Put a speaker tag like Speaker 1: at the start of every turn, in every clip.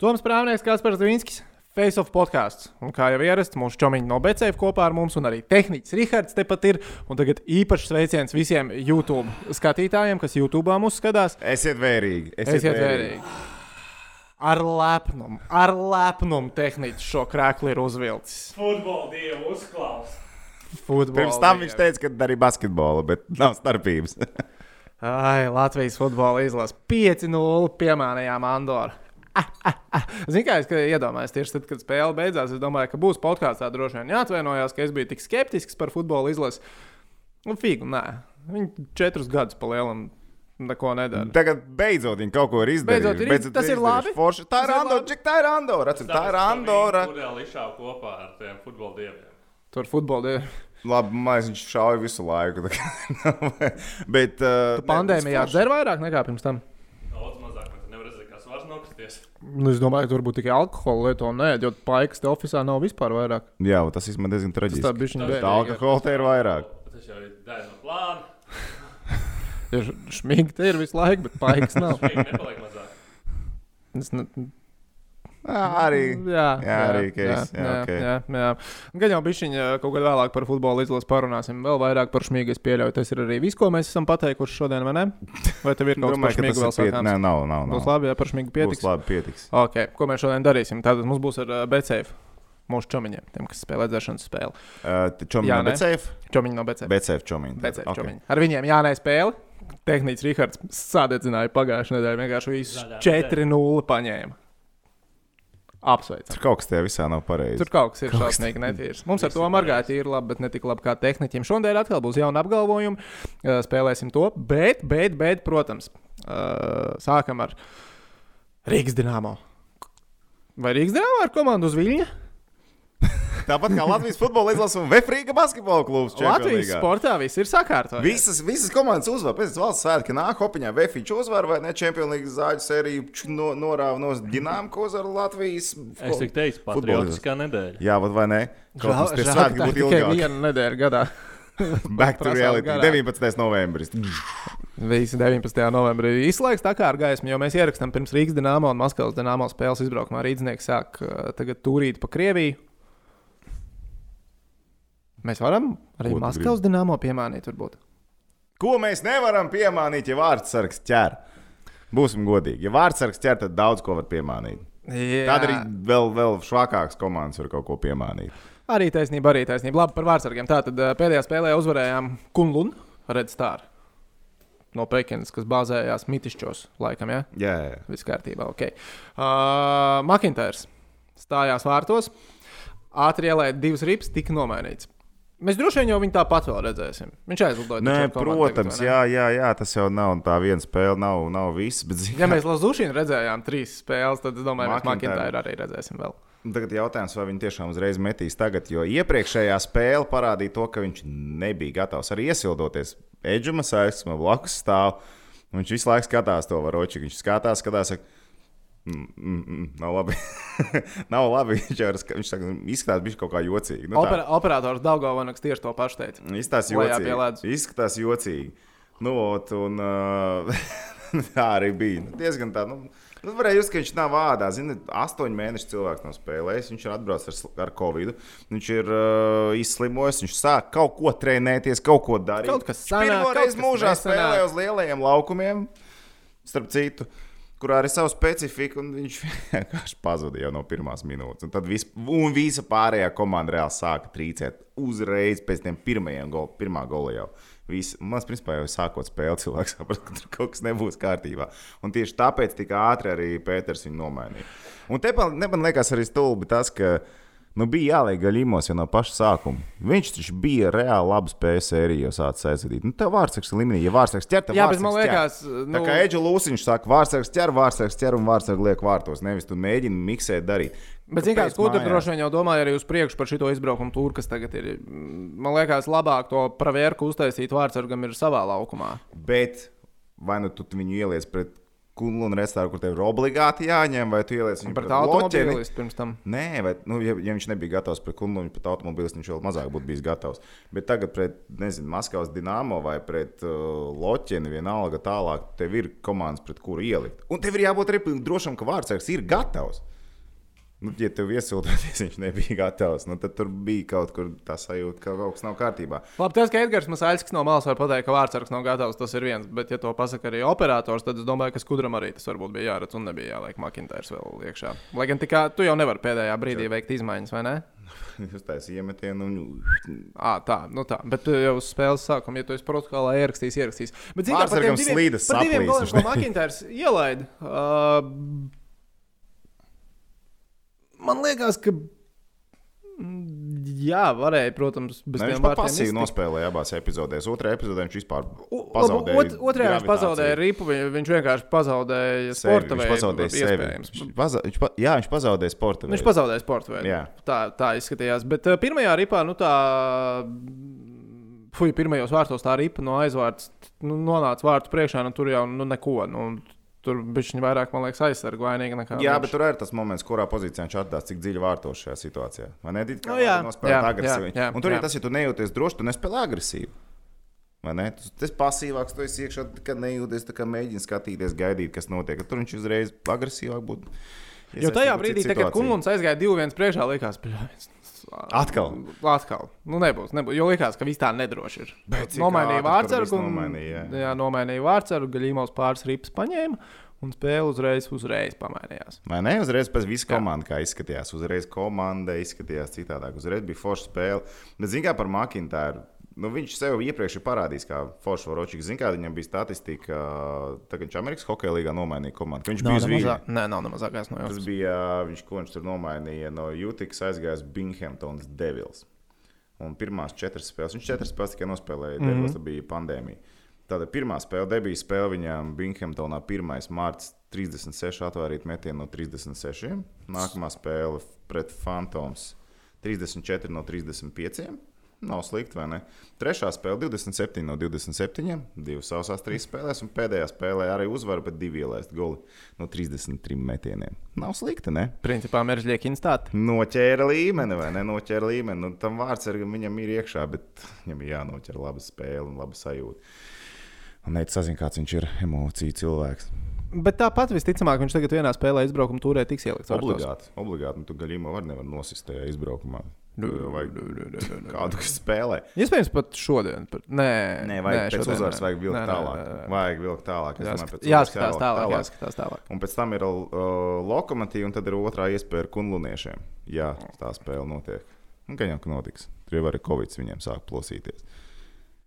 Speaker 1: Toms Prāvnieks, Kaspars Zvinskis, Face of podkāsts. Un kā jau ierasts, mūsu čomiņi no Becēvas kopā ar mums, un arī tehnicis Rihards tepat ir. Un tagad īpašs sveiciens visiem YouTube skatītājiem, kas YouTube mūs skatās.
Speaker 2: Esiet vērīgi.
Speaker 1: Esiet vērīgi. Ar lepnumu, ar lepnumu tehnicis šo krēklu ir uzvilcis.
Speaker 3: Futbola dievu uzklaus.
Speaker 1: Futbolu,
Speaker 2: Pirms tam viņš teica, ka arī basketbola, bet nav starpības.
Speaker 1: Ai, Latvijas futbola izlase 5-0 piemānījām Andoru. Ziniet, ah, kā es ka iedomājos, tieši tad, kad spēle beidzās, es domāju, ka būs podkāstā droši vien jāatvainojās, ka es biju tik skeptisks par futbola izlasi. Nu, figu, nē. Viņi četrus gadus pa lielam neko nedara.
Speaker 2: Tagad beidzot viņi kaut ko ir izdarījuši.
Speaker 1: Beidzot ir iz- tas ir labi.
Speaker 2: Forši. Tā ir
Speaker 1: Tas ir
Speaker 2: Andora.
Speaker 1: labi.
Speaker 2: Čik, tā ir Andora. Atcer, tā ir Andora.
Speaker 3: Kurēl izšāva kopā ar tiem futbola dieviem.
Speaker 1: Tur futbola ir
Speaker 2: Labi, mēs viņš šauja visu laiku. tā kā- bet uh, ne,
Speaker 1: pandēmijā.
Speaker 2: tas forši.
Speaker 1: Dzer vairāk nekā pirms tam.
Speaker 3: Daudz mazāk, bet nevar redzēt, kā svars nokristies.
Speaker 1: Nu, es domāju, tur būtu tikai alkohola lietu, un nē, jo paikas te oficiālā nav vispār vairāk.
Speaker 2: Jā, un tas izman diezgan
Speaker 1: Tas tā
Speaker 2: traģiski.
Speaker 1: bija viņa
Speaker 2: Tā alkohola te ir vairāk.
Speaker 3: Tas jau ir daļa no plāna.
Speaker 1: bērna. Šmīgi te ir visu laiku, bet paikas nav.
Speaker 3: Šeit nepaliek mazāk.
Speaker 1: Es ne,
Speaker 2: Ā, Arī.
Speaker 1: Jā,
Speaker 2: Jā, arī case. Jā, ok.
Speaker 1: jā, jā. Gan jau bija viņa kaut kad vēlāk par futbola izlasi parunāsim. Vēl vairāk par šmīgu es pieļauju. Tas ir arī viss, ko mēs esam pateikuši šodien, vai ne? Vai tev ir kaut kas
Speaker 2: Domāju,
Speaker 1: par
Speaker 2: ka
Speaker 1: šmīgu vēl
Speaker 2: tas ir pietiekami.
Speaker 1: sakāms?
Speaker 2: Nē, nav, nav. nav.
Speaker 1: Būs labi, ja par šmīgu
Speaker 2: Būs
Speaker 1: pietiks.
Speaker 2: labi, pietiks.
Speaker 1: Okay, ko mēs šodien darīsim? Tātad mums būs ar Becēju, mūsu čomiņiem, tiem, kas spēlē dzēršanas spēli. Jā,
Speaker 2: Uh, Čomiņš,
Speaker 1: ne?
Speaker 2: bet safe.
Speaker 1: Čomiņi no Becēju.
Speaker 2: Bet safe čomiņš.
Speaker 1: Becēju čomiņi. Ar viņiem jānē spēli. Tehnicis Rihards sādedzināja pagājušajā nedēļā. Vienkārši visus
Speaker 3: Zaļā
Speaker 1: 4-0 paņēma. Apsveicam!
Speaker 2: Tur kaut kas tajā visā nav pareizi.
Speaker 1: Tur kaut kas ir šausmīgi netīrs. Mums ar to margāti ir labi, bet ne tik labi kā tehniķiem. Šodien atkal būs jauna apgalvojuma. eh, Spēlēsim to, bet, bet, bet protams, eh, sākam ar Rīgas dīnāmo. Vai Rīgas dīnāmo ar komandu uz Viļņa?
Speaker 2: Tāpat kā Latvijas futbola izlase un Vefrīga basketbola klubs.
Speaker 1: Latvijas
Speaker 2: Čempionlīgā.
Speaker 1: sportā viss ir sakārtots.
Speaker 2: Visas, visas komandas uzvar. Pēc valsts svētkiem nāk hopiņā. Vēfiņš uzvar vai ne Champions League zāģu sēriju ču- no, norāva no Dienāmko uz Latvijas.
Speaker 3: Es tik teicu,
Speaker 2: Futbola izlasi.
Speaker 3: patriotiskā nedēļa.
Speaker 2: Jā, vat vai ne? Kaut kas tie
Speaker 1: tā
Speaker 2: svētki būtu
Speaker 1: ir tikai
Speaker 2: ilgāk.
Speaker 1: viena nedēļa gadā.
Speaker 2: Back to
Speaker 1: prasām
Speaker 2: reality.
Speaker 1: garāk.
Speaker 2: 19. novembris.
Speaker 1: Visi 19. novembrī izslēgs tā kā ar gaismu, jo mēs ierakstām pirms Rīgas dīnāmo un Maskavas dīnāmo spēles izbraukumā. Rīdznieks sāk eh, tagad turīt pa Krieviju. Mēs varam arī
Speaker 2: Ko tu
Speaker 1: Maskavas dīnāmo piemānīt, varbūt.
Speaker 2: Ko mēs nevaram piemānīt, ja vārdsargs ķer? Būsim godīgi. Ja vārdsargs ķer, tad daudz ko var piemānīt.
Speaker 1: Jā,
Speaker 2: Tad arī vēl, vēl švakāks komandas var kaut ko piemānīt.
Speaker 1: arī taisnība, arī taisnība. Labi par vārdsargiem. Tātad eh, pēdējā spēlē uzvarējām Kunlunu Redstāru no Pekinas, kas bāzējās Mitišķos laikam. Ja?
Speaker 2: Jā, jā. jā.
Speaker 1: Viss kārtībā, ok. Uh, Makintārs stājās vārtos, ātri ielēja divas ripas, tika nomainīts. Mēs droši vien jau viņu tāpat vēl redzēsim. Viņš aizlidoja.
Speaker 2: Nē,
Speaker 1: taču ar komandu
Speaker 2: protams,
Speaker 1: tagad, vai ne?
Speaker 2: jā, jā, jā, tas jau nav tā viena spēle, nav, nav viss. Bet, zini,
Speaker 1: Ja mēs Lazušķinu redzējām trīs spēles, tad es domāju, ka
Speaker 2: McIntyre.
Speaker 1: Makintāra arī redzēsim vēl.
Speaker 2: Un Tagad jautājums, vai viņi tiešām uzreiz metīs tagad, jo iepriekšējā spēle parādīja to, ka viņš nebija gatavs arī iesildoties. Eģuma aizsma blakus stāv. un Viņš visu laiku skatās to varoči. Viņš skatās, skatās. Saka, "Mm, mm, mm, nav labi. nav labi. Viņš jau ir, ska- viņš saka, izskatās viņš kaut kā jocīgi. Nu, tā.
Speaker 1: Opera, operators Daugavonaks tieši to pašu teica.
Speaker 2: Izskatās
Speaker 1: Lejā pie
Speaker 2: jocīgi.
Speaker 1: ledus.
Speaker 2: Izskatās jocīgi. Nu, ot, un, uh, tā arī bija. Nu, diezgan tā. Nu, nu, varēja just, ka viņš nav vārdā. Zini, astoņu mēnešu cilvēks nav spēlējis. Viņš ir atbraucis ar, sl- ar covid. Viņš ir uh, izslimojis. Viņš sāk kaut ko trenēties, kaut ko darīt.
Speaker 1: Kaut kas
Speaker 2: Viņš pirmo
Speaker 1: sanāk, kaut
Speaker 2: reizi
Speaker 1: kas
Speaker 2: mūžā
Speaker 1: nesanāk.
Speaker 2: spēlēja uz lielajiem laukumiem, starp citu. Kurā ir sava specifika, un viņš vienkārši pazuda jau no pirmās minūtes. Un tad vis, un visa pārējā komanda reāli sāka trīcēt uzreiz pēc tam pirmajiem goliem, pirmā gola jau. Visi, man liekas, principā jau sākot spēli, cilvēks saprot, ka tur kaut kas nebūs kārtībā. Un tieši tāpēc tik ātri arī Pēters viņu nomainīja. Un te man, man liekas arī stulbi tas, ka nu, bija jāliek gaļījumos jau no paša sākuma. Viņš taču bija reāli labi spējis sēriju jau sācis aizsargāt. Nu, tā vārsakas līmenī, ja vārsakas ķerta,
Speaker 1: Jā, bet man liekas,
Speaker 2: Nu, tā kā
Speaker 1: nu,
Speaker 2: Eģis Lūsis saka, vārsakas ķer, vārsakas ķer un vārsakas liek vārtos. Nevis tu mēģini miksēt, darīt.
Speaker 1: bet vienkārši Kutra droši vien jau domāja arī uz priekšu par šito izbraukumu tūri, kas tagad ir. Man liekas, labāk to pravērku uztaisīt vārdsargam ir savā laukumā.
Speaker 2: Bet vai nu tu viņu ieliec pret skumju un restorānu, kur tev ir obligāti jāņem, vai tu ieliec viņu
Speaker 1: Pret
Speaker 2: pret loķeni?
Speaker 1: automobilistu pirms tam.
Speaker 2: Nē, vai, nu, ja, ja viņš nebija gatavs pret kundu, viņš pat automobilis viņš vēl mazāk būtu bijis gatavs. Bet tagad pret, nezinu, Maskavas dīnāmo vai pret uh, Loķinu vienalga tālāk, tev ir komandas, pret kuru ielikt. Un tev ir jābūt arī pilnīgi drošam, ka vārdsargs ir gatavs. Nu, ja tev iesildoties, viņš nebija gatavs, nu, tad tur bija kaut kur tā sajūta, ka kaut kas nav kārtībā.
Speaker 1: Labi, tas, ka Edgars Masāļskis no malas var pateikt, ka vārdsargs nav gatavs, tas ir viens. Bet, ja to pasaka arī operators, tad es domāju, ka skudram arī tas varbūt bija jāredz un nebija jāliek Makintērs vēl iekšā. Lai gan tikai tu jau nevari pēdējā brīdī veikt izmaiņas, vai ne?
Speaker 2: Jūs taisat iemetienu un
Speaker 1: À, tā, nu tā. Bet tu jau uz spēles sākuma, ja tu esi protokolā ierakstījis, ierakstījis. Bet, zini, kā par tiem
Speaker 2: Vārtsargam
Speaker 1: diviem-
Speaker 2: slīdes
Speaker 1: par diviem goliem,
Speaker 2: saplīsušas,
Speaker 1: ko
Speaker 2: ne?
Speaker 1: Makintērs ielaida. Uh, man liekas, ka. mm, Jā, varēja, protams, bez
Speaker 2: Ne,
Speaker 1: tiem
Speaker 2: viņš pat
Speaker 1: vārtiem
Speaker 2: pasīvi
Speaker 1: iztikt.
Speaker 2: nospēlēja abās epizodēs. Otrajā epizodē viņš vispār
Speaker 1: U-
Speaker 2: pazaudēja.
Speaker 1: labi, ot- Otrajā viņš
Speaker 2: gravitāciju.
Speaker 1: pazaudēja ripu, vi- viņš vienkārši pazaudēja
Speaker 2: Sevi,
Speaker 1: sporta
Speaker 2: viņš
Speaker 1: veidu.
Speaker 2: pazaudēja sevi.
Speaker 1: iespējams.
Speaker 2: Viņš paza- Viņš, pa- jā, viņš pazaudēja sporta
Speaker 1: Viņš
Speaker 2: veidu.
Speaker 1: pazaudēja sporta veidu.
Speaker 2: Jā.
Speaker 1: Tā, tā izskatījās. Bet uh, pirmajā ripā, nu tā. mm, Fui, pirmajos vārtos tā ripa no aizvārds nu, nonāca vārtu priekšā, un tur jau nu, neko. Nu, tur bija viņa vairāk, man liekas, aizsarga vainīga nekā.
Speaker 2: Jā,
Speaker 1: viņš.
Speaker 2: bet tur ir tas moments, kurā pozīcijā viņš atdās, cik dziļi vārtos šajā situācijā. Vai ne? Dīt, kā
Speaker 1: Nu jā, jā,
Speaker 2: nospēlēt agresīvi.
Speaker 1: jā, jā,
Speaker 2: un tur
Speaker 1: jā.
Speaker 2: ir tas, ja tu nejūties droši, tu nespēlē agresīvi. Vai ne? Tu tu esi pasīvāks, tu esi iekšā, kad nejūties, tā kā mēģini skatīties, gaidīt, kas notiek. Tur viņš uzreiz agresīvāk būtu.
Speaker 1: Jo tajā brīdī, tā, kad Kungs aizgāja divu viens priekšā, likās, ka
Speaker 2: Atkal.
Speaker 1: Atkal. Nu, nebūs, nebūs. Jo likās, ka viss tā nedroši ir.
Speaker 2: Bet cik
Speaker 1: nomainīja
Speaker 2: ātri tur viss
Speaker 1: vārdsargu. un-
Speaker 2: nomainīja, jā.
Speaker 1: jā, nomainīja vārdsargu. Gaļīmos pāris rips paņēma un spēle uzreiz, uzreiz pamainījās.
Speaker 2: Vai ne? Uzreiz pēc visu
Speaker 1: Jā.
Speaker 2: komandu, kā izskatījās. Uzreiz komanda izskatījās citādāk. Uzreiz bija forša spēle. Bet, zinām, kā par Makintāru. Nu, viņš sev iepriekš ir parādījis, kā foršs varočiks. Zinām, kā viņam bija statistika, tā, ka viņš Amerikas hokeja līgā nomainīja komandu. ka Viņš
Speaker 1: Nav ne
Speaker 2: bija zvīgs.
Speaker 1: mazā- Nē, nav ne mazākais no
Speaker 2: Tas
Speaker 1: jums.
Speaker 2: bija, viņš, ko viņš tur nomainīja no Jūtikas, aizgājis Binghamtonas Devils. Un pirmās četras spēles, viņš četras spēles tikai nospēlēja, mm -hmm. Devils tad bija pandēmija. Tāda pirmā spēle, debija spēle viņam Binghamtonā 1. mārciņā 36 atvērta metiena no 36. Nākamā spēle pret Phantoms 34 no 35. Nav slikti, vai ne? Trešā spēle 27 no 27. Divas sausās trīs spēlēs, un pēdējā spēlē arī uzvara pēc divu ielaistu goli no 33 metieniem. Nav slikti, ne?
Speaker 1: Principā mēržļieki instāti.
Speaker 2: Noķēra līmeni, vai ne? Noķēra līmeni. Nu, tam vārdsargam viņam ir iekšā, bet viņam ir jānoķer laba spēle un laba sajūta. Un neicis sazināties, kāds viņš ir emociju cilvēks.
Speaker 1: Bet tāpat visticamāk viņš tagad vienā spēlē izbraukuma tūrē tiks ielikts. vārtos.
Speaker 2: Obligāti. Obligāti. Nu, tu gaļījumā var nevar nosist tajā izbraukumā.
Speaker 1: Nu,
Speaker 2: Vajag kādu, kas spēlē.
Speaker 1: Iespējams, pat šodien. Pat... nu. Nē,
Speaker 2: Nē, vajag pēc
Speaker 1: šodien
Speaker 2: uzvaras,
Speaker 1: nē.
Speaker 2: vajag vilkt
Speaker 1: Nē, nē,
Speaker 2: tālāk.
Speaker 1: nē, nē.
Speaker 2: Vajag vilkt tālāk. es domāju,
Speaker 1: Jāskat-
Speaker 2: pēc uzvaras
Speaker 1: Jāskatās tālāk, jāskatās tālāk.
Speaker 2: Un pēc tam ir uh, lokomotīva, un tad ir otrā iespēja ar kunluniešiem. Jā, tā spēle notiek. Un kā jau ka notiks, tur jau arī Covid viņiem sāk plosīties.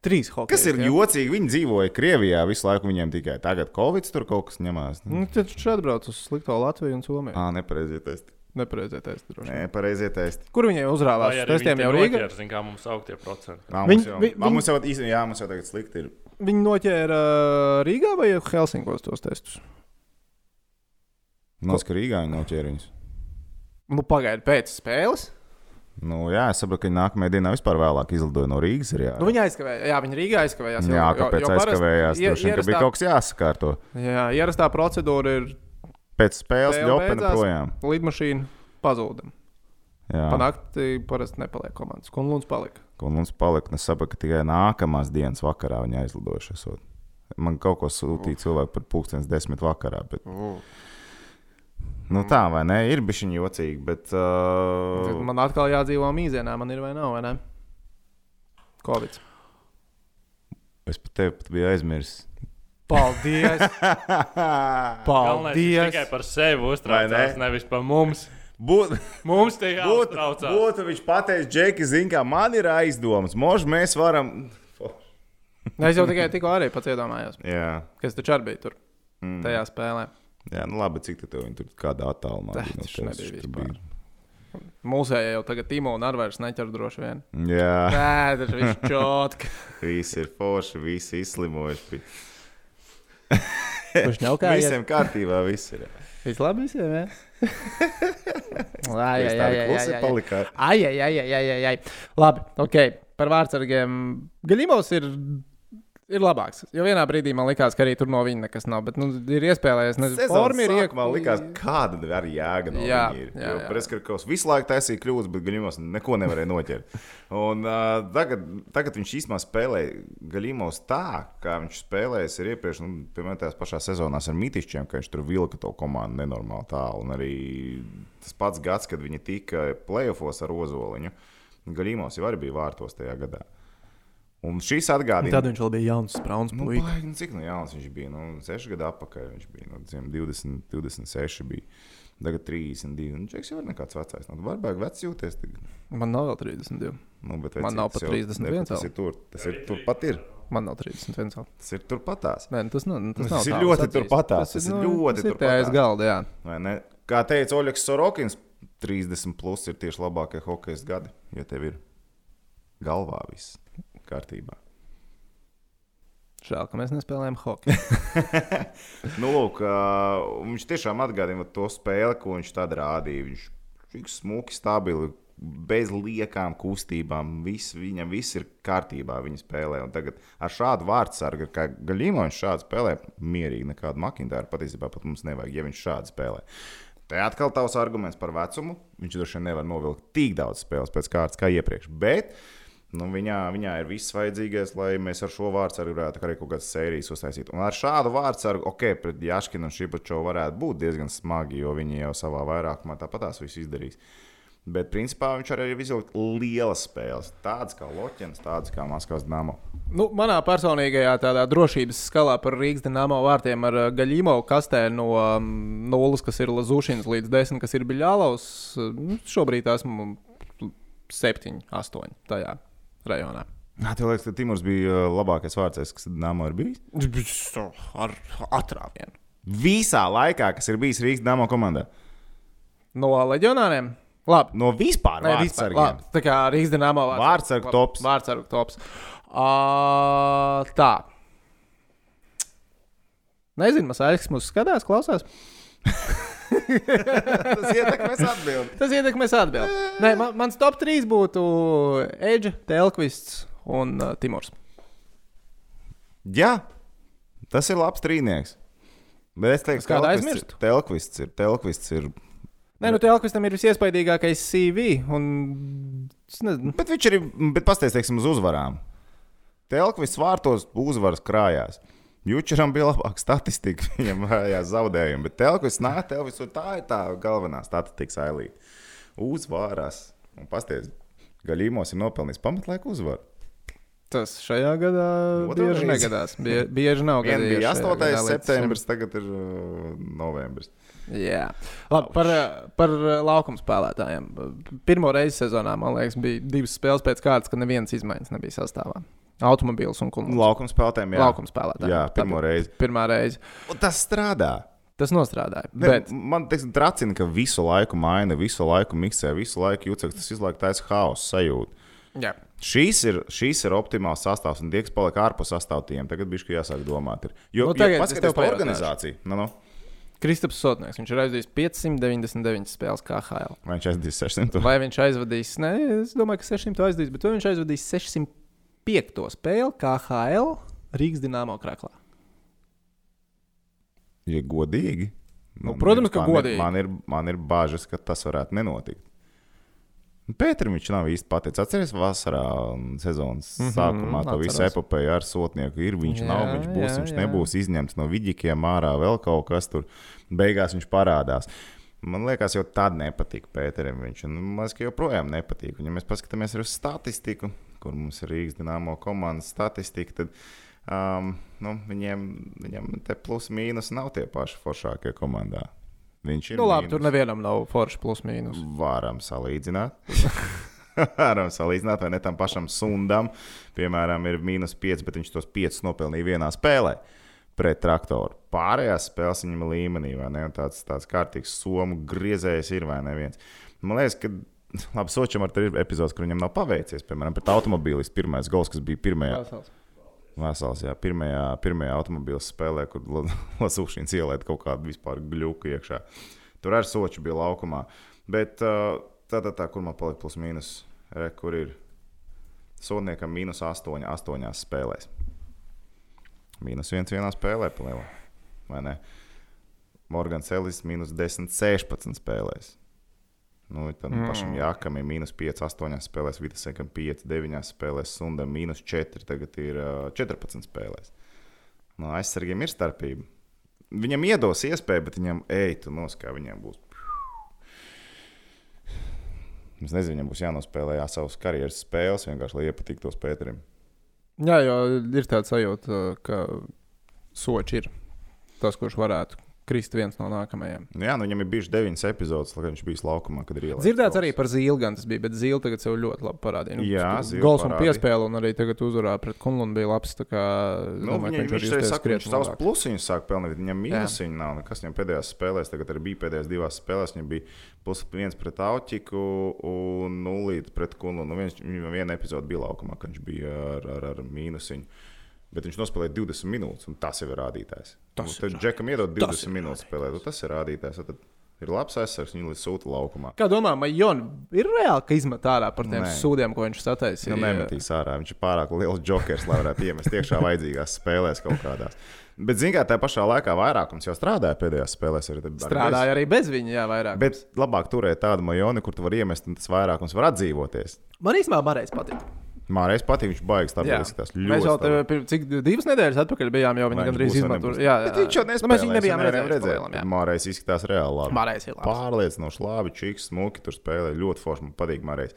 Speaker 1: Trīs hockey.
Speaker 2: Kas ir jocīgi, viņi dzīvoja Krievijā visu laiku, viņiem tikai tagad Covid tur kaut kas ņemās.
Speaker 1: Nu, tad viņš atbrauc uz slikto Latviju un Somiju.
Speaker 2: Ā, nepareizie testi.
Speaker 1: Nepareizē testi. droši vien.
Speaker 2: Nē, pareizie testi.
Speaker 1: Kur viņiem uzrāvās? Uz Testiem jau Rīgā.
Speaker 3: Zinām, kā mums augtie procenti.
Speaker 2: Ā,
Speaker 1: Viņi-
Speaker 2: mums jau,
Speaker 1: vi-
Speaker 2: ā, mums jau, īstenībā- jā, mums jau tagad slikti ir.
Speaker 1: Viņi noķēra ā, Rīgā vai Helsinkos tos testus.
Speaker 2: Noskar Rīgā viņi noķēra viņus.
Speaker 1: Nu, pagaidiet, pēc spēles.
Speaker 2: Nu, jā, es saprotu, ka viņi nākamajā dienā vispār vēlāk izlidoja no Rīgas. Ir, jā.
Speaker 1: Nu, viņi aizkavējās. Jā, viņi Rīgā aizkavējās.
Speaker 2: Jā, kāpēc aizkavējās?
Speaker 1: ie-
Speaker 2: Tur bija
Speaker 1: ierastā-
Speaker 2: kaut kas jāsakārto.
Speaker 1: Jā, ierastā procedūra ir
Speaker 2: Pēc spēles
Speaker 1: Spēle
Speaker 2: jau pēc
Speaker 1: beidzās.
Speaker 2: projām.
Speaker 1: lidmašīna pazūda.
Speaker 2: Jā,
Speaker 1: Panākti parasti nepaliek komandas. Kunlunds palika.
Speaker 2: un mums palika nesaba, ka tikai nākamās dienas vakarā viņa aizlidojuši. Esot. Man kaut ko sūtīja cilvēki par pulkstens desmit vakarā. Bet... Nu tā, vai ne? Ir bijusi viņa jocīga, bet.
Speaker 1: Tad
Speaker 2: Uh...
Speaker 1: man atkal jādzīvo mīzienā, man ir vai nav, vai ne? Covid.
Speaker 2: Es pat tevi pat biju aizmirsis.
Speaker 1: Paldies!
Speaker 3: Galvenais ir tikai
Speaker 1: Paldies!
Speaker 3: par sevi
Speaker 2: Vai
Speaker 3: uztraucās,
Speaker 2: ne?
Speaker 3: nevis par mums.
Speaker 2: Būt,
Speaker 3: Mums te
Speaker 2: būt,
Speaker 3: jāuztraucās.
Speaker 2: būtu viņš pateicis, Džeki, zini, kā man ir aizdomas. Možda mēs varam.
Speaker 1: Es jau tikai tikko arī pats iedomājos,
Speaker 2: Jā,
Speaker 1: kas taču arī bija tur. Mm. Tajā spēlē.
Speaker 2: jā nu labi, cik tādu viņi tur kādā attālumā
Speaker 1: Tā,
Speaker 2: bija no
Speaker 1: tas
Speaker 2: tevis,
Speaker 1: nebija
Speaker 2: tur
Speaker 1: vispār. Mūsējā jau tagad Timo un Arvairs neķer droši vien.
Speaker 2: Jā.
Speaker 1: Nē, tas ir čotki.
Speaker 2: Visi ir forši, visi izslimojuši.
Speaker 1: Kurš nav
Speaker 2: Kā
Speaker 1: kā
Speaker 2: Visiem ir? kārtībā, viss ir.
Speaker 1: Viss labi visiem, jā? Ai, ai,
Speaker 2: Jūs
Speaker 1: ai,
Speaker 2: tādi
Speaker 1: ai,
Speaker 2: klusi
Speaker 1: ai, ai.
Speaker 2: palikāt.
Speaker 1: Ai, ai, ai, ai, ai, ai, ai. Labi, ok. Par vārdsargiem. Gaļimos ir ir labāks. Jo vienā brīdī man likās, ka arī tur no viņa nekas nav. Bet nu, ir iespējams, ka
Speaker 2: Sezonas
Speaker 1: forma ir
Speaker 2: sākumā likās, kāda tad arī jēga no jā,
Speaker 1: Jā,
Speaker 2: viņa ir.
Speaker 1: jā,
Speaker 2: Jo
Speaker 1: jā.
Speaker 2: Preskarkovs visu laiku taisīja kļūdas, bet Gaļimos neko nevarēja noķert. Un, uh, tagad, tagad viņš īstenībā spēlē Gaļimos tā, kā viņš spēlējis ir iepriekš, nu, piemēram, tajās pašās sezonās ar Mitišķiem, ka viņš tur vilka to komandu nenormāli tālu. Un arī tas pats gads, kad viņi tika playoffos ar Ozoliņu, Gaļimos jau arī bija vārtos tajā gadā. Un šīs atgādina.
Speaker 1: Tad viņš vēl bija jauns, sprauns
Speaker 2: Nu,
Speaker 1: puika.
Speaker 2: baigi, nu, cik nu jauns viņš bija? Nu, 6 gadu atpakaļ viņš bija. Nu, zem 20, 26 bija. Tagad 32. Nu, Čeks jau ir nekāds vecais. Nu, varbūt vecs jūties. Tagad.
Speaker 1: Man nav vēl 32.
Speaker 2: Nu, bet
Speaker 1: Man
Speaker 2: vecītis
Speaker 1: nav pat
Speaker 2: jau-
Speaker 1: 31
Speaker 2: ne, Tas
Speaker 1: vēl.
Speaker 2: ir tur. Tas ir turpat ir.
Speaker 1: Man nav 31. vēl.
Speaker 2: Tas ir turpatās.
Speaker 1: Nē, nu, tas, nu, tas,
Speaker 2: Tas
Speaker 1: nav
Speaker 2: ir
Speaker 1: tā,
Speaker 2: ļoti
Speaker 1: es atzīstu.
Speaker 2: turpatās, tas ir ļoti
Speaker 1: tas ir
Speaker 2: turpatās.
Speaker 1: aiz galda. Jā.
Speaker 2: Vai ne? Kā teica Oļegs Sorokins, 30 plus ir tieši labākie hokeja gadi, jo tev ir galvā viss kārtībā.
Speaker 1: Žēl, ka mēs nespēlējam hokeju.
Speaker 2: Nu, lūk, uh, un viņš tiešām atgādina to spēli, ko viņš tad rādīja. Viņš tik smuki, stabili, bez liekām kustībām. Viss, viņam viss ir kārtībā, viņa spēlē. Un tagad ar šādu vārdsargu, kā Gaļīmo, viņš šādi spēlē, mierīgi nekādu makintāru patiesībā pat mums nevajag, ja viņš šādi spēlē. Tā ir atkal tavs arguments par vecumu. Viņš droši vien nevar novilkt tik daudz spēles pēc kārtas kā iepriekš. Bet nu, viņā, viņā ir viss vajadzīgais, lai mēs ar šo vārdsargu varētu arī kaut kādas sērijas uztaisīt. Un ar šādu vārdsargu, ok, pret Jaškinu un Šipačovu varētu būt diezgan smagi, jo viņi jau savā vairākumā tāpatās visu izdarīs. Bet principā viņš arī ir izvilkt lielas spēles, tādas kā Loķens, tādas kā Maskavas Dāmas.
Speaker 1: Nu, manā personīgajā tādā drošības skalā par Rīgas dīnāmo vārtiem ar uh, gaļīmo kastē no um, nulles, kas ir Lazūšins, līdz desmit, kas ir Biļālaus. Nu, Šobrīd esmu septiņi, astoņi tajā rajonā.
Speaker 2: Nē, tev liekas, ka Timurs bija uh, labākais vārdsargs, kas Dāmas ir bijis?
Speaker 1: Ar atrāvienu.
Speaker 2: Visā laikā, kas ir bijis Rīgas Dāmas komandā.
Speaker 1: No leģionāriem? Labi.
Speaker 2: No vispār
Speaker 1: Nē, vispār,
Speaker 2: vārdsargiem.
Speaker 1: labi. Tā kā Rīgas dīnāmo
Speaker 2: Vārdsargu tops.
Speaker 1: Vārdsargu tops. Uh, tā. Nezinu, Masāļs mūs skatās, klausās.
Speaker 2: Tas ietekmēs atbildību.
Speaker 1: Tas ietekmēs atbildību. Nē, man, mans top 3 būtu Edge, Telkvists un uh, Timurs.
Speaker 2: Jā, tas ir labs trīnieks. Bet es teiktu,
Speaker 1: Es
Speaker 2: ka
Speaker 1: kādu
Speaker 2: Telkvists
Speaker 1: aizmirstu?
Speaker 2: ir- Telkvists ir. Telkvists ir.
Speaker 1: Nē, nu Telkvistam ir visiespaidīgākais CV. Un, es nezinu,
Speaker 2: Bet viņš ir. Bet pastāstiet, teiksim, uz uzvarām. Telkvists vārtos uzvaras krājās. Jučeram bija labāka statistika, viņam bija zaudējumi. Bet Telkvists nāk, Telkvists tur tā ir tā galvenā statistika ailīte. Uzvaras. Un pastāstiet, Gaļīmos ir nopelnījis pamatlaika uzvaru.
Speaker 1: tas šajā gadā
Speaker 2: Otrais.
Speaker 1: bieži negadās. Bie, bieži nav
Speaker 2: Nu, Vien bija
Speaker 1: gadījies šajā
Speaker 2: 8.
Speaker 1: gadā līdz šim.
Speaker 2: septembris, tagad ir uh, novembris.
Speaker 1: Jā, labi. Par, eh, par eh, laukuma spēlētājiem. Pirmo reizi sezonā, man liekas, bija divas spēles pēc kārtas, kad nevienas izmaiņas nebija sastāvā. Automobīls un kungu.
Speaker 2: Laukuma spēlētājiem jau
Speaker 1: Laukuma spēlētājiem.
Speaker 2: Jā, pirmo reizi.
Speaker 1: Pirmā reize.
Speaker 2: Un tas strādā.
Speaker 1: Tas nostrādāja.
Speaker 2: Ne,
Speaker 1: Bet,
Speaker 2: Man liekas, tracina, ka visu laiku maina, visu laiku miksē, visu laiku jūtas, ka tas izlaiž tāds haoss sajūta.
Speaker 1: jā.
Speaker 2: Šīs ir, šīs ir optimāls sastāvs, un tie, kas paliek ārpus sastāvdaļām, tagad bija jāsāk domāt. Ir. Jo,
Speaker 1: Nu,
Speaker 2: nu,
Speaker 1: tagad es
Speaker 2: jo
Speaker 1: tev
Speaker 2: paskatās to
Speaker 1: pajautāšu.
Speaker 2: organizāciju. Nu, nu,
Speaker 1: Kristaps Sotnieks, viņš ir aizvadījis 599 spēles KHL.
Speaker 2: vai viņš aizdīs 600?
Speaker 1: Vai viņš aizvadīs, nē, es domāju, ka 600 aizvadīs, bet vai viņš aizvadīs 605 spēli KHL Rīgas dīnāmo krāklā?
Speaker 2: Ja godīgi. man
Speaker 1: Nu, protams, ka
Speaker 2: man ir-
Speaker 1: godīgi.
Speaker 2: Man ir, man ir bažas, ka tas varētu nenotikt. Nu, Pēterim viņš nav īsti pateicis. Atcerieties, vasarā un sezonas mm -hmm, sākumā to visu
Speaker 1: Mhm, atceros.
Speaker 2: epopeju ar sotnieku. Ir viņš, jā, nav,
Speaker 1: Jā,
Speaker 2: viņš būs, jā,
Speaker 1: jā,
Speaker 2: viņš
Speaker 1: jā.
Speaker 2: jā. nebūs izņemts no vidikiem ārā, vēl kaut kas tur. Beigās viņš parādās. Man liekas, jau tad nepatīk Pēterim. Viņš un man liekas, ka joprojām nepatīk. Un, ja mēs paskatāmies arī uz statistiku, kur mums ir Rīgas dīnāmo komandas statistika, tad um, nu, viņiem, viņiem te plus mīnus nav tie paši foršākie komandā. Viņš ir
Speaker 1: Nu, labi, tur
Speaker 2: mīnus.
Speaker 1: nevienam nav forši plus mīnus.
Speaker 2: Varam salīdzināt. Varam salīdzināt, vai ne tam pašam sundam, piemēram, ir mīnus 5, bet viņš tos 5 nopelnīja vienā spēlē pret traktoru. Pārējās spēles viņam ir līmenī, vai ne? Un Tāds, tāds kārtīgs somu griezējs ir vai neviens. Man liekas, ka. Labi, Sočam ar to ir epizodes, kur viņam nav paveicies. Piemēram, pret automobīlis pirmais gols, kas bija pirmajā Vesels, jā, pirmajā, pirmajā automobīļa spēlē, kur La- Lasūšņins ielaida kaut kādu vispār gļuku iekšā. Tur arī soči bija laukumā. Bet uh, tā, tā, tā, kur man palika plus mīnus, re, kur ir sodniekam mīnus 8, 8 spēlēs. Mīnus viens vienā spēlē, plēvā. Vai ne? Morgans Ellis minus 10, 16 spēlēs. Nu, tam mm. pašam Jākam ir minus 5, 8 spēlēs, Vidasekam 5, 9 spēlēs, Sundam minus 4, tagad ir ā, 14 spēlēs. No aizsargiem ir starpība. Viņam iedos iespēju, bet viņam eitu noskā, viņam būs. Es nezinu, viņam būs jānospēlē jā, savas karjeras spēles, vienkārši lai iepatiktos Pēterim.
Speaker 1: Jā, jo ir tāds sajūta, ka sočs ir tas, kurš varētu krist viens no nākamajiem.
Speaker 2: Nu Jā, nu viņam ir bijuši deviņas epizodes, lai viņš bija laukumā, kad ir ielaists.
Speaker 1: Dzirdēts arī par zīli, gan tas bija, bet zīle tagad sev ļoti labi parādīja.
Speaker 2: Jā, Zila
Speaker 1: gals un
Speaker 2: parādīja.
Speaker 1: piespēle, un arī tagad uzvarā pret Kunlunu bija labs. tā Kā, es
Speaker 2: Nu,
Speaker 1: domāju,
Speaker 2: viņa,
Speaker 1: ka arī
Speaker 2: viņš arī
Speaker 1: uztais
Speaker 2: saka, ka viņš
Speaker 1: krietni
Speaker 2: savus
Speaker 1: labāk.
Speaker 2: plusiņus sāk pelnīt. Viņam mīnusiņu nav. nu, Kas viņam pēdējās spēlēs, tagad arī bija pēdējās divās spēlēs. Viņam bija plus viens pret Autiku un nulīt pret Kunlu. Nu, viņš, viņam viena epizode bija laukumā, kad viņš bija ar, ar, ar mīnusiņu. Bet viņš nospēlēja 20 minūtes, un tas jau ir rādītājs. Tas tad Džekam iedod 20 minūtes spēlēt, un tas ir rādītājs. un Tad ir labs aizsargs, viņa līdz sūta laukumā.
Speaker 1: Kā domā, Majon, ir reāli, ka izmet ārā par tiem
Speaker 2: Nē.
Speaker 1: sūdiem, ko viņš sataisīja?
Speaker 2: Nu, nemetīs ārā. Viņš ir pārāk liels jokers, lai varētu iemest iekšā vajadzīgās spēlēs kaut kādās. Bet, zinām, tā pašā laikā vairākums jau strādāja pēdējās spēlēs. Arī tad-
Speaker 1: Strādāja arī bez viņa, jā, vairāk. Bet...
Speaker 2: Bet labāk turēt tādu majoni, kur tu vari iemest, un tas vairākums var atdzīvoties.
Speaker 1: Man īstenībā Marijas patīk.
Speaker 2: Man reiz patīk, viņš baigs tādu
Speaker 1: Jā.
Speaker 2: izskatās.
Speaker 1: Mēs jau
Speaker 2: Ļoti
Speaker 1: tev
Speaker 2: labi.
Speaker 1: pirms cik divas nedēļas atpakaļ bijām, jau
Speaker 2: Vai
Speaker 1: viņi
Speaker 2: viņš
Speaker 1: gandrīz
Speaker 2: būs vai
Speaker 1: izmetuši.
Speaker 2: nebūs?
Speaker 1: Jā, jā,
Speaker 2: Bet viņš jau
Speaker 1: Nu,
Speaker 2: nespēlēja.
Speaker 1: Mēs viņu nebijām redzējuši.
Speaker 2: Mārais izskatās reāli labi.
Speaker 1: Marijas ir labi.
Speaker 2: Pārliecinoši labi, čiks, smuki tur spēlē. Ļoti forši man patīk Mārais.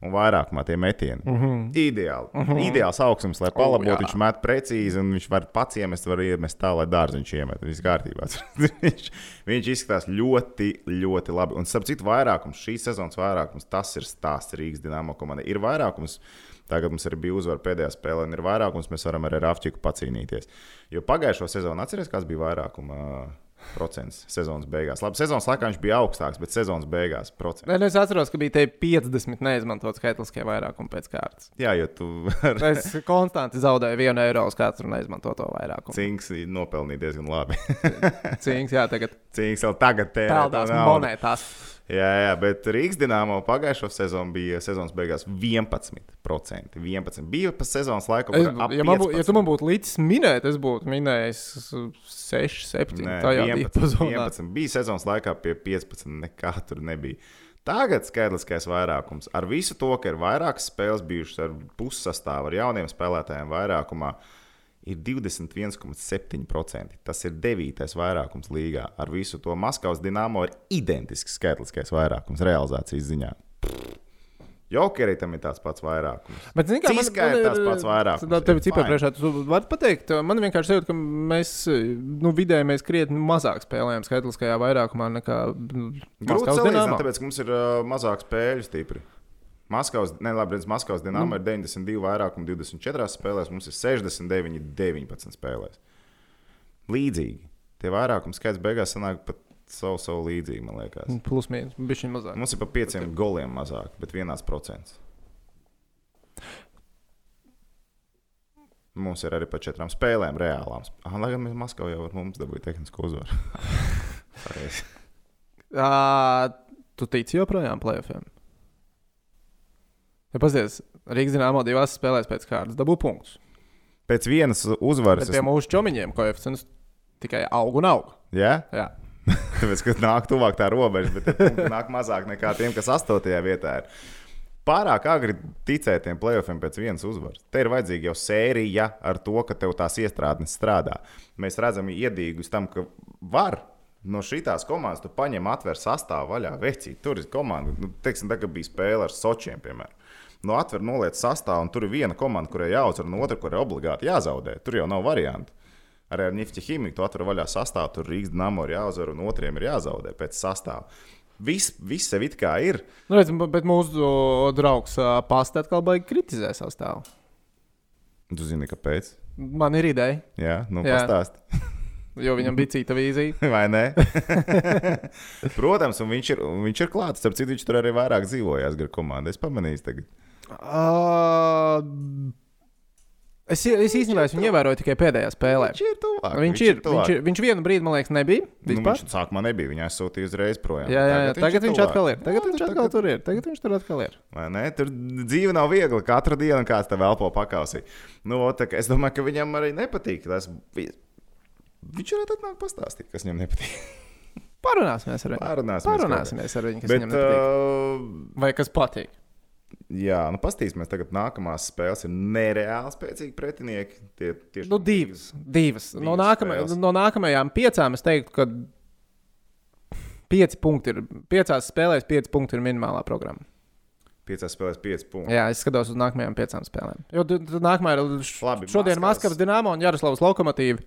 Speaker 2: Un vairākumā tie metieni. Mm -hmm. Ideāli. Mm -hmm. Ideāls augsts, lai palabotu.
Speaker 1: Mhm. jā.
Speaker 2: Oh, viņš met precīzi, un viņš var pats iemest, var iemest tā, lai dārziņš iemet. Viss kārtībā. viņš, viņš izskatās ļoti, ļoti labi. Un, starp citu, vairākums, šīs sezonas vairākums, tas ir stāsts Rīgas dīnāmo komandai. Ir vairākums. Tagad mums arī bija uzvara pēdējā spēlē, un ir vairākums. Mēs varam arī ar Rafčiku pacīnīties. Jo pagājušo sezonu atceries, kāds bija vairākuma uh, procents sezonas beigās. Labi, sezonas laikā viņš bija augstāks, bet sezonas beigās procents.
Speaker 1: Nē, nu es atceros, ka bija te 50 neizmantotas skaitliskie vairākumi pēc kārtas.
Speaker 2: Jā, jo tu ar
Speaker 1: Es konstanti zaudēju vienu eiro uz katru neizmantoto vairākumu.
Speaker 2: Cinks nopelnīji diezgan labi.
Speaker 1: Cīņas, jā, tagad
Speaker 2: Cinks jau tagad tērē to
Speaker 1: peldās
Speaker 2: naudu.
Speaker 1: monētās.
Speaker 2: Jā, jā, bet Rīgas dīnāmo pagājušo sezonu bija sezonas beigās 11%. 11. Bija pa sezonas laiku,
Speaker 1: Es,
Speaker 2: kad
Speaker 1: ja, man bū, ja tu man būtu līdzi minējis, es būtu minējis 6, 7.
Speaker 2: Nē,
Speaker 1: tā jau
Speaker 2: 11,
Speaker 1: bija.
Speaker 2: 11. Bija sezonas laikā pie 15, nekā tur nebija. Tagad skaitliskais vairākums. Ar visu to, ka ir vairākas spēles bijušas ar pussastāvu, ar jauniem spēlētājiem vairākumā, ir 21,7%. Tas ir devītais vairākums līgā. Ar visu to Maskavas dīnāmo ir identisks skaitliskais vairākums realizācijas ziņā. Jokerī tam ir tāds pats vairākums.
Speaker 1: Bet, zini, kā man-
Speaker 2: Ciskai
Speaker 1: man
Speaker 2: ir tas pats vairākums,
Speaker 1: Tā tev
Speaker 2: ir
Speaker 1: cipar
Speaker 2: fine.
Speaker 1: priekšā, tu vari pateikt, man vienkārši jūt, ka mēs nu, vidēji mēs krietni mazāk spēlējām skaitliskajā vairākumā nekā nu,
Speaker 2: Grūti
Speaker 1: Maskavas
Speaker 2: salīdzināt,
Speaker 1: Dinamo.
Speaker 2: tāpēc, ka mums ir uh, mazāk spēļu stipri. Maskavas, ne, labi, redz, Maskavas dīnāma
Speaker 1: Nu.
Speaker 2: ir 92, vairāk un 24 spēlēs, mums ir 69, 19 spēlēs. Līdzīgi. Tie vairākums skaits beigās sanāk pat savu, savu līdzību, man liekas.
Speaker 1: Plus mīnus, bija šī mazāk.
Speaker 2: Mums ir pa pieciem goliem mazāk, bet vienās procents. Mums ir arī pa četrām spēlēm reālām. Ah, lai gan mēs Maskavā jau ar mums dabūjām tehnisko uzvaru. Pareizi.
Speaker 1: Ā, Tu tici joprojām plēsoņiem? Ja pazies, Rīgas zināmā divās spēlēs pēc kārtas dabū punktus.
Speaker 2: Pēc vienas uzvaras
Speaker 1: Bet pie
Speaker 2: es
Speaker 1: mūsu čomiņiem koeficients tikai aug un aug.
Speaker 2: Ja?
Speaker 1: Jā.
Speaker 2: Tāpēc, ka nāk tuvāk tā robeža, bet tie punkti nāk mazāk nekā tiem, kas astotajā vietā ir. Pārāk agri ticēt tiem playoffiem pēc vienas uzvaras. Te ir vajadzīga jau sērija ar to, ka tev tās iestrādes strādā. Mēs redzam iedīgus tam, ka var. No šīs komandas tu paņem, atver sastāvu vaļā, veci. Tur ir komanda, nu, teiksim, tā kā bija spēle ar Sočiem, piemēram. No atver, noliec sastāvu, un tur ir viena komanda, kurai jāuzvar, un otra, kurai obligāti jāzaudē. Tur jau nav variantu. Arī ar Nifta ķīmiju tu atver vaļā sastāvu, tur Rīgas dīnāmo ir jāuzvar un otriem ir jāzaudē pēc sastāvā. Viss, viss sev it kā ir.
Speaker 1: Nu, redz, bu- bet mūsu draugs Pasta atkal baigi kritizē sastāvu.
Speaker 2: Tu zini, kāpēc?
Speaker 1: Man ir ideja,
Speaker 2: Jā, nu
Speaker 1: Jā.
Speaker 2: pastāst.
Speaker 1: jo viņam bija cita vīzija.
Speaker 2: Vai ne? Protams, un viņš ir, un viņš ir klāts. Starp citu, viņš tur arī vairāk dzīvojās gar komandu. Es pamanīju, tagad.
Speaker 1: Uh, Es, es īstenībā es viņu ievēroju tikai pēdējā spēlē.
Speaker 2: Viņš ir tuvāk.
Speaker 1: Viņš ir. Viņš, ir, viņš vienu brīdi, man liekas, nebija.
Speaker 2: Nu,
Speaker 1: Vispār.
Speaker 2: viņš sākumā nebija. Viņa aizsūtīja uzreiz projām.
Speaker 1: Jā, jā, jā. Tagad viņš
Speaker 2: tuvāk.
Speaker 1: atkal ir. Tagad
Speaker 2: Jā,
Speaker 1: viņš atkal tur ir. Tagad viņš tur atkal ir.
Speaker 2: Vai Ne? Tur dzīve nav viegla. Katru dienu kāds tev elpo pakausī. Nu, tā kā es domāju, ka viņam arī nepatīk. Tas... vi- Viņš varētu atnākt pastāstīt, kas viņam nepatīk.
Speaker 1: Parunāsimies ar viņu.
Speaker 2: Parunāsimies
Speaker 1: Parunāsimies ar viņu, kas
Speaker 2: Bet,
Speaker 1: viņam nepatīk.
Speaker 2: uh,
Speaker 1: Vai kas patīk?
Speaker 2: jā, nu, paskatīsimies. Tagad nākamās spēles ir nereāli spēcīgi pretinieki. Tie, tieši...
Speaker 1: Nu, divas. divas. No,
Speaker 2: Divas
Speaker 1: nākamā,
Speaker 2: spēles.
Speaker 1: no nākamajām piecām es teiktu, ka pieci punkti ir. Piecās spēlēs pieci punkti ir minimālā programma.
Speaker 2: Piecās spēlēs, pieci punkti.
Speaker 1: Jā, es skatos uz nākamajām piecām spēlēm. Jo tu- tu nākamā ir š-
Speaker 2: Labi,
Speaker 1: šodien
Speaker 2: Maskavas.
Speaker 1: Maskavas Dienāmo un Jaroslavas Lokomotīva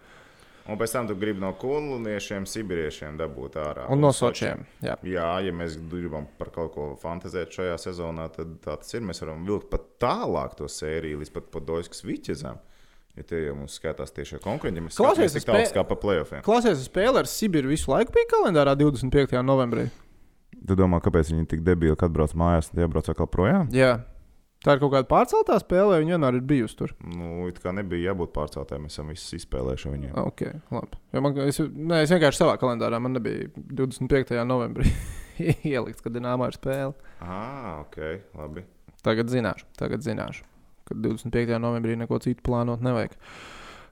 Speaker 2: Un pēc tam tu gribi no kulniešiem, sibiriešiem dabūt ārā.
Speaker 1: un no Sočiem. Jā.
Speaker 2: Jā, ja mēs gribam par kaut ko fantāzēt šajā sezonā, tad tā tas ir. Mēs varam vilkt pat tālāk to sēriju, līdz pat Podolskas viķezēm. Ja tie jau mums skatās tieši ar konkurentiem, mēs
Speaker 1: Klausies,
Speaker 2: skatāmies tik
Speaker 1: es
Speaker 2: tālu
Speaker 1: spē-
Speaker 2: kā pa playoffiem.
Speaker 1: Klausies, uz spēli ar Sibiru visu laiku bija kalendārā 25. novembrī.
Speaker 2: Tu domā, kāpēc viņi tik debīli, kad brauc mājās, tad jābrauc atkal projām?
Speaker 1: Jā. Tā ir kaut kāda pārceltā spēle, vai viņa vienmēr ir bijusi tur.
Speaker 2: Nu, it kā nebija jābūt pārceltājiem, mēs esam visus izspēlējuši viņiem.
Speaker 1: Ok, labi. Jo man, es, nē, es vienkārši savā kalendārā man nebija 25. novembrī ielikts, kad Dienāmo ir spēle.
Speaker 2: Ah, ok, labi.
Speaker 1: Tagad zināšu, tagad zināšu, ka 25. novembrī neko citu plānot nevajag.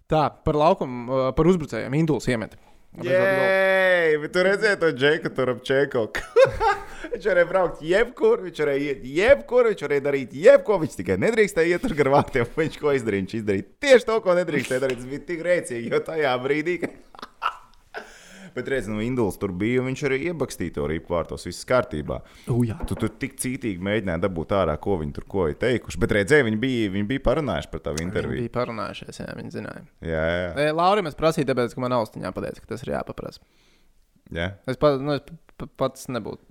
Speaker 1: Tā, par laukumu, uh, par uzbrucējiem Induls iemet.
Speaker 2: Jē, bet tu redzēji to džeku, tur ap čeku. viņš varēja braukt jebkur, viņš varēja iet jebkur, viņš varēja darīt jebko. Viņš tikai nedrīkstēja iet tur gar vārtiem. Viņš ko izdarīja? Viņš izdarīja tieši to, ko nedrīkstēja darīt. Tas bija tik rēcīgi, jo tajā brīdī. Ka... Bet redziet, nu, Induls tur bija, un viņš arī iebakstīja to ripu vārtos, viss kārtībā.
Speaker 1: Ujā.
Speaker 2: Tu tur tik cītīgi mēģināji dabūt ārā, ko viņi tur ko ir teikuši. Bet redzēji, viņi bija, viņi bija parunājuši par tavu
Speaker 1: Viņi
Speaker 2: interviju.
Speaker 1: bija parunājušies, jā, viņi zināja.
Speaker 2: Jā, jā,
Speaker 1: E, Laurim es prasīju, tāpēc, ka man austiņā pateica, ka tas ir jāpaprasa.
Speaker 2: jā.
Speaker 1: Es, pa, nu, es p- p- pats nebūtu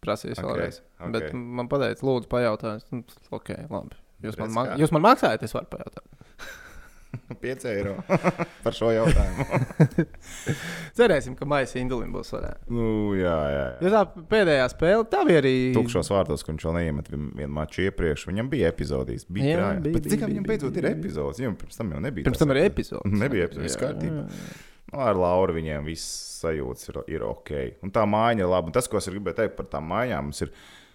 Speaker 1: prasījis
Speaker 2: Ok,
Speaker 1: okay, vēlreiz.
Speaker 2: ok.
Speaker 1: Okay. Bet man pateica, lūdzu, pajautājiet. "Nu, Ok, labi. Jūs man,
Speaker 2: Redz
Speaker 1: ma
Speaker 2: kā.
Speaker 1: jūs man maksājat, es varu pajautāt.
Speaker 2: 5 Nu, eiro par šo jautājumu.
Speaker 1: Cerēsim, ka maisa Indulim būs varētu.
Speaker 2: Nu, jā, jā. jā.
Speaker 1: Jo tā pēdējā spēle, tā bija arī.
Speaker 2: Tukšos vārtos, kurš vēl neiemet vien- vienu maču iepriekš. Viņam bija epizodijas.
Speaker 1: Jā,
Speaker 2: Bija jā, bija,
Speaker 1: bija,
Speaker 2: bet
Speaker 1: bija,
Speaker 2: cik kā
Speaker 1: bija,
Speaker 2: viņam
Speaker 1: bija,
Speaker 2: beidzot ir
Speaker 1: bija,
Speaker 2: epizodes? Viņam pirms tam jau nebija.
Speaker 1: Pirms
Speaker 2: tās
Speaker 1: tam arī
Speaker 2: epizodes.
Speaker 1: epizode.
Speaker 2: Nebija epizodes, viss kārtībā. Nu, Ar Lauru viņiem viss sajūtas ir, ir ok. Un tā māja ir laba. Un tas, ko es gribēju teikt par tām mājām, mums ir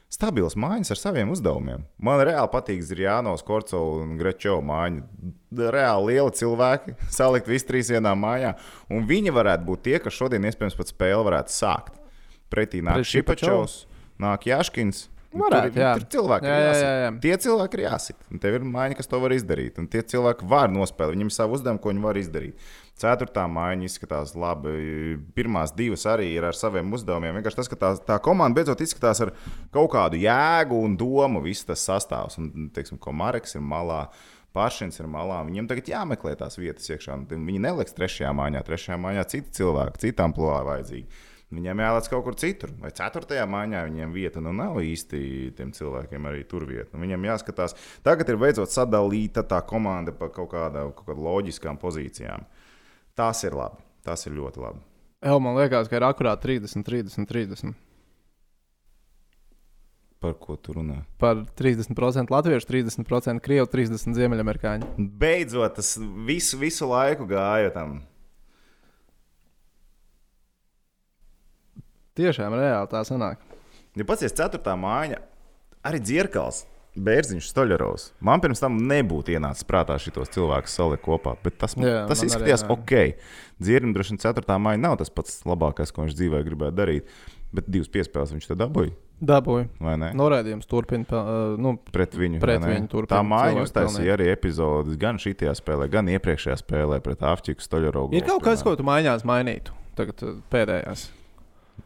Speaker 2: stabils mājas ar saviem uzdevumiem. Man reāli patīk Zirjānos, Korcovs un Grečovs māja. Reāli lieli cilvēki salikt visi trīs vienā mājā. Un viņi varētu būt tie, kas šodien iespējams pat spēli varētu sākt. Pretī nāk
Speaker 1: Pret
Speaker 2: Šipačovs, nāk Jaškins. Un
Speaker 1: Varētu,
Speaker 2: Nu, tur, ir-
Speaker 1: jā.
Speaker 2: tur cilvēki ir
Speaker 1: Jā, jā,
Speaker 2: jāsit.
Speaker 1: jā, jā.
Speaker 2: Tie cilvēki ir jāsit. un Tev ir māja, kas to var izdarīt. Un tie cilvēki var nospēlēt. Viņam ir savi uzdevumi, ko viņi var izdarīt. Ceturtā māja izskatās labi. Pirmās divas arī ir ar saviem uzdevumiem. Vienkārši tas, ka tā, tā komanda beidzot izskatās ar kaut kādu jēgu un domu. Viss tas sastāvs. Un, teiksim, ko Marks ir malā. Pāršins ir malā. Viņam tagad jāmeklē tās vietas iekšā. un Viņi neliks trešajā mājā. Trešajā mājā citi cilvēki, citām plūvā vajadzīgi. Viņiem jālaic kaut kur citur, vai ceturtajā mājā viņiem vieta. Nu, nav īsti tiem cilvēkiem arī tur vieta. Nu, viņiem jāskatās, tagad ir beidzot sadalīta tā komanda pa kaut, kādā, kaut kādām loģiskām pozīcijām. Tas ir labi. Tas ir ļoti labi.
Speaker 1: Jā, man liekas, ka ir akurāti 30, 30, 30.
Speaker 2: Par ko tu runā?
Speaker 1: Par 30% latviešu, 30% krievu, 30% ziemeļamerikāņu.
Speaker 2: Beidzot, tas visu, visu laiku gāja tam.
Speaker 1: Tiešām reāli tā sanāk.
Speaker 2: Ja pats ir ceturtā māja, arī dzirkals. Bērziņš, Stoļerovs. Man pirms tam nebūtu ienācis prātā šitos cilvēkus salikt kopā, bet tas, Jā,
Speaker 1: Jā,
Speaker 2: tas
Speaker 1: man arī
Speaker 2: izskatījās
Speaker 1: nē.
Speaker 2: ok. Dzirkam, droši vien, ceturtā māja nav tas pats labākais, ko viņš dzīvē gribētu darīt. Bet divas piespēles viņš te dabūja,
Speaker 1: Dabūju.
Speaker 2: vai ne? No.
Speaker 1: Noraidījums turpina. pa- ā, Nu,
Speaker 2: Pret viņu.
Speaker 1: Pret
Speaker 2: vai ne?
Speaker 1: viņu turpina
Speaker 2: tā māja
Speaker 1: cilvēki
Speaker 2: uztaisīja arī epizodes gan šajā spēlē, gan iepriekšējā spēlē pret Afķiku Stoļerovu.
Speaker 1: ir kaut kas, ko tu mājās mainītu. Tagad ā, pēdējās.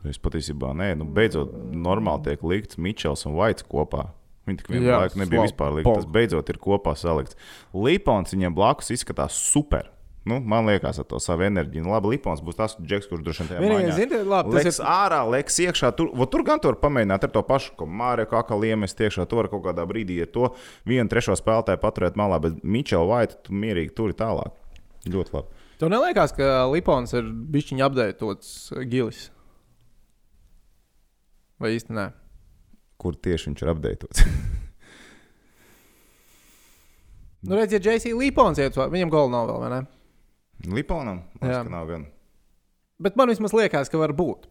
Speaker 2: Es patiesībā nē, nu, beidzot, normāli tiek likts Mičels un Vaits kopā. Viņi tik vienu
Speaker 1: Jā,
Speaker 2: laiku nebija
Speaker 1: slavu
Speaker 2: vispār likti.
Speaker 1: Bogu.
Speaker 2: Tas beidzot ir kopā salikts. Lipons viņiem blakus izskatās super. Nu, man liekas, ar to savu enerģiju. Nu, labi, Lipons būs tas džeks, kurš droši vien tajā
Speaker 1: Vienīgais,
Speaker 2: mājā.
Speaker 1: zini, labi, tas
Speaker 2: Liekas, ir... ārā, liekas, iekšā. Tur, vo, tur gan tur var pamēģināt ar to pašu, ko Mārija Kaka liekas, iekšā. Tur var kaut kādā brīdī ar to vienu trešo spēlētāju paturēt malā, bet Mičela Vaita tu mierīgi tur ir tālāk. Ļoti labi.
Speaker 1: Tev neliekas, ka Lipons ir bišķiņa apdeitots gilis? Vai īstenībā?
Speaker 2: Kur tieši viņš ir apdeitots?
Speaker 1: Nu, redziet, ja Jēzus Līpons iet, uz- viņam gola nav vēl, vai ne?
Speaker 2: Liponam?
Speaker 1: Jā.
Speaker 2: Jā, ka nav gan.
Speaker 1: Bet man vismaz liekas, ka var būt.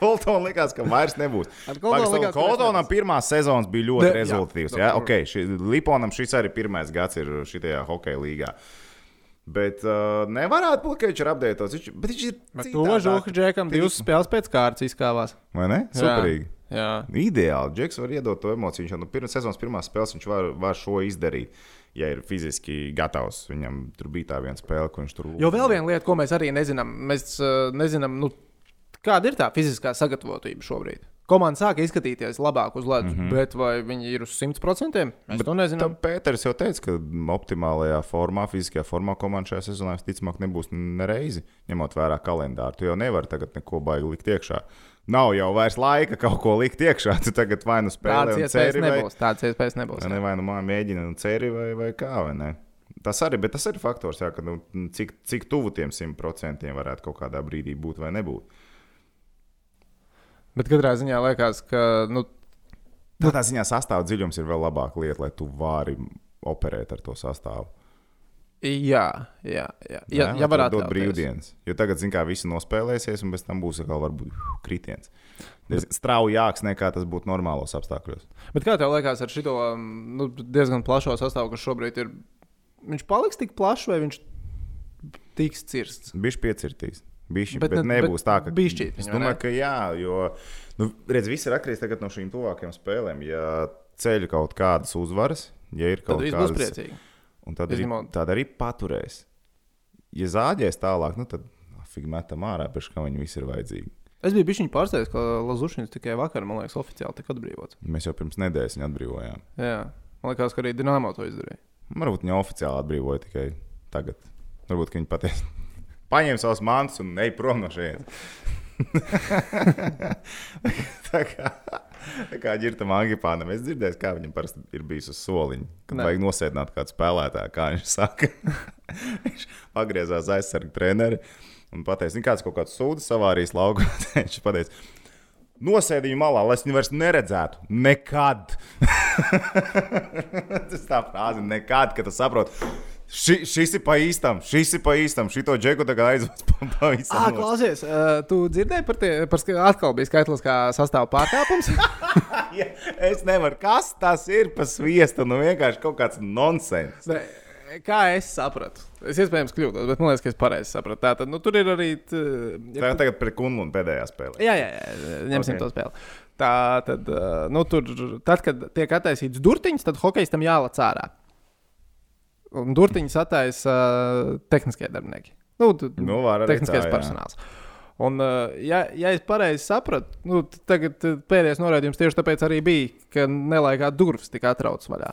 Speaker 2: Koltonam likās, ka vairs nebūs.
Speaker 1: Ar Koltonu
Speaker 2: Pagaidām,
Speaker 1: likās, ka
Speaker 2: Koltonam
Speaker 1: vairs
Speaker 2: pirmā sezona bija ļoti
Speaker 1: Ne,
Speaker 2: ne,
Speaker 1: jā.
Speaker 2: rezultīvs. Jā, jā? Okay, ši, Liponam šis arī pirmais gads ir šajā hokeja līgā. Bet uh, nevarētu būt, ka viņš ir apgādājis. Viņš, bet viņš ir.
Speaker 1: Bet to Žuka Džekam divas spēles pēc kārtas izkāvās.
Speaker 2: Vai ne? Superīgi. Jā.
Speaker 1: Jā.
Speaker 2: Ideāli. Džeks var iedot to emociju. Viņš jau no pirmā sezonas pirmās spēles viņš var, var šo izdarīt. Ja ir fiziski gatavs, viņam tur bija tā viena spēle, ko viņš tur lūdza.
Speaker 1: Jo vēl viena lieta, ko mēs arī nezinām, mēs uh, nezinām, nu, kāda ir tā fiziskā sagatavotība šobrīd. Komanda sāk izskatīties labāk uz ledus,
Speaker 2: Mhm.
Speaker 1: mm -hmm. bet vai viņi ir uz 100%? Mēs bet to nezinām.
Speaker 2: Tam Pēters jau teica, ka optimālajā formā, fiziskajā formā komanda šajā sezonā visticamāk nebūs nereizi, ņemot vērā kalendāru. Tu jau nevari tagad neko baigi likt iekšā. Nav jau vairs laika kaut ko likt iekšā. Tu tagad vai nu
Speaker 1: Tādas
Speaker 2: spēlē, un
Speaker 1: iespējas
Speaker 2: ceri, vai,
Speaker 1: nebūs. Tādas iespējas nebūs.
Speaker 2: vai ne, vai nu mā- mēģini un ceri, vai, vai kā. Vai ne? Tas arī, bet tas arī faktors, jā, ka, nu, cik, cik tuvu tiem 100% varētu kaut kādā brīdī būt vai nebūt.
Speaker 1: Bet katrā ziņā liekas, ka nu,
Speaker 2: Tādā ziņā sastāvdaļa dziļums ir vēl labāka lieta, lai tu vari operēt ar to sastāvu.
Speaker 1: jā, jā, jā.
Speaker 2: Jā,
Speaker 1: Ja,
Speaker 2: lai
Speaker 1: ja
Speaker 2: tev
Speaker 1: varētu
Speaker 2: dot
Speaker 1: atļauties.
Speaker 2: brīvdienas. Jo tagad, zinām, kā visi nospēlēsies, un pēc tam būs atkal varbūt kritiens. Tas straujāks nekā tas būtu normālos apstākļos.
Speaker 1: Bet kā tev liekas ar šo nu, diezgan plašo sastāvu, kas šobrīd ir? Viņš paliks tik plašs vai viņš tiks cirsts?
Speaker 2: Viņš piecirtīs. Bišķi,
Speaker 1: Bet
Speaker 2: bet,
Speaker 1: ne-
Speaker 2: bet nebūs
Speaker 1: bet
Speaker 2: tā, ka
Speaker 1: bišķīt
Speaker 2: Es
Speaker 1: viņu,
Speaker 2: domāju,
Speaker 1: ne?
Speaker 2: ka jā, jo nu, redz, viss ir atkarīgs tagad no šīm tuvākajām spēlēm. Ja ceļ kaut kādas uzvaras, ja ir
Speaker 1: Tad
Speaker 2: kaut
Speaker 1: viss būs
Speaker 2: kādas
Speaker 1: priecīgi.
Speaker 2: Un tad arī,
Speaker 1: Izņemot-
Speaker 2: tad arī paturēs. Ja zāģēs tālāk, nu, tad figūri metam ārā, pēc kā viņi visi ir vajadzīgi.
Speaker 1: Es biju bijis pārsteigts, ka Lazušķins tikai vakar, man liekas, oficiāli tika atbrīvots.
Speaker 2: Mēs jau pirms nedēļas viņu atbrīvojām.
Speaker 1: Jā. Man liekas, ka arī Dienāmo to izdarīja.
Speaker 2: Varbūt viņa oficiāli atbrīvoja tikai tagad. Varbūt ka viņa patiesi paņēma savus mantus un ej prom no šejienes. tā kā, tā kā ģirta Mangipāna, es dzirdēju, kā viņam parasti ir bijis uz soliņa. Kad
Speaker 1: Nē.
Speaker 2: ne. vajag nosēdināt kādu spēlētāju, kā viņš saka. viņš pagriezās aizsargu treneri un pateica, ka kāds kaut kāds sūdzas savā arī laukā. viņš pateica, nosēdi viņu malā, lai es viņu vairs neredzētu. Nekad! tas tā frāze, nekad, kad tu saproti. Ši, šis ir pa īstam, šis ir pa īstam. Šito džeku tagad aizvāc pa, pa visu.
Speaker 1: Ah, klausies, uh, tu dzirdēji par tie, par ska- atkal bija skaitliskā sastāvā pārkāpums?
Speaker 2: Es nevaru. Kas tas ir pa sviestu? Nu vienkārši kaut kāds nonsens.
Speaker 1: Nē, Kā es sapratu? Es iespējams kļūdos, bet man liekas, ka es pareizi sapratu. Tā tad nu, tur ir arī. t-
Speaker 2: Tā tagad pret Kunlunu pēdējā spēlē.
Speaker 1: Jā, jā, jā ņemsim
Speaker 2: Ok.
Speaker 1: okay. to spēli. Tā tad, eh, nu, tur, tad, kad tiek attaisīts durtiņš, tad hokejs tam jālac ārā. Un durtiņš attaisa uh, tehniskie darbinieki. Nu, tu,
Speaker 2: Nu, var arī
Speaker 1: tehniskais
Speaker 2: tā, jā.
Speaker 1: personāls. Un, eh, ja, ja es pareizi sapratu, nu, t- tagad eh, pēdējais norādījums tieši tāpēc arī bija, ka nelaikā durvis tika atrauts vaļā.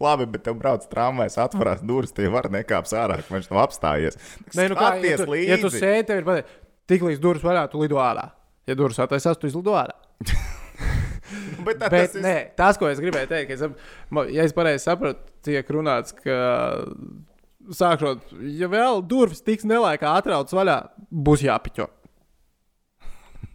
Speaker 2: Labi, bet tev brauc tramvajs, atverās durvis, tie var nekāps ārā, ka viņš nav apstājies.
Speaker 1: nu ja
Speaker 2: Skaties
Speaker 1: tu, ja tu
Speaker 2: nu, līdzi.
Speaker 1: sēdi, tev ir patīk, tik līdz durvis vaļā, tu lido ārā. Ja durvis attaisās, tu izlido ārā.
Speaker 2: Bet tā
Speaker 1: Bet
Speaker 2: tas ir-
Speaker 1: nē, tas, ko es gribēju teikt, es, ap- ma- ja es pareizi sapratu, tiek runāts, ka sākot, ja vēl durvis tiks nelaikā atrauts vaļā, būs jāpiķo.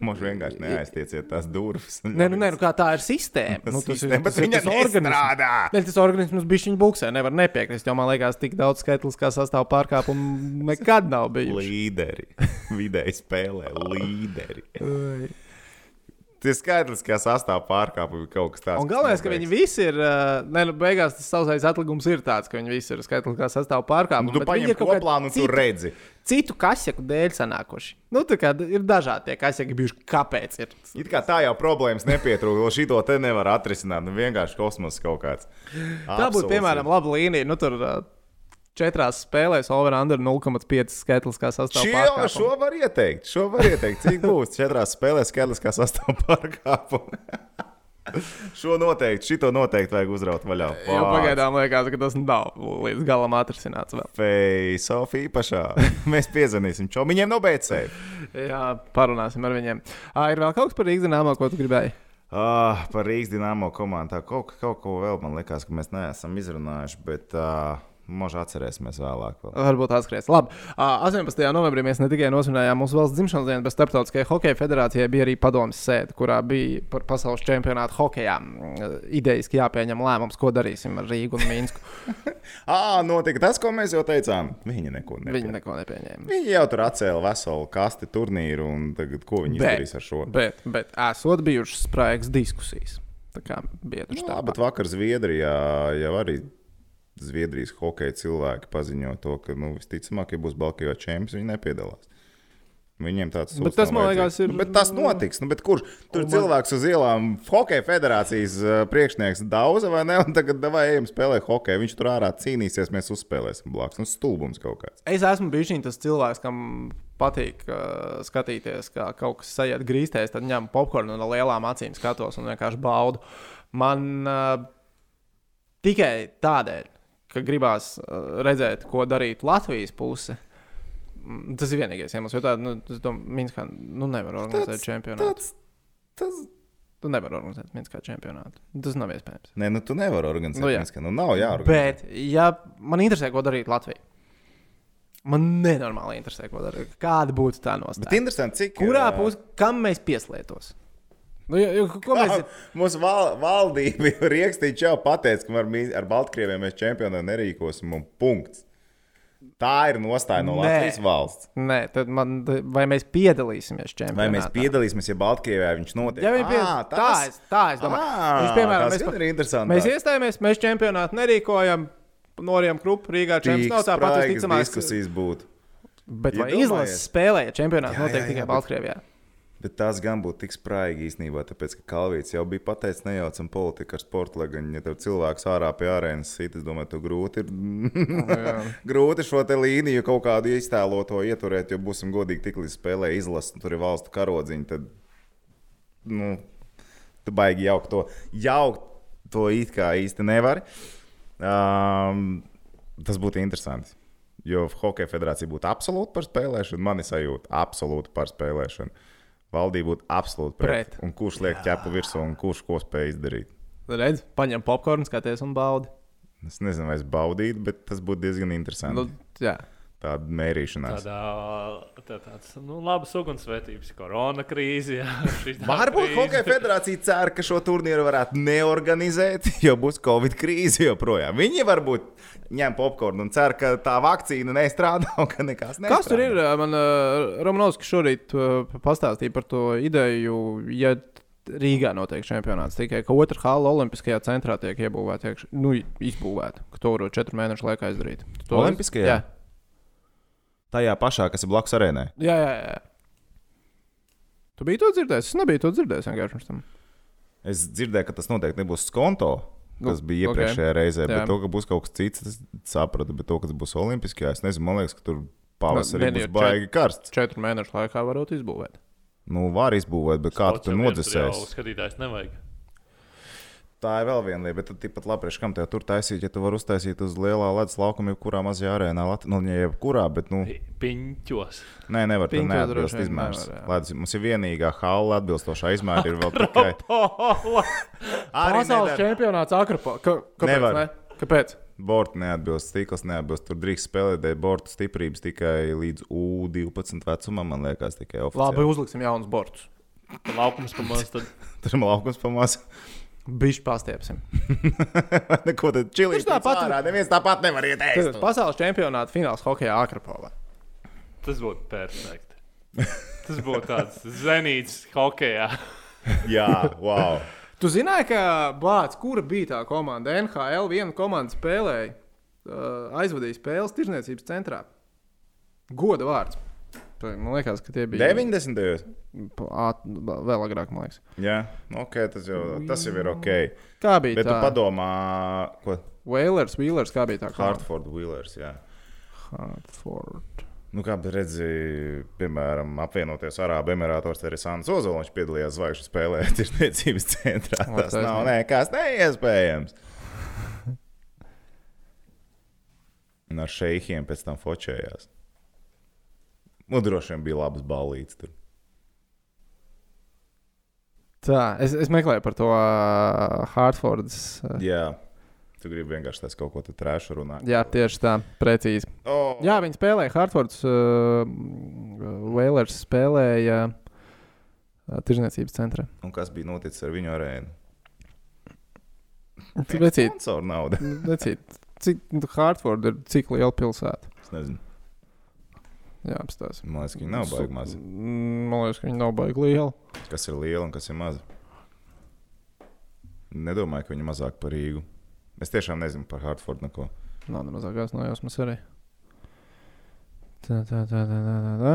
Speaker 2: Mums vienkārši neaiztieciet tās durvis.
Speaker 1: Nē, nu, nē, nu kā tā ir sistēma. Nu, tas ir
Speaker 2: Sistēma, bet
Speaker 1: tas ir
Speaker 2: viņa
Speaker 1: tas organisms.
Speaker 2: nestrādā.
Speaker 1: Nē, tas organisms bija viņa buksē, nevar nepiekrist, jo man liekas, tik daudz skaitliskā sastāvā pārkāpumu nekad nav bijis.
Speaker 2: Līderi. Vidēji spēlē līderi. Tie skaidrs, ka sastāv pārkāpumi kaut kas tāds.
Speaker 1: Un galvenais,
Speaker 2: kas
Speaker 1: ka
Speaker 2: notiek.
Speaker 1: viņi visi ir, uh, ne, nu, beigās tas savsais atlikums ir tāds, ka viņi visi ir skaitliskā sastāvā pārkāpumā.
Speaker 2: Nu, tu paņem koplānu un tu redzi.
Speaker 1: citu kasieku dēļ sanākuši. Nu, tā kā ir dažādi tie kasieki bijuši, kāpēc ir.
Speaker 2: It kā tā jau problēmas nepietrūkst, jo šito te nevar atrisināt. Nu, vienkārši kosmos kaut kāds.
Speaker 1: Tā būtu,
Speaker 2: Absolūts.
Speaker 1: piemēram, laba līnija. Nu, tur ā, četrās spēlēs over-under 0,5 skaitliskā
Speaker 2: Šie-
Speaker 1: sastāvā.
Speaker 2: Šo var ieteikt. Šo var ieteikt. Cik būs četrās spēlēs, skaidrs, kā sastāv pārkāpumu. šo noteikti, šito noteikti vajag uzraut vaļā.
Speaker 1: Jo pagaidām liekas, ka tas nav līdz galam atrisināts vēl.
Speaker 2: Face off īpašā. Mēs piezvanīsim čomiņiem no BC.
Speaker 1: Jā, parunāsim ar viņiem. Ā, ir vēl kaut kas par īstenībā, ko tu gribēji?
Speaker 2: Ah, par Rīgas dīnāmo komandu. Tā Kaut, kaut ko vēl man liekas, ka mēs neesam izrunājuši. Bet, uh, Možda atcerēsimies vēlāk. Vēl.
Speaker 1: Varbūt atskries. Labi. Ā, 18. novembrī mēs ne tikai nosvinājām mūsu valsts dzimšanas dienu, bet starptautiskajai hokeja federācijai bija arī padomas sēde, kurā bija par pasaules čempionātu hokejā mm, idejiski jāpieņem lēmums, ko darīsim ar Rīgu un Mīnsku.
Speaker 2: Ā, Ah, notika tas, ko mēs jau teicām. Viņa neko
Speaker 1: Viņi
Speaker 2: nedarīja.
Speaker 1: neko nepieņēma.
Speaker 2: Viņi jau tur atcēla veselu kasti turnīru, un tagad, ko viņi
Speaker 1: Bet.
Speaker 2: darīs ar šo?
Speaker 1: Bet, bet esot bijušas spraigas diskusijas. Tā kā bija tieši
Speaker 2: Tā,
Speaker 1: tā.
Speaker 2: bet vakar Zviedrijā jau arī Zviedrijas hokeja cilvēki paziņo to, ka nu, visticamāk, ja būs Balkijā čempions, viņi nepiedalās. Viņiem tāds
Speaker 1: Bet
Speaker 2: sūds
Speaker 1: tas,
Speaker 2: nav
Speaker 1: man
Speaker 2: vajadzīgs.
Speaker 1: liekas, ir-
Speaker 2: Nu, bet tas notiks. Nu, bet kurš tur ir cilvēks uz ielām? Hokeja federācijas eh, priekšnieks daudz, vai ne? Un tagad vai ejam spēlēt hokeju. Viņš tur ārā cīnīsies, mēs uzspēlēsim blakus. Nu, stulbums kaut kāds.
Speaker 1: Es esmu bijis tas cilvēks, kam patīk uh, skatīties, kā kaut kas sajiet grīztēs, tad ņem popkornu un ar lielām acīm skatos un vienkārši baudu. Man uh, tikai tādēļ, ka gribās uh, redzēt, ko darīt Latvijas puse. mm, Tas ir vienīgais iemesls, jo tāda nu, es domāju, Minskā nu, nevar organizēt čempionātu.
Speaker 2: Tāds, tas...
Speaker 1: Tu nevari organizēt Minskā čempionātu. Tas nav iespējams.
Speaker 2: Nē, nu tu nevari organizēt.
Speaker 1: Nu,
Speaker 2: Nu,
Speaker 1: jā.
Speaker 2: jā. Nu, nav jāorganizē.
Speaker 1: Bet, ja man interesē, ko darīt Latvijā, man nenormāli interesē, ko darīt. Kāda būtu tā
Speaker 2: Bet,
Speaker 1: nostāja?
Speaker 2: bet interesanti, cik.
Speaker 1: Kurā
Speaker 2: eh,
Speaker 1: pusē, kam mēs pieslēdzos? Nu, jo, jo, ko mēs
Speaker 2: Mūsu val, valdība jau rīkstīgi jau pateica, ka ar, mī- ar Baltkrieviem mēs čempionā nerīkosim. un Punkts. Tā ir nostāja no
Speaker 1: Nē.
Speaker 2: Latvijas valsts.
Speaker 1: Nē, tad man, vai mēs piedalīsimies čempionātā?
Speaker 2: Vai mēs piedalīsimies, ja Baltkrievijā viņš notiek?
Speaker 1: Ja viņi pie...
Speaker 2: Ā,
Speaker 1: tā, es, tā es domāju.
Speaker 2: Ā,
Speaker 1: Viņš, piemēram,
Speaker 2: tas
Speaker 1: mēs,
Speaker 2: gan ir interesanti.
Speaker 1: mēs iestājāmies, mēs čempionātu nerīkojam. Noriem Krupa, Rīgā
Speaker 2: Tīks,
Speaker 1: čempions nav tā pati
Speaker 2: spraigas
Speaker 1: visticamākā.
Speaker 2: diskusijas būtu.
Speaker 1: Bet vai
Speaker 2: Iedomājies.
Speaker 1: izlases spēlē, ja čempionāts
Speaker 2: Jā, jā,
Speaker 1: notiek
Speaker 2: jā,
Speaker 1: tikai
Speaker 2: bet-
Speaker 1: Baltkrievijā?
Speaker 2: Bet tās gan būtu tik spraigi īstenībā, tāpēc, ka Kalvīts jau bija pateicis, nejaucam politiku ar sporta legaņu. Ja tev cilvēks ārā pie ārēnas sit, es domāju, tu grūti ir. grūti šo te līniju kaut kādu iztēloto ieturēt, jo būsim godīgi, tik līdz spēlē izlases, un tur ir valstu karodziņa, tad, nu, tu baigi jaukt to. Jaukt to it kā īsti nevari. Um, tas būtu interesanti. Jo Hokeja federācija būtu absolūti par spēlēšanu, man ir sajūta absolūti par spēlēšanu. Valdība būtu absolūti pret.
Speaker 1: Pret.
Speaker 2: pret. Un kurš liek ķepu virsū un kurš ko spēj izdarīt?
Speaker 1: Redz, paņem popkornu, skaties un baudi.
Speaker 2: Es nezinu, vai es baudītu, bet tas būtu diezgan interesanti.
Speaker 1: Nu,
Speaker 2: Nu,
Speaker 1: jā.
Speaker 2: Tāda mērīšanās.
Speaker 3: Tādā, tā, tāds, nu, labs ugunsvētības, korona krīze. jā, šī tā
Speaker 2: Varbūt
Speaker 3: krīze.
Speaker 2: Hokeja federācija cer, ka šo turnīru varētu neorganizēt, jo būs Covid krīze joprojām. Viņi varbūt ņem popkornu un cer, ka tā vakcīna nestrādā un ka nekas nestrādā.
Speaker 1: Kas tur ir? Man uh, Romanovskis šorīt uh, pastāstīja par to ideju, ja Rīgā notiek čempionāts. Tikai ka otrā hala Olimpiskajā centrā tiek iebūvēta iekšā, nu, izbūvēta, ka to varot četru mēnešu laikā izdarīt. Tu to
Speaker 2: Olimpiskajā?
Speaker 1: Jā,
Speaker 2: Tajā pašā, kas ir blakus arēnai.
Speaker 1: jā, jā. jā. Tu biji to dzirdējis? Es nebiju to dzirdējis vienkārši pirms tam.
Speaker 2: Es dzirdēju, ka tas noteikti nebūs skonto.
Speaker 1: Nu,
Speaker 2: Tas
Speaker 1: ok.
Speaker 2: bija iepriekšējā okay. reizē,
Speaker 1: Jā.
Speaker 2: bet to, ka būs kaut kas cits, tas sapratu. Bet to, ka tas būs Olimpiskajā, es nezinu, man liekas,
Speaker 1: Nu,
Speaker 2: ka tur pavasarī
Speaker 1: vien
Speaker 2: būs
Speaker 1: jau
Speaker 2: baigi karsts.
Speaker 1: Četru mēnešu laikā varot izbūvēt.
Speaker 2: Nu, var izbūvēt, bet kā
Speaker 3: Sauc
Speaker 2: tu to
Speaker 3: jau viens, tur jau
Speaker 2: nodzēsēsi?
Speaker 3: Skatītājs nevajag.
Speaker 2: Tā ir vēl viena lieta, bet tad tikpat labi, priekš, kam te tur taisīt, ja tu vari uztaisīt uz lielā ledus laukuma, jebkurā mazajā arēnā, Lat- nu, ne jebkurā, bet, nu,
Speaker 3: Pi- Piņķos.
Speaker 2: nē, nevar tur
Speaker 1: Pinto droši
Speaker 2: neatbilst
Speaker 1: vien
Speaker 2: izmērs.
Speaker 1: nevar, jā.
Speaker 2: Ledus, mums ir vienīgā hala atbilstošā izmēra, ir vēl tikai
Speaker 3: Pola!
Speaker 2: Arī
Speaker 1: Pasaules
Speaker 2: nedara.
Speaker 1: čempionāts Akropā. Ka, kāpēc?
Speaker 2: Nevar.
Speaker 1: Ne? Kāpēc?
Speaker 2: Borti neatbilst, stikls neatbilst, tur drīkst spēlēt dēļ bortu stiprības tikai līdz U12 vecumam, man liekas, tikai
Speaker 1: Labi,
Speaker 2: oficiāli.
Speaker 1: uzliksim jaunus bortus.
Speaker 3: Laukums pamazs tad
Speaker 2: Tur laukums pamās,
Speaker 1: Bišķi pastiepsim.
Speaker 2: neko tad čilīt.
Speaker 1: Tieši tāpat
Speaker 2: ārā, neviens tāpat nevar iet ēst.
Speaker 1: Tātad Pasaules čempionāta fināls hokeja Akropolā.
Speaker 3: tas būtu perfekti. Tas būtu tāds zenīts hokeja.
Speaker 2: Jā, wow.
Speaker 1: Tu zināji, ka Bācis, kura bija tā komanda, NHL viena komanda spēlēja, uh, aizvadīja spēles tirzniecības centrā. Goda vārds. Tā, Man liekas, ka tie bija
Speaker 2: 90.
Speaker 1: Ā, Vēl agrāk, man liekas.
Speaker 2: Jā, nu, ok, tas jau, tas jau ir ok.
Speaker 1: Kā bija
Speaker 2: Bet tu
Speaker 1: tā?
Speaker 2: padomā, ko
Speaker 1: Wailers, Wheelers, kā bija tā komanda?
Speaker 2: Hartfords Willers. Jā.
Speaker 1: Hartford.
Speaker 2: Nu, kā redzēji, piemēram, apvienoties Arābu Emirātos, arī Sāns Ozoliņš piedalījās zvaigžņu spēlē tirdzniecības centrā.
Speaker 1: O,
Speaker 2: Tas nav
Speaker 1: taisnība.
Speaker 2: nekas neiespējams. Un ar šeikiem pēc tam fočējās. Nu, droši vien bija labas ballītes tur.
Speaker 1: Tā, es, es meklēju par to uh, Hartfordas. Uh,
Speaker 2: Jā, tu gribi vienkārši tas kaut ko tādu trēšu runāt.
Speaker 1: Jā, tieši tā, precīzi.
Speaker 2: Oh,
Speaker 1: Jā, viņi spēlēja Hartfords. Uh, Vēlers spēlēja uh, Tirzniecības centrā.
Speaker 2: Un kas bija noticis ar viņu arēnu?
Speaker 1: Tas bija
Speaker 2: Sponsor nauda.
Speaker 1: Necīt, cik nu, Hartforda ir cik liela pilsēta?
Speaker 2: Es nezinu.
Speaker 1: Jā, apstāsim.
Speaker 2: Man liekas, ka viņi nav baigi mazi.
Speaker 1: Man liekas, ka viņi nav baigi lieli.
Speaker 2: Kas ir liela un kas ir maza? Nedomāju, ka viņi mazāk par Rīgu. Es tiešām nezinu par Hartfordu neko.
Speaker 1: Nav ne mazākās nojausmas arī. Tā, tā, tā, tā, tā, tā. tā.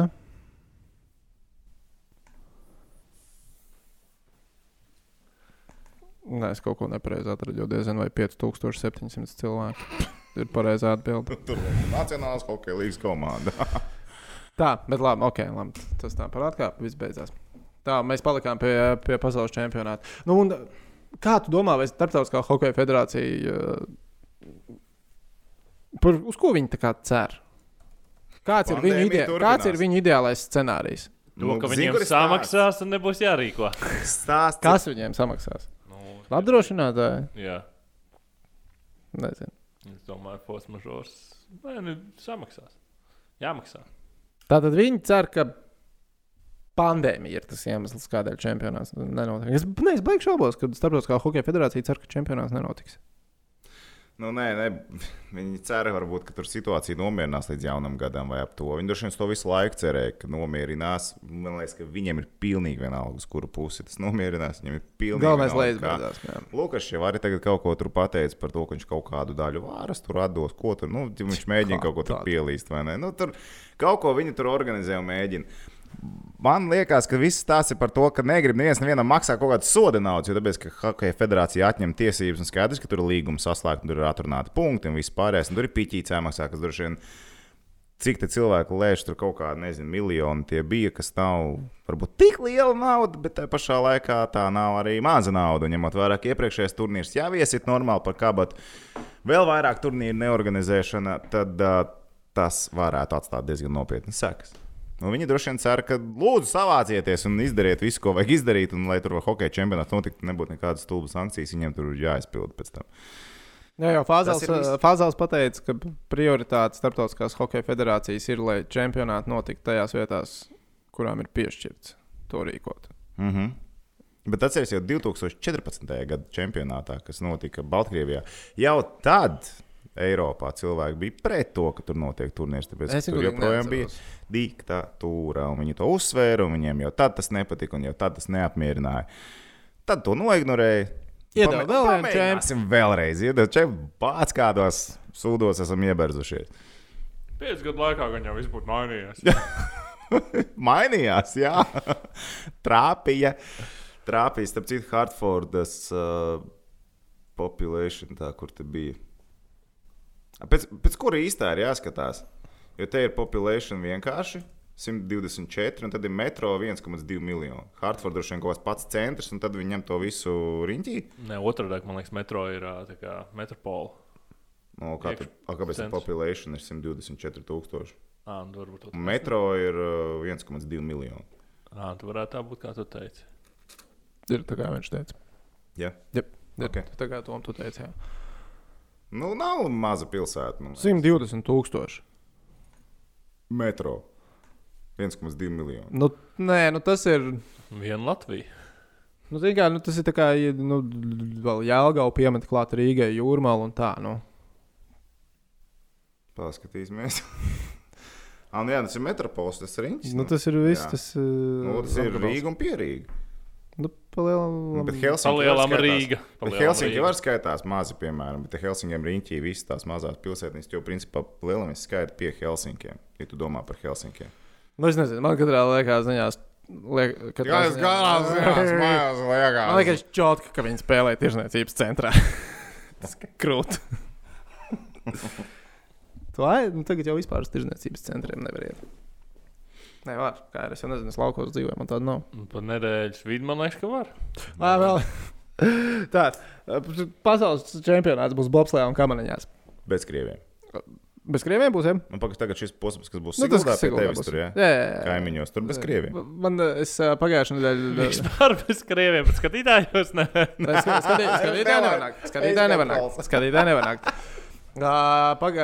Speaker 1: Nē, es kaut ko nepareizi atradu. jo Diezgan vai 5700 cilvēku. Ir pareizā atbilde.
Speaker 2: Tur bija Nacionālās hokeja līnijas komanda.
Speaker 1: Tā, bet labi, ok, labi, tas tā par atkāpi. Viss beidzās. Tā, mēs palikām pie, pie pasaules čempionāta. Nu, un, kā tu domā, vai Startautiskā hokeja federācija, eh, par, uz ko viņi tā kā cer? Kāds ir, viņu ide...
Speaker 2: Pandēmija
Speaker 1: Kāds ir
Speaker 2: turpinās.
Speaker 1: viņu ideālais scenārijs?
Speaker 2: Nu,
Speaker 3: To, ka viņiem samaksās, tad nebūs jārīko.
Speaker 2: Stāsts,
Speaker 1: Kas viņiem samaksās?
Speaker 3: Nu,
Speaker 1: Apdrošinātāji?
Speaker 3: jā,
Speaker 1: Nezinu.
Speaker 3: es domāju, posmažors. Nē, nu, samaksās. Jāmaksā.
Speaker 1: Tātad viņi cer, ka pandēmija ir tas iemesls, kādēļ čempionāts nenotiek. Es, ne, es baigi šaubos, ka Startautiskā hokeja federācija cer, ka čempionāts nenotiks.
Speaker 2: Nu, nē, nē, viņi cer, varbūt, ka tur situācija nomierinās līdz jaunam gadam, vai ap to. Viņi droši vien uz to visu laiku cerēja, ka nomierinās. Man liekas, ka viņiem ir pilnīgi vienalga, uz kuru pusi tas nomierinās. Viņam ir pilnīgi
Speaker 1: Galvenais, lai
Speaker 2: vienalga, kā-
Speaker 1: izbeidzās. jā.
Speaker 2: Lukas jau arī tagad kaut ko tur pateica par to, ka viņš kaut kādu daļu vāras tur atdos, ko tur, nu, viņš mēģina
Speaker 1: Kā
Speaker 2: kaut ko tur
Speaker 1: tādu?
Speaker 2: pielīst, vai ne? Nu, tur kaut ko viņi tur organizē un mēģina. Man liekas, ka viss tās ir par to, ka negrib neviens nevienam maksāt kaut kādu soda naudu, jo tāpēc, ka Hokeja federācija atņem tiesības un skaidrs, ka tur ir līguma saslēgta, tur ir atrunāti punkti un viss pārējais, un tur ir piķīts jāmaksā, kas droši vien cik te cilvēku lēš tur kaut kādi, nezinu, miljoni tie bija, kas nav varbūt tik liela nauda, bet tajā pašā laikā tā nav arī maza nauda. Un Ņemot vērā, ka iepriekšējais turnīrs jau iesit normāli par kabatu, vēl vairāk turnīru neorganizēšana, tad uh, tas varētu atstāt diezgan nopietnas sekas. Nu, viņi droši vien cer, ka lūdzu savācieties un izdariet visu, ko vajag izdarīt, un lai tur vēl hokeja čempionāts notiktu, nebūtu nekādas stulbas sankcijas, viņiem tur ir jāizpild pēc tam.
Speaker 1: Nu Jā, jau
Speaker 2: Tas ir viss.
Speaker 1: Fāzāls pateica, ka prioritāte starptautiskās hokeja federācijas ir, lai čempionāti notiktu tajās vietās, kurām ir piešķirts to rīkot.
Speaker 2: Mm -hmm. Bet atcerieties, jau 2014. gada čempionātā, kas notika Baltkrievijā, jau tad Eiropā cilvēki bija pret to, ka tur notiek turnīrs. Tāpēc
Speaker 1: Es
Speaker 2: es tur
Speaker 1: godīgi
Speaker 2: joprojām bija
Speaker 1: neatceros.
Speaker 2: diktatūra, un viņi to uzsvēra, un viņiem jau tad tas nepatika, un jau tad tas neapmierināja. Tad to noignorēja.
Speaker 1: Iedod vēl vienu
Speaker 2: čempionātu. Vēlreiz iedod čempionu. Bāc kādos sūdos esam ieberzušies.
Speaker 3: Pēc gadu laikā gan jau viss būtu mainījies.
Speaker 2: mainījās, jā. Trāpīja. Trāpīja, starp citu, Hartfordas uh, population, tā, kur te bija. Pēc, pēc kura īstā ir jāskatās? Jo te ir population vienkārši 124, un tad ir metro 1,2 miljonu. Hartfords droši vien kaut kāds pats centrs, un tad viņi ņem to visu riņķī.
Speaker 3: Nē, otrādi, man liekas, metro ir ā, tā kā metropola.
Speaker 2: No, Nu, kā tur,
Speaker 3: Iekš-
Speaker 2: a, kāpēc tā
Speaker 3: centrs.
Speaker 2: population ir 124 tūkstoši?
Speaker 3: Ā, nu, varbūt
Speaker 2: Un
Speaker 3: tā.
Speaker 2: Metro ir uh, 1,2 miljonu.
Speaker 3: Ā, tu varētu tā būt, kā tu teici.
Speaker 1: Ir tā kā viņš teica.
Speaker 2: Ja?
Speaker 1: Jā, ir
Speaker 2: Ok.
Speaker 1: tā kā Tom tu teici. jā.
Speaker 2: Nu, nav maza pilsēta. nu, Man liekas.
Speaker 1: 120 tūkstoši.
Speaker 2: metro. 1,2 miljonu.
Speaker 1: Nu, nē, nu tas ir.
Speaker 3: Viena Latvija.
Speaker 1: Nu, zini kā, nu, tas ir tā kā ja, nu, vēl Jālgau piemet klāt Rīgai jūrmālu un tā. Nu.
Speaker 2: Paskatīsimies. Ah, nu jā, tas ir metropols, tas ir riņķis.
Speaker 1: Nu, tas eh, ir viss.
Speaker 2: Jā.
Speaker 1: Tas,
Speaker 2: nu, tas ir Rīga un Pierīga.
Speaker 1: Nu,
Speaker 2: Nu, bet
Speaker 1: palielam,
Speaker 2: Helsinki jau
Speaker 3: Palielam
Speaker 2: skaitās-
Speaker 3: Rīga.
Speaker 2: Bet
Speaker 3: Palielam
Speaker 2: Helsinki
Speaker 3: Rīga.
Speaker 2: jau var skaitās mazi, piemēram, bet te Helsinkiem riņķī visas tās mazās pilsētnīs, jo principā lielākais skaits pie Helsinkiem, ja tu domā par Helsinkiem.
Speaker 1: nu, es nezinu, man katrā liekā ziņās. Liek, katrā ziņā- Man
Speaker 2: mājās,
Speaker 1: liekas, čotka, ka viņi spēlē tirzniecības centrā. Tas ir krūti. Tu ai, nu tagad jau vispār uz tirzniecības centriem nevar iet. Nē, var. Kā ir, es jau nezinu, es laukos dzīvoju, man tāda nav.
Speaker 3: Un Pa nedēļas vidu man liekas, ka var.
Speaker 1: Nē, vēl. Tā, pasaules čempionāts būs bobslēgā un kamaniņās.
Speaker 2: Bez krieviem.
Speaker 1: Bez krieviem būsim?
Speaker 2: Nu, pagaidzi, tagad šis posms, kas būs
Speaker 1: Nu, tas,
Speaker 2: Siguldā
Speaker 1: kas
Speaker 2: pie
Speaker 1: Siguldā
Speaker 2: tevis
Speaker 1: būs.
Speaker 2: tur, jā?
Speaker 1: Jā, jā, jā.
Speaker 2: Kaimiņos, tur bez krieviem.
Speaker 1: Man eh, es eh, pagājušajā nedēļā.
Speaker 3: Vispār bez krieviem, bet skatītājos ne.
Speaker 1: Es ska- skatī- Skatītāji nevar nākt. Skatītāji nevar nākt. Skatītāji nevar nākt. Uh, Pagā...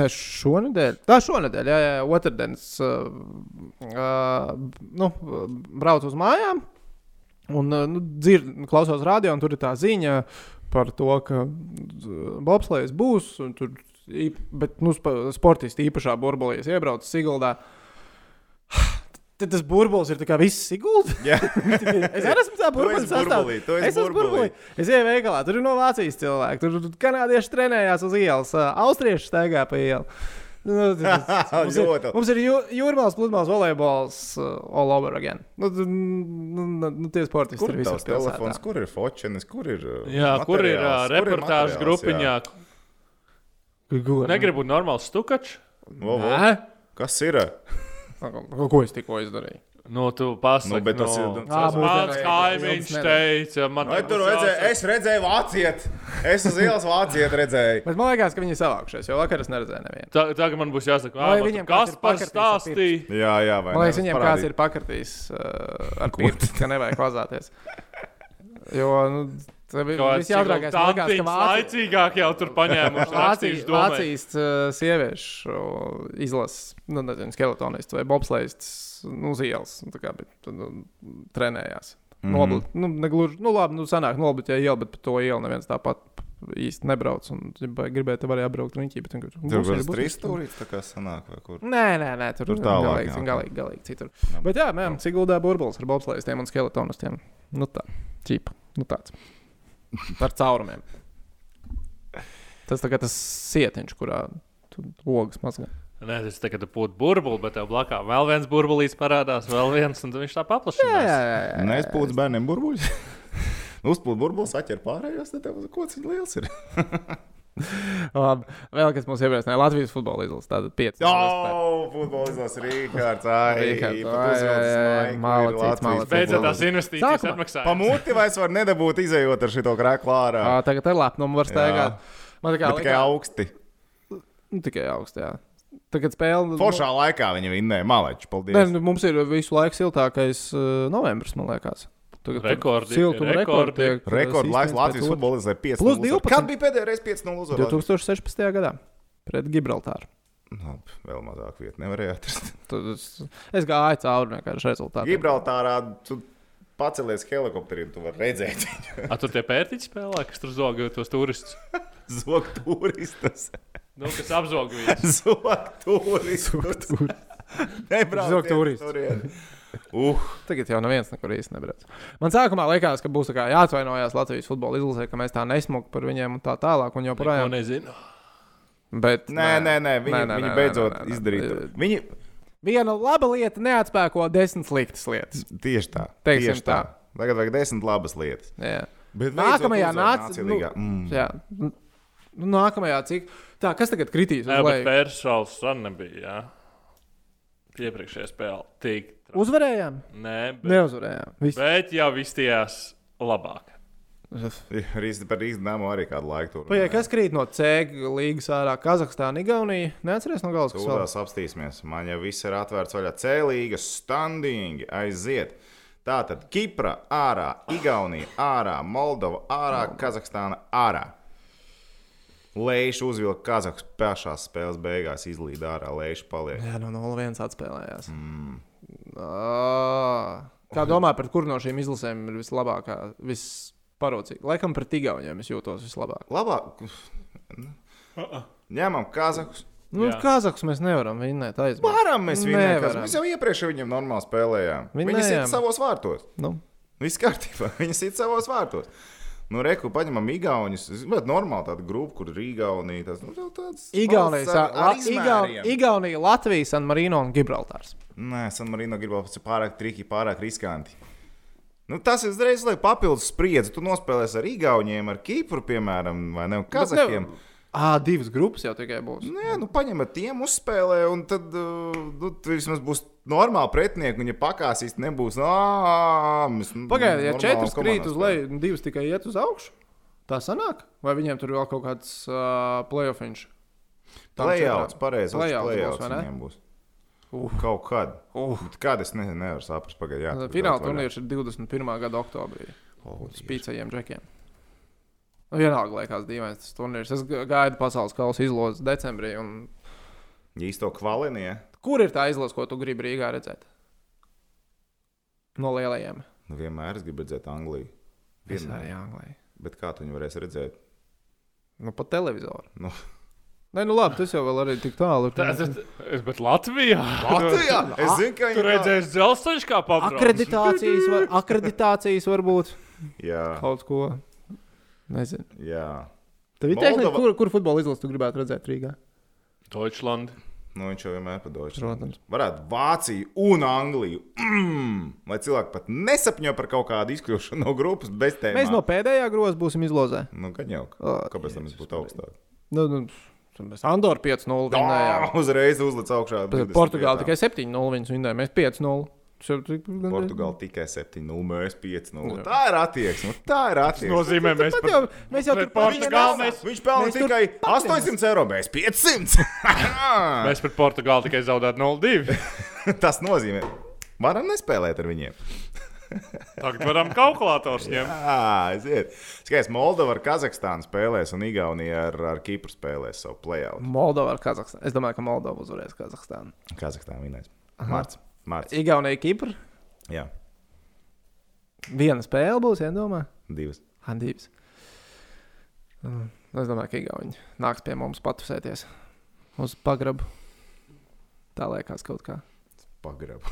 Speaker 1: Ne, šonadēļ. Tā šonadēļ, jā, jā otrdienas. Uh, uh, nu, braucu uz mājām un uh, nu, dzir, klausos radio, un tur ir tā ziņa par to, ka uh, bobslēgs būs. un Tur, īp- bet, nu, sp- sportisti īpašā burbulī es iebraucu Siguldā. Tad tas burbulis ir tā kā viss Sigulda.
Speaker 2: Jā,
Speaker 1: Es arī esmu tā burbulis.
Speaker 2: burbulī, tu esi
Speaker 1: Es esmu
Speaker 2: burbulī.
Speaker 1: burbulī. Es ienāku veikalā, tur ir no Vācijas cilvēki. Tur tur kanādieši trenējās uz ielas, ā, austrieši staigā pa ielu. Nu, tas- mums ir-
Speaker 2: Ļoti.
Speaker 1: Mums ir jū- jūrmāls, pludmales, volejbols, uh, all over again. Nu, tu- nu, nu, nu, tie sportisti
Speaker 2: Kur
Speaker 1: tur
Speaker 2: ir
Speaker 1: visur
Speaker 2: tavs telefons,
Speaker 1: pilsētā.
Speaker 2: kur ir fočenis, kur ir. uh,
Speaker 3: Jā, kur ir uh,
Speaker 2: materiāls, kur ir
Speaker 3: reportāžu
Speaker 2: materiāls,
Speaker 3: grupiņā?
Speaker 2: jā.
Speaker 1: Kur?
Speaker 3: Negribu normāls stukačs.
Speaker 2: Vo, vo,
Speaker 1: Nē?
Speaker 2: Kas ir?
Speaker 1: Ko ko es tikko izdarīju?
Speaker 3: Nu, tu pasaki,
Speaker 2: Nu, bet tas ir-
Speaker 3: nu,
Speaker 1: Ā,
Speaker 3: tas mans
Speaker 1: būtībā-
Speaker 3: kaimiņš
Speaker 1: Jums
Speaker 3: teica, man
Speaker 2: Vai tur redzēju, es redzēju vāciet. Es uz ielas vāciet redzēju.
Speaker 1: Bet man liekas, ka viņi ir savākušies, jo vakar es neredzēju nevienu.
Speaker 3: Tagad man būs jāsaka,
Speaker 1: Vai
Speaker 3: ā, man
Speaker 1: viņiem
Speaker 3: tur kas
Speaker 1: kāds ir
Speaker 3: par
Speaker 1: pakartījis ar
Speaker 3: stāstīju.
Speaker 2: Jā, jā, vai
Speaker 1: Man liekas,
Speaker 2: nevis
Speaker 1: viņiem
Speaker 2: parādīt?
Speaker 1: kāds ir pakratījis uh, ar
Speaker 2: Ko?
Speaker 1: pirkstu, ka nevajag vazāties. Jo, nu, tas bija
Speaker 3: Kāds
Speaker 1: viss jautrākais. Man liekas, ka
Speaker 3: tantiņš
Speaker 1: Vācija-
Speaker 3: Laicīgāk jau tur paņēmuši.
Speaker 1: Vācijas,
Speaker 3: rakstījuši domē.
Speaker 1: Vācijas uh, sieviešu uh, izlases, nu, nezinu, skeletonists vai bobslēdzis nu, uz ielas. nu, tā kā, bet, Nu, trenējās. Mm
Speaker 2: Mhm.
Speaker 1: -hmm. Noblut, nu, negluži, nu, labi, nu, sanāk, noblut, ja iela, bet pa to ielu neviens tāpat īsti nebrauc. Un, ja gribēja, te varēja apbraukt riņķī, bet vienkārši.
Speaker 2: Tur
Speaker 1: būs arī,
Speaker 2: būs
Speaker 1: būs
Speaker 2: trīs
Speaker 1: arī.
Speaker 2: stūrītes, tā kā sanāk, vai kur.
Speaker 1: Nē, nē, nē, tur
Speaker 2: Tur
Speaker 1: tur
Speaker 2: tālāk,
Speaker 1: galīgi,
Speaker 2: jā,
Speaker 1: galīgi, galīgi citur. Bet jā, mēm, cik guldā burbulis ar bobslēdziem un skeletonistiem. Nu tā, ķīpa, nu tāds. Par caurumiem. Tas tā kā tas sietiņš, kurā tu logas mazgā.
Speaker 3: Nē, tas tagad būtu burbuli, bet tev blakus vēl viens burbulīts parādās, vēl viens, un viņš tā paplašinās.
Speaker 1: jā,
Speaker 2: Nē, es pūdu bērniem burbuļus. Uzpūdu burbuļus, atķer pārējos, tad tev koks ir liels. Ir.
Speaker 1: Labi, vēl kas mums iepriecināja Latvijas futbola izlases. Tātad 5.
Speaker 2: Jā, futbolizās Rīgārds. Ai,
Speaker 1: Rīkārds,
Speaker 2: pat
Speaker 1: ai,
Speaker 2: uzvilcis
Speaker 1: ai, ai,
Speaker 2: maiku, ir
Speaker 1: malacīts,
Speaker 2: Latvijas
Speaker 1: malacīts.
Speaker 3: Beidzot,
Speaker 2: futbolists.
Speaker 3: tās investīcijas
Speaker 1: Sākumā.
Speaker 3: atmaksājās.
Speaker 2: Pamūti vairs var nedabūt, izējot ar šito krēklu ārā.
Speaker 1: Tagad ir labi, nu var staigāt. Man tā kā
Speaker 2: Bet tikai
Speaker 1: likās-
Speaker 2: augsti.
Speaker 1: nu, tikai augsts, jā. Tagad spēle.
Speaker 2: Foršā laikā viņi vinnēja maleču. Paldies.
Speaker 1: Nē, nu, mums ir visu laiku siltākais uh, novembris, man liekas. Tagad tur
Speaker 3: Rekordi,
Speaker 1: siltuma
Speaker 3: rekordi.
Speaker 1: rekordi. tiek, uh,
Speaker 2: Rekordlaiks
Speaker 1: sistēmas
Speaker 2: Latvijas
Speaker 1: pēc otras.
Speaker 2: futbolizē 5.
Speaker 1: Plus 12.
Speaker 2: Kad bija pēdējā reize 5-0 uzvara?
Speaker 1: 2016. gadā pret Gibraltāru.
Speaker 2: Nu, vēl mazāk vietas nevarēja atrast.
Speaker 1: Tad es, es gāju cauri vienkārši rezultātiem.
Speaker 2: Gibraltārā tu pacelies helikopterī un tu vari redzēt viņu.
Speaker 3: A, tu tie pērtiķi spēlē, kas tur zog tos turistus.
Speaker 2: Zog turistus.
Speaker 3: Nu, kas apzog viņus.
Speaker 2: Zog turistus. Nebrauc
Speaker 1: Zog
Speaker 2: tie
Speaker 1: turistus.
Speaker 2: turien. Uh,
Speaker 1: Tagad jau neviens nekur īsti nebrauc. Man sākumā liekas, ka būs tā kā jāatvainojas Latvijas futbola izlasē, ka mēs tā nesmukam par viņiem un tā tālāk. Un
Speaker 3: Neko
Speaker 1: joprojām,
Speaker 3: nezinu.
Speaker 1: bet,
Speaker 2: nē, nē, nē, viņi, nē, nē, viņi beidzot nē, nē, izdarīja. to. Viņi
Speaker 1: Viena laba lieta neatspēko desmit sliktas lietas.
Speaker 2: tieši tā.
Speaker 1: Teiksim
Speaker 2: tieši tā. Tagad vajag desmit labas lietas.
Speaker 1: Jā.
Speaker 2: Bet beidzot
Speaker 1: Nākamajā
Speaker 2: uzvar
Speaker 1: nācijā.
Speaker 2: Nāciju līgā. Mm.
Speaker 1: Jā, nu, nu, nākamajā cik. Tā, kas tagad kritīs?
Speaker 3: Nē,
Speaker 1: uz
Speaker 3: bet
Speaker 1: leju?
Speaker 3: Persāls arī nebija. Jā. Iepriekšējā spēlē. Tik. tra-
Speaker 1: Uzvarējām?
Speaker 3: Nē, bet,
Speaker 1: Neuzvarējām. Viss.
Speaker 3: bet jau izties labāk.
Speaker 2: Rīz par Rīgzdāmu arī kādu laiku tur.
Speaker 1: Pagaidiet, kas krīt no C līnijas ārā? Kazahstāna, Igaunija. Neatceries no galvas, kas vēl
Speaker 2: Sūdās apstīsimies. Man jau viss ir atvērts vaļā. Cēlīga, standīgi, aiziet. Tātad Kipra ārā, Igaunija ārā, Moldova ārā, Kazahstāna ārā. Lējuši uzvilka Kazahstānas pašā spēles beigās, izlīd ārā, lējuši paliek.
Speaker 1: Jā, no 0-1 atspēlējās. Mm. Kā domā, pret kuru no šīm izlasēm ir vislabākā, visparocīgākā? Laikam pret Igauniem es jūtos vislabāk.
Speaker 2: Labāk, nu, ņemam Kazahstānu.
Speaker 1: Nu,
Speaker 3: Jā.
Speaker 1: Kazahstānu mēs nevaram vinnēt aizmirst.
Speaker 2: Varam mēs viņu
Speaker 1: Nevaram.
Speaker 2: nevaram. Mēs jau iepriekš ar viņiem normāli spēlējām. Viņi
Speaker 1: Vinnējām.
Speaker 2: sit savos vārtos.
Speaker 1: Nu,
Speaker 2: Viss kārtībā, viņi sit savos vārtos. Nu, reku, paņemam Igaunijas. Bet normāli tāda grupa, kur ir Igaunija. Tas, nu, vēl tāds
Speaker 1: Igaunija,
Speaker 2: valsts
Speaker 1: sā,
Speaker 2: ar-
Speaker 1: la,
Speaker 2: ar
Speaker 1: Igaun,
Speaker 2: izmēriem.
Speaker 1: Igaunija, Latvija, San Marino un Gibraltārs.
Speaker 2: Nē, San Marino gribēja pateikt, pārāk triki, pārāk riskanti. Nu, tas ir uzreiz, lai papildus spriedzi. Tu nospēlēsi ar Igauniem, ar Kipru, piemēram, vai ne? un Kazahiem.
Speaker 1: Ah, divas grupas jau tikai būs.
Speaker 2: Nē, nu paņemat tiem, uzspēlē, un tad uh, nu, tur vismaz būs normāli pretinieki. Viņa pakāsīs, nebūs. "Ā, Mēs, nu,
Speaker 1: Pagaidiet, ja
Speaker 2: normālām
Speaker 1: četras
Speaker 2: komandām
Speaker 1: krīt uz
Speaker 2: spēlējam."
Speaker 1: leju, un divas tikai iet uz augšu, tā sanāk? Vai viņiem tur vēl kaut kāds uh, playoffs?
Speaker 2: Plējauts,
Speaker 1: Playouts
Speaker 2: pareizi.
Speaker 1: būs,
Speaker 2: Plējauts
Speaker 1: vai ne?
Speaker 2: viņiem būs.
Speaker 1: Uh.
Speaker 2: Kaut kad.
Speaker 1: Uh.
Speaker 2: Bet Kad es nezinu, nevaru saprast, pagaidām.
Speaker 1: Fināla turnīrs ir 21. gada oktobrī. Uz
Speaker 2: Spīd.
Speaker 1: pīcējiem džekiem. Nu, vienalga, liekas, dīvains tas turnīrs. Es ga- gaidu pasaules kausa izlozes decembrī. Un...
Speaker 2: Īsto kvalinie.
Speaker 1: Kur ir tā izlase, ko tu gribi Rīgā redzēt? No lielajiem.
Speaker 2: Nu, vienmēr es gribu redzēt Angliju.
Speaker 1: Es
Speaker 2: Vienmēr.
Speaker 1: arī Anglijā.
Speaker 2: Bet kā tu viņu varēsi redzēt?
Speaker 1: Nu, pa televizoru.
Speaker 2: Nu.
Speaker 1: Nē, nu labi, tas jau vēl arī tik tālu. ir.
Speaker 3: Tas ir. Bet Latvijā!
Speaker 2: Latvijā! Es zinu,
Speaker 1: Ah,
Speaker 2: ka
Speaker 3: Tur
Speaker 2: viņi
Speaker 3: redzēs dzelzceļš kā papildinājums.
Speaker 1: Akreditācijas, var, akreditācijas varbūt
Speaker 2: Jā,
Speaker 1: kaut ko. Nezinu.
Speaker 2: jā.
Speaker 1: Tev ir tehnika,
Speaker 2: Moldova-
Speaker 1: kur, kur futbola izlasi tu gribētu redzēt Rīgā?
Speaker 3: Deutschland.
Speaker 2: Nu, viņš jau vienmēr padodas.
Speaker 1: Protams.
Speaker 2: Varētu Vāciju un Angliju. Mm! Lai cilvēki pat nesapņo par kaut kādu izkļūšanu no grupas bez tēmas.
Speaker 1: Mēs no pēdējā groza būsim izlozē.
Speaker 2: Nu, gan jau.
Speaker 1: O,
Speaker 2: Kāpēc tam es būtu augstāk?
Speaker 1: Nu, nu, mēs Andoru 5-0 vinnējām.
Speaker 2: Tā, uzreiz uzlic augšā.
Speaker 1: Bet Portugāla tikai 7-0 viņus vinnēja, mēs 5-0. Tas jau tik-
Speaker 2: Portugāla tikai nu, 7-0, mēs 5-0. Tā ir attieksme. un Tā ir attieksme.
Speaker 3: Nozīmē, mēs
Speaker 1: Pat
Speaker 3: pat
Speaker 1: jau, mēs jau
Speaker 3: Pret
Speaker 1: tur pat
Speaker 3: Portugāli
Speaker 1: vienā-
Speaker 3: mēs-
Speaker 2: Viņš pelna
Speaker 1: mēs tur
Speaker 2: tikai 800 eiro, mēs 500.
Speaker 3: Mēs pret Portugāli tikai zaudējām 0-2.
Speaker 2: Tas nozīmē, varam nespēlēt ar viņiem.
Speaker 3: Tagad varam kalkulators ņemt.
Speaker 2: Jā, aiziet. Skaidrs, Moldova ar Kazahstānu spēlēs un Igaunija ar, ar Kipru spēlēs savu play-out.
Speaker 1: Moldova ar Kazahstānu. Es domāju, ka Moldova uzvarēs Kazahstānu.
Speaker 2: Kazahstāna vienais. Marts. Marts.
Speaker 1: Igaunija, Kipra.
Speaker 2: Jā,
Speaker 1: Viena spēle būs, ja domā.
Speaker 2: divas.
Speaker 1: Handības. Nu, Es domāju, ka Igauni nāks pie mums patusēties uz pagrabu. Tā liekas kaut kā.
Speaker 2: Pagrabu.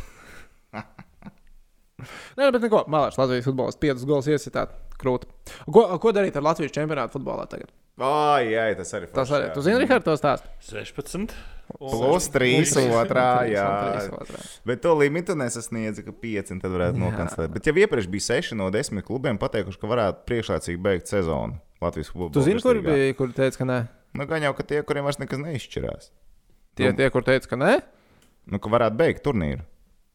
Speaker 1: Nē, nu, bet neko. Malārs Latvijas futbolists 5 gols iesitāt. Krūti. Ko, ko darīt ar Latvijas čempionātu futbolā tagad?
Speaker 2: Ai, ai, tas arī.
Speaker 1: Tas
Speaker 2: forši,
Speaker 1: arī.
Speaker 2: jā.
Speaker 1: Tu zini, Rihards, to stāst?
Speaker 3: 16.
Speaker 2: Plus trīs otrā, jā.
Speaker 1: Plus trīs otrā.
Speaker 2: Bet to limitu nesasniedza, ka 5 tad varētu nokancēt. Bet jau iepriekš bija 6 no 10 klubiem pateikuši, ka varētu priekšlaicīgi beigt sezonu Latvijas futbolā.
Speaker 1: Tu zini, kur bija, kur teica, ka nē?
Speaker 2: Nu, gan jau, ka tie, kuriem vairs nekas neizšķirās.
Speaker 1: Tie,
Speaker 2: Nu.
Speaker 1: tie kur teica, ka nē,
Speaker 2: Nu, ka varētu beigt turnīru.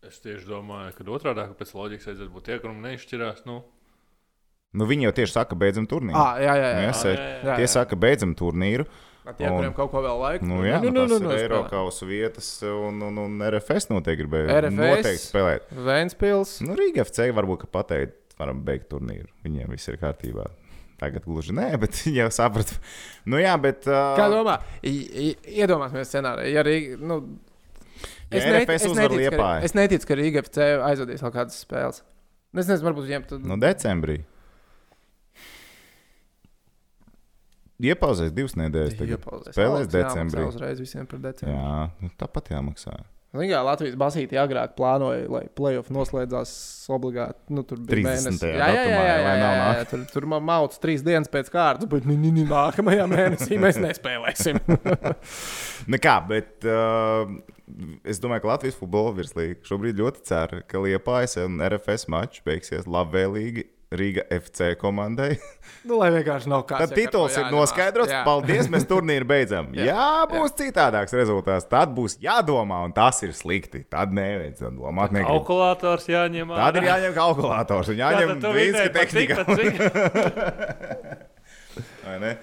Speaker 3: Es tieši domāju, ka otrādi pēc loģikas aizdzēs būtu tie, kuriem neizšķirās. Nu,
Speaker 2: Nu, viņi jau tieši saka, beidzam turnīru.
Speaker 1: ah, jā, jā, jā.
Speaker 2: Nu,
Speaker 1: jā.
Speaker 2: es-
Speaker 3: jā, jā,
Speaker 1: jā.
Speaker 2: Tie saka, beidzam turnīru.
Speaker 1: Tie, kuriem kaut ko vēl laika.
Speaker 2: Nu, jā, nu, nu, nu, nu,
Speaker 1: es
Speaker 2: Eiro
Speaker 1: spēlēju.
Speaker 2: kausa vietas un, un, un RFS noteikti gribēja.
Speaker 1: RFS.
Speaker 2: Noteikti spēlēt.
Speaker 1: Vēnspils.
Speaker 2: Nu, Rīga FC varbūt ka pateikt, varam beigt turnīru. Viņiem viss ir kārtībā. Tagad gluži nē, bet viņi jau saprata. Nu, jā, bet. Uh,
Speaker 1: Kā domā? I- i- Iedomāsimies scenāriju. Ja Rīga, nu,
Speaker 2: Ja
Speaker 1: neti-
Speaker 2: RFS uzvar
Speaker 1: neticu, ka,
Speaker 2: Liepāju.
Speaker 1: es neticu, ka Rīga FC aizvadīs vēl kādas spēles. Nu, Es nezinu, varbūt viņiem tur
Speaker 2: No decembrī. Iepauzēs divas nedēļas. tagad.
Speaker 1: jāpauzēs.
Speaker 2: Spēlēs
Speaker 1: Algas
Speaker 2: decembrī.
Speaker 1: jāmaksā Uzreiz visiem par decembri.
Speaker 2: Jā, nu, tāpat jāmaksā.
Speaker 1: Ziniet, kā Latvijas basītī agrāk plānoja, lai playoff noslēdzās obligāti. Nu, tur bija
Speaker 2: 30.
Speaker 1: mēnesis. Jā, jā, jā, jā,
Speaker 2: datumā, vai
Speaker 1: jā, jā,
Speaker 2: nav
Speaker 1: jā,
Speaker 2: nāk?
Speaker 1: jā. Tur, tur man mauts trīs dienas pēc kārtas, bet ni, ni, ni, nākamajā mēnesī mēs nespēlēsim.
Speaker 2: Nē, Nu kā, bet uh, es domāju, ka Latvijas futbola virslīga šobrīd ļoti cer, ka Liepājas un RFS mačs beigsies labvēlīgi Rīga FC komandai.
Speaker 1: nu, lai vienkārši nav kāds.
Speaker 2: Tad tituls ir noskaidrots. Jā. Paldies, mēs turnīru beidzam. jā,
Speaker 1: Jā.
Speaker 2: jā, būs jā. citādāks rezultāts. Tad būs jādomā, un tas ir slikti. Tad neviens to domāt. negrib.
Speaker 3: kalkulators jāņem. ārā.
Speaker 2: Tad ir jāņem kalkulators un
Speaker 3: Jā,
Speaker 2: jāņem
Speaker 3: tad tu
Speaker 2: viska
Speaker 3: vidēji pa cik,
Speaker 2: tehnika.
Speaker 3: pa cik?
Speaker 2: Vai ne?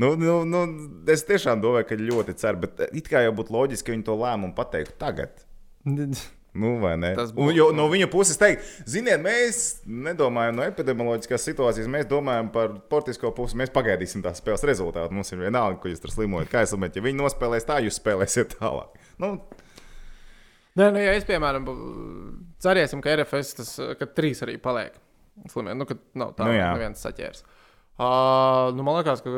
Speaker 2: Nu, nu, nu, es tiešām domāju, ka ļoti ceru, bet eh, it kā jau būtu loģiski, ka viņi to lēmumu pateiktu tagad. Nu, vai ne?
Speaker 1: Tas
Speaker 2: Un,
Speaker 1: būtu-
Speaker 2: jo, no viņa puses teikt, ziniet, mēs nedomājam no epidemioloģiskās situācijas, mēs domājam par sportisko pusi. Mēs pagaidīsim tās spēles rezultātu. Mums ir vienalga, ko jūs tur slimojat. Kā es domāju, ja viņi nospēlēs tā, jūs spēlēsiet tālāk. Nu,
Speaker 1: Nē, nu, ja es, piemēram, bu- cerēsim, ka RFS tas, ka trīs arī paliek. Slimie, nu, ka nav tā,
Speaker 2: Nu,
Speaker 1: nu,
Speaker 2: jā.
Speaker 1: ka neviens saķērs. Uh, nu, man liekas, ka,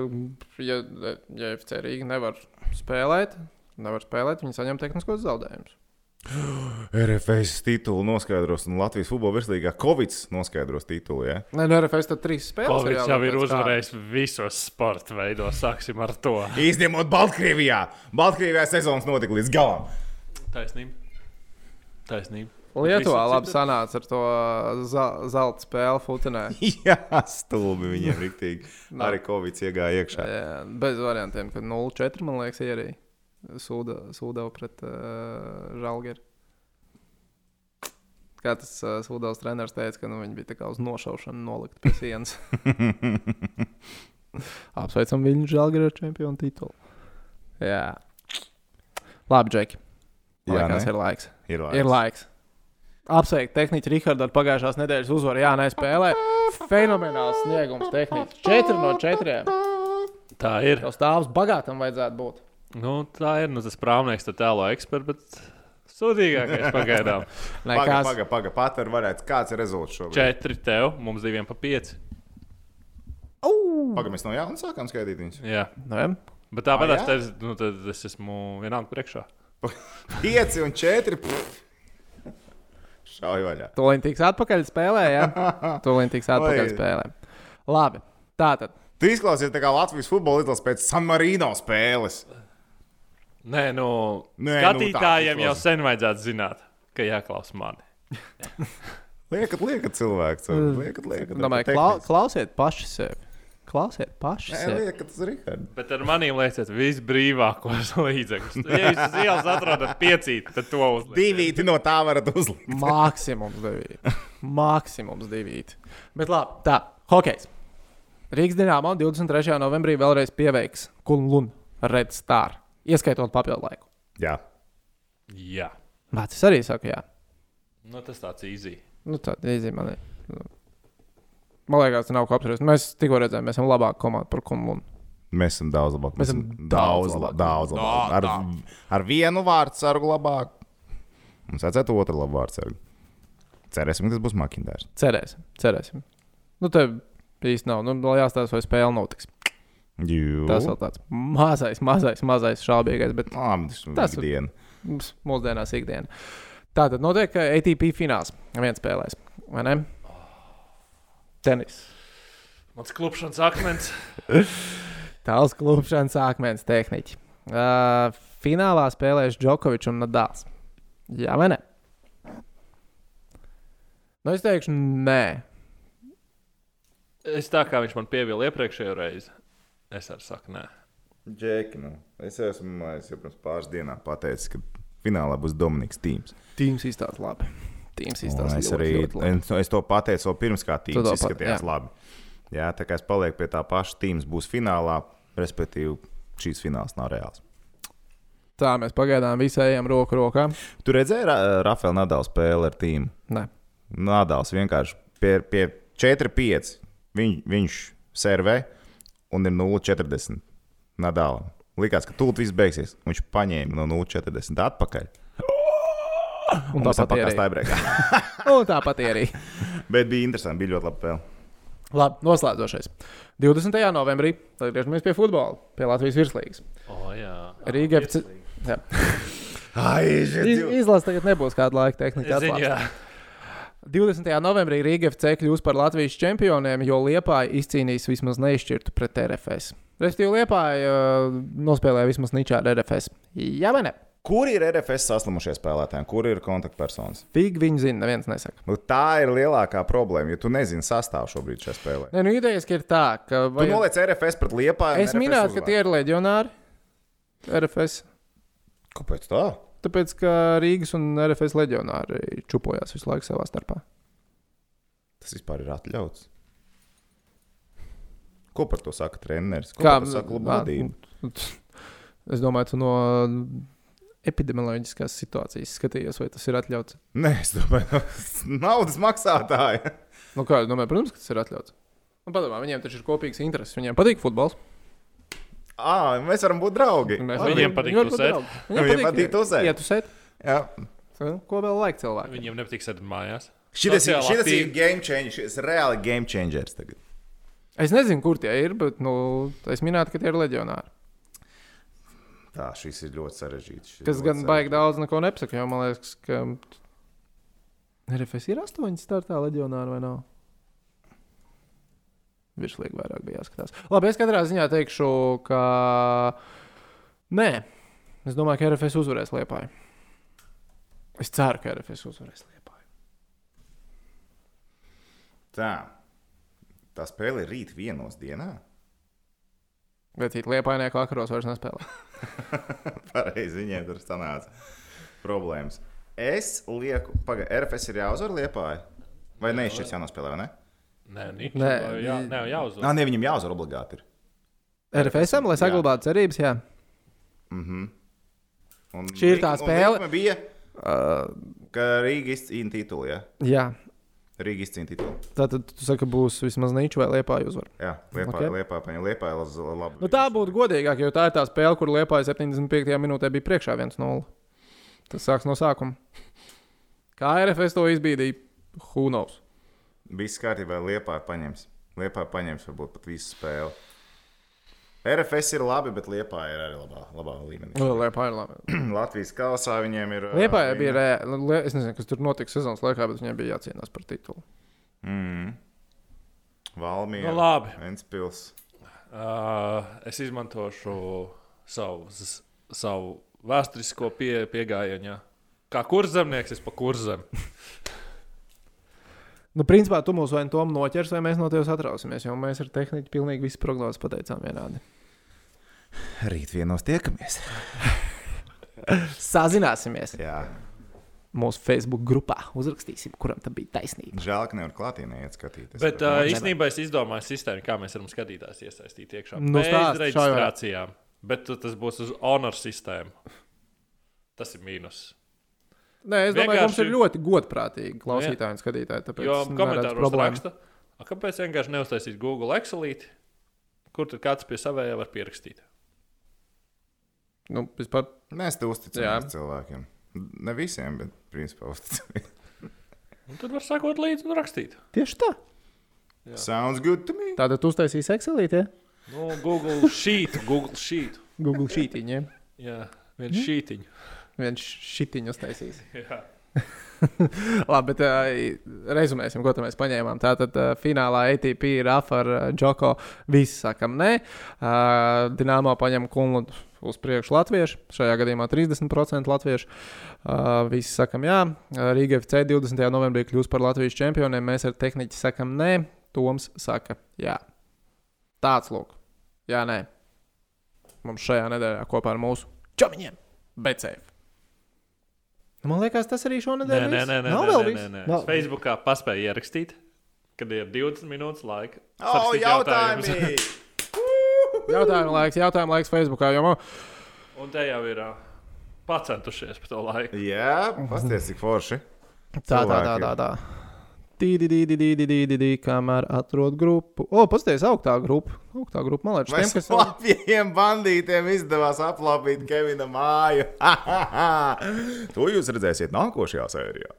Speaker 1: ja, ja FC Rīga nevar spēlēt, nevar spēlēt, viņi saņem tehniskos zaudējumus.
Speaker 2: RFS titulu noskaidros, un Latvijas futbola virslīgā Covid noskaidros titulu. Ja?
Speaker 1: Nē, nu, RFS tad trīs spēles.
Speaker 3: Covid
Speaker 1: reāli
Speaker 3: jau ir
Speaker 1: pēc
Speaker 3: uzvarējis visos sporta veidos. Sāksim ar to.
Speaker 2: Izņemot Baltkrievijā. Baltkrievijā sezonas notika līdz galam.
Speaker 3: Taisnība. Taisnība.
Speaker 1: kā. Lietuvā
Speaker 3: Visu
Speaker 1: labi
Speaker 3: citu-
Speaker 1: sanāca ar to za- zelta spēli futinē.
Speaker 2: Jā, stulbi viņiem riktīgi. Arī Covid iegāja iekšā.
Speaker 1: Jā, bez variantiem, ka 0-4 man liekas, ir arī sūda- sūdava pret uh, Žalgeri. Kā tas uh, sūdavas treneris teica, ka nu, viņi bija tā kā uz nošaušanu nolikt pie sienas. Apsveicam viņu Žalgeri ar čempionu titulu. Jā. Labi, Džeki. Man
Speaker 2: Jā,
Speaker 1: Liekas,
Speaker 2: ne?
Speaker 1: ir laiks.
Speaker 2: Ir laiks.
Speaker 1: Ir laiks. Apsveikt tehniku Rihardu ar pagājušās nedēļas uzvaru. Jā, nē, spēlē. Fenomenāls sniegums tehniski. 4 no 4.
Speaker 3: Tā ir.
Speaker 1: Tev stāvs bagātam vajadzētu būt.
Speaker 3: Nu, tā ir nu, tas prāvnieks, tā tēlo eksperts, bet sūdīgākais pagaidām.
Speaker 1: Nē,
Speaker 2: Paga,
Speaker 1: kāds
Speaker 2: paga, paga, patver varētu. Kāds ir rezultāts šobrīd?
Speaker 3: Četri tev, mums diviem pa pieci.
Speaker 2: Paga, mēs no jauna sākām skaitīt viņus.
Speaker 3: Jā.
Speaker 1: Nē,
Speaker 3: Bet tāpat
Speaker 2: jā?
Speaker 3: es teicu, nu, tad es esmu vienalga priekšā.
Speaker 2: 5 un 4. Šauj vaļā.
Speaker 1: Tūlīt tiks atpakaļ spēlē, jā. Tūlīt tiks atpakaļ
Speaker 2: Vai-
Speaker 1: spēlē. Labi, tā tad.
Speaker 2: Tu izklausies tā kā Latvijas futbola izlases pēc San Marino spēles.
Speaker 3: Nē, nu,
Speaker 2: Nē, nu,
Speaker 3: Nē,
Speaker 2: tā
Speaker 3: skatītājiem
Speaker 2: tik
Speaker 3: nu, jau
Speaker 2: labi.
Speaker 3: sen vajadzētu zināt, ka jāklaus mani.
Speaker 2: Liekat, liekat, cilvēks. Liekat, liekat.
Speaker 1: Mm. Domāju, klau, klausiet paši sevi. Klausiet paši
Speaker 2: Nē,
Speaker 1: sevi.
Speaker 2: liekat, tas ir Rihards.
Speaker 3: Bet ar maniem lieciet visbrīvākos līdzekļus. Ja jūs uz ielas atrodat piecīt, tad to uzliek.
Speaker 2: Divīti no tā varat uzlikt.
Speaker 1: Maksimums divīti. Maksimums divīti. Bet labi, tā. Hokejs. Rīgas Dienāmā 23. novembrī vēlreiz pieveiks Kunlun Red Star. Ieskaitot papildu laiku.
Speaker 2: Jā.
Speaker 3: Jā,
Speaker 1: Vācis arī saka, jā.
Speaker 3: nu, tas tāds īzī.
Speaker 1: Nu, tā īzī man ir. Nu. Man liekas, tas nav ko apspriest. Mēs tikko redzējām, mēs esam labāka komanda par Kunlun.
Speaker 2: Mēs esam daudz labāki.
Speaker 1: Mēs esam daudz
Speaker 2: la-
Speaker 1: labāki.
Speaker 2: daudz labāk. Ar, ar vienu vārdu sargu labāk. Mums vajadzētu otru labu vārdu sargu. Cerēsim, ka tas būs Makindārs.
Speaker 1: Cerēsim, cerēsim. Nu, tev īsti nav. Nu, vēl jāstāsta, vai spēle notiks. Tas vēl tāds mazais, mazais, mazais šaubīgais, bet Tas
Speaker 2: Tas
Speaker 1: ir-
Speaker 2: ir diena.
Speaker 1: mums mūsdienās ikdiena. Tā tad notiek ā, ATP fināls. Viens spēlēs, vai ne? Tenis.
Speaker 3: Mans klupšanas akmens.
Speaker 1: Tāls klūpšanas akmens tehniķi. Uh, finālā spēlēs Džokovičs un Nadals. Jā, vai ne? Nu, es teikšu, nē.
Speaker 3: Es tā kā viņš man pievilka iepriekšējā reizē, es arī saku, nē.
Speaker 2: Džeki, nu, es jau esmu es jau pirms pāris dienām pateicis, ka finālā būs Dominiks Tīms.
Speaker 1: Tīms izstāsta labi. Tīms izstāsta
Speaker 2: Es arī
Speaker 1: ļoti, ļoti labi.
Speaker 2: es, es to pateicu vēl pirms, kā
Speaker 1: Tu
Speaker 2: Tīms
Speaker 1: to pat-
Speaker 2: izskatījās
Speaker 1: jā.
Speaker 2: labi. Jā, tā kā es palieku pie tā paša, Tīms būs finālā, respektīvi šīs fināls nav reāls.
Speaker 1: Tā mēs pagaidām visi ejam roku rokā.
Speaker 2: Tu redzēji Ra Rafaela Nadala spēli ar Tīmu?
Speaker 1: Nē.
Speaker 2: Nādāls vienkārši pie, pie 4,5. Viņ, viņš servē un ir 0,40. Nādālam. Likās, ka tūlīt viss beigsies. Viņš paņēma no 0,40 atpakaļ.
Speaker 1: Un
Speaker 2: Tas
Speaker 1: tāpat
Speaker 2: bija
Speaker 1: arī.
Speaker 2: stāvoklis.
Speaker 1: Un tāpat arī.
Speaker 2: Bet bija interesanti, bija ļoti labi spēlē.
Speaker 1: Labi, noslēdzošais. 20. novembrī, tad griežamies pie futbola, pie Latvijas virslīgas.
Speaker 3: O, jā.
Speaker 1: Rīga FC. Jā. Iz, izlase tagad nebūs kāda laika tehnika.
Speaker 3: Es zinu,
Speaker 1: atklāta.
Speaker 3: jā.
Speaker 1: 20. novembrī Rīga FC kļūs par Latvijas čempioniem, jo Liepa izcīnīs vismaz neizšķirtu pret RFS. Respektīvi, Liepa uh, nospēlēja vismaz ničā ar RFS. Jā, vai ne?
Speaker 2: Kur ir RFS saslimušie spēlētāji? Kur ir kontaktpersonas?
Speaker 1: Fig viņi zina, neviens nesaka.
Speaker 2: Nu, tā ir lielākā problēma, jo tu nezini sastāvu šobrīd šajā spēlē.
Speaker 1: Nē, nu idejas ir tā, ka.
Speaker 2: Tu
Speaker 1: Vajag...
Speaker 2: noliec RFS pret liepā.
Speaker 1: Es minēju, ka tie ir leģionāri. RFS.
Speaker 2: Kāpēc tā?
Speaker 1: Tāpēc, ka Rīgas un RFS leģionāri čupojās visu laiku savā starpā.
Speaker 2: Tas vispār ir atļauts. Ko par to saka treneris? Ko
Speaker 1: Kā-
Speaker 2: par to saka kluba
Speaker 1: Nā,
Speaker 2: vadība?
Speaker 1: Es domāju, tu no epidemioloģiskās situācijas skatījies, vai tas ir atļauts.
Speaker 2: Nē, es domāju, naudas maksātāji.
Speaker 1: Nu, kā, es domāju, protams, ka tas ir atļauts. Nu, padomā, viņiem taču ir kopīgs intereses. Viņiem patīk futbols.
Speaker 2: À, mēs varam būt draugi.
Speaker 1: Mēs
Speaker 2: Labi.
Speaker 3: Viņiem patīk
Speaker 1: Viņi var būt
Speaker 3: tusēt.
Speaker 1: draugi.
Speaker 2: Viņiem
Speaker 1: Viņiem
Speaker 2: patīk tusēt.
Speaker 1: Iet tusēt.
Speaker 2: Jā.
Speaker 1: nu, Ko vēl laika cilvēkiem?
Speaker 3: Viņiem nepatīk sēdēt mājās.
Speaker 2: Šitas, ir,
Speaker 3: Sociālā
Speaker 2: šitas ir
Speaker 3: tīkla.
Speaker 2: game changer. Šis ir reāli game changers. Tagad.
Speaker 1: Es nezinu, kur tie ir, bet nu, es minēju, ka tie ir leģionāri.
Speaker 2: Tā, šis ir ļoti sarežģīts. šis ir
Speaker 1: Tas
Speaker 2: ļoti
Speaker 1: gan baigi
Speaker 2: sarežģīts.
Speaker 1: daudz neko nepasaka, jo man liekas, ka. RFS ir astoņi startā leģionāri vai nav? Virslīgi vairāk bija jāskatās. Labi, es katrā ziņā teikšu, ka. Nē, es domāju, ka RFS uzvarēs Liepāju. Es ceru, ka RFS uzvarēs Liepāju.
Speaker 2: Tā. Tā spēle ir rīt vienos dienā.
Speaker 1: Bet cik Liepājnieku vakaros vairs nespēlē.
Speaker 2: Pareizi viņiem tur sanāca problēmas. Es lieku, pagaidi, RFS ir jāuzvar liepāji. Vai neizšķirs jānospēlē, vai ne?
Speaker 3: Nē, nē,
Speaker 1: Nē,
Speaker 3: jā, nē, jāuzvar.
Speaker 2: Nā, ne, viņam jāuzvar obligāti. Ir.
Speaker 1: RFS, lai saglabātu cerības, jā.
Speaker 2: Mhm. Un
Speaker 1: Šī ir tā
Speaker 2: lik- un
Speaker 1: spēle.
Speaker 2: likme Bija,
Speaker 1: Uh,
Speaker 2: ka Rīga izcīna titulu. Ja?
Speaker 1: jā,
Speaker 2: Rīga izcīna titulu.
Speaker 1: tā tad tu saki, ka būs vismaz nīča vai liepā uzvara.
Speaker 2: Jā, liepā,
Speaker 1: Ok.
Speaker 2: okay. liepā, paņem, liepā ir laz- labi.
Speaker 1: Nu, tā būtu godīgāk, jo tā ir tā spēle, kur liepā 75. minūtē bija priekšā 1-0. Tas sāks no sākuma. Kā RFS to izbīdīja? Hunovs.
Speaker 2: Viss kārtībā, liepā paņems. Liepā paņems varbūt pat visu spēli. RFS ir labi, bet Liepā ir arī labā, labā līmenī.
Speaker 1: Liepā Nu, ir labi.
Speaker 2: Latvijas kausā viņiem ir. uh,
Speaker 1: Liepā
Speaker 2: viņa-
Speaker 1: bija reāli. Es nezinu, kas tur notika sezonas laikā, bet viņiem bija jācīnās par titulu.
Speaker 2: Mm. Valmija.
Speaker 3: Nu, labi.
Speaker 2: Ventspils.
Speaker 3: Uh, es izmantošu savu, z- savu vēsturisko pie, pieejamu. Ja. Kā kurzemnieks, es pa kurzem.
Speaker 1: Nu, principā tu mūs vai nu tom noķers, vai mēs no tevis atrausimies, jo mēs ar tehniku pilnīgi visu prognozes pateicām vienādi.
Speaker 2: Rīt vienos tiekamies.
Speaker 1: Sazināsimies
Speaker 2: Jā.
Speaker 1: mūsu Facebook grupā, uzrakstīsim, kuram tam bija taisnība.
Speaker 2: Žēl, ka nevar klātienē iet skatīties.
Speaker 3: Bet uh, īstenībā es izdomāju sistēmu, kā mēs varam skatītājus iesaistīt iekšā.
Speaker 1: Nu,
Speaker 3: Bez
Speaker 1: stāsti,
Speaker 3: reģistrācijām, bet tu- tas būs uz honor sistēmu. Tas ir mīnus.
Speaker 1: Nē, es domāju, ka mums ir
Speaker 3: Vienkārši- Nu,
Speaker 1: ļoti godprātīgi klausītāji un skatītāji. Tāpēc
Speaker 3: Jo
Speaker 1: es neredzu
Speaker 3: komentāros
Speaker 1: problēmu.
Speaker 3: raksta, "A, kāpēc vienkārši neuztaisīt Google Excelīti, kur tur kāds pie savējā var pierakstīt.
Speaker 1: Nu, vispār,
Speaker 2: Mēs te
Speaker 1: Jā.
Speaker 2: uzticamies cilvēkiem. Ne visiem, bet principā uzticamies.
Speaker 3: Un tad var sakot līdzi un rakstīt.
Speaker 1: tieši tā.
Speaker 3: Jā.
Speaker 2: Sounds good to me.
Speaker 1: Tātad uztaisīs Excelītē,
Speaker 3: Nu, Google šītu, Google šītu.
Speaker 1: Google šītiņā.
Speaker 3: Jā, viens šītiņš.
Speaker 1: Viens šitiņu uztaisīs.
Speaker 3: Jā.
Speaker 1: Labi, bet uh, rezumēsim, ko tad mēs paņēmām. Tātad uh, finālā ATP ir AFA ar uh, Džoko. Visi sakam, nē. Uh, Dienāmo paņem kungu uz priekšu latviešu. Šajā gadījumā 30% latviešu. Uh, visi sakam, jā. Uh, Rīga FC 20. novembrī kļūs par Latvijas čempioniem. Mēs ar tehniķi sakam, nē. Toms saka, jā. Tāds lūk. Jā, nē. Mums šajā nedēļā kopā ar mūsu čomiņiem. Bet safe. Nu, Man liekas, tas arī
Speaker 3: Nē,
Speaker 1: šonadēļ.
Speaker 3: nē,
Speaker 1: viss.
Speaker 3: nē, nē,
Speaker 1: Nav
Speaker 3: nē,
Speaker 1: vēl
Speaker 3: nē,
Speaker 1: viss?
Speaker 3: nē.
Speaker 1: Nav-
Speaker 3: Es Facebookā paspēju ierakstīt, kad ir 20 minūtes laika.
Speaker 2: O,
Speaker 3: Sarakstīt
Speaker 2: jautājumi!
Speaker 1: Jautājuma laiks, jautājuma laiks Facebookā. Jo man...
Speaker 3: Un te jau ir ā, pacentušies par to laiku.
Speaker 2: Jā, pasties, cik forši.
Speaker 1: Tā, tā, tā, tā. tā. Tīdi, tīdi, tīdi, tīdi, tīdi, kamēr atrod grupu. O, paskatieties, augstā grupa. Augstā grupa, man liekas, tiem,
Speaker 2: Mēs
Speaker 1: kas
Speaker 2: tam labiem bandītiem izdevās aplapīt Kevina māju. to jūs redzēsiet nākošajā sērijā.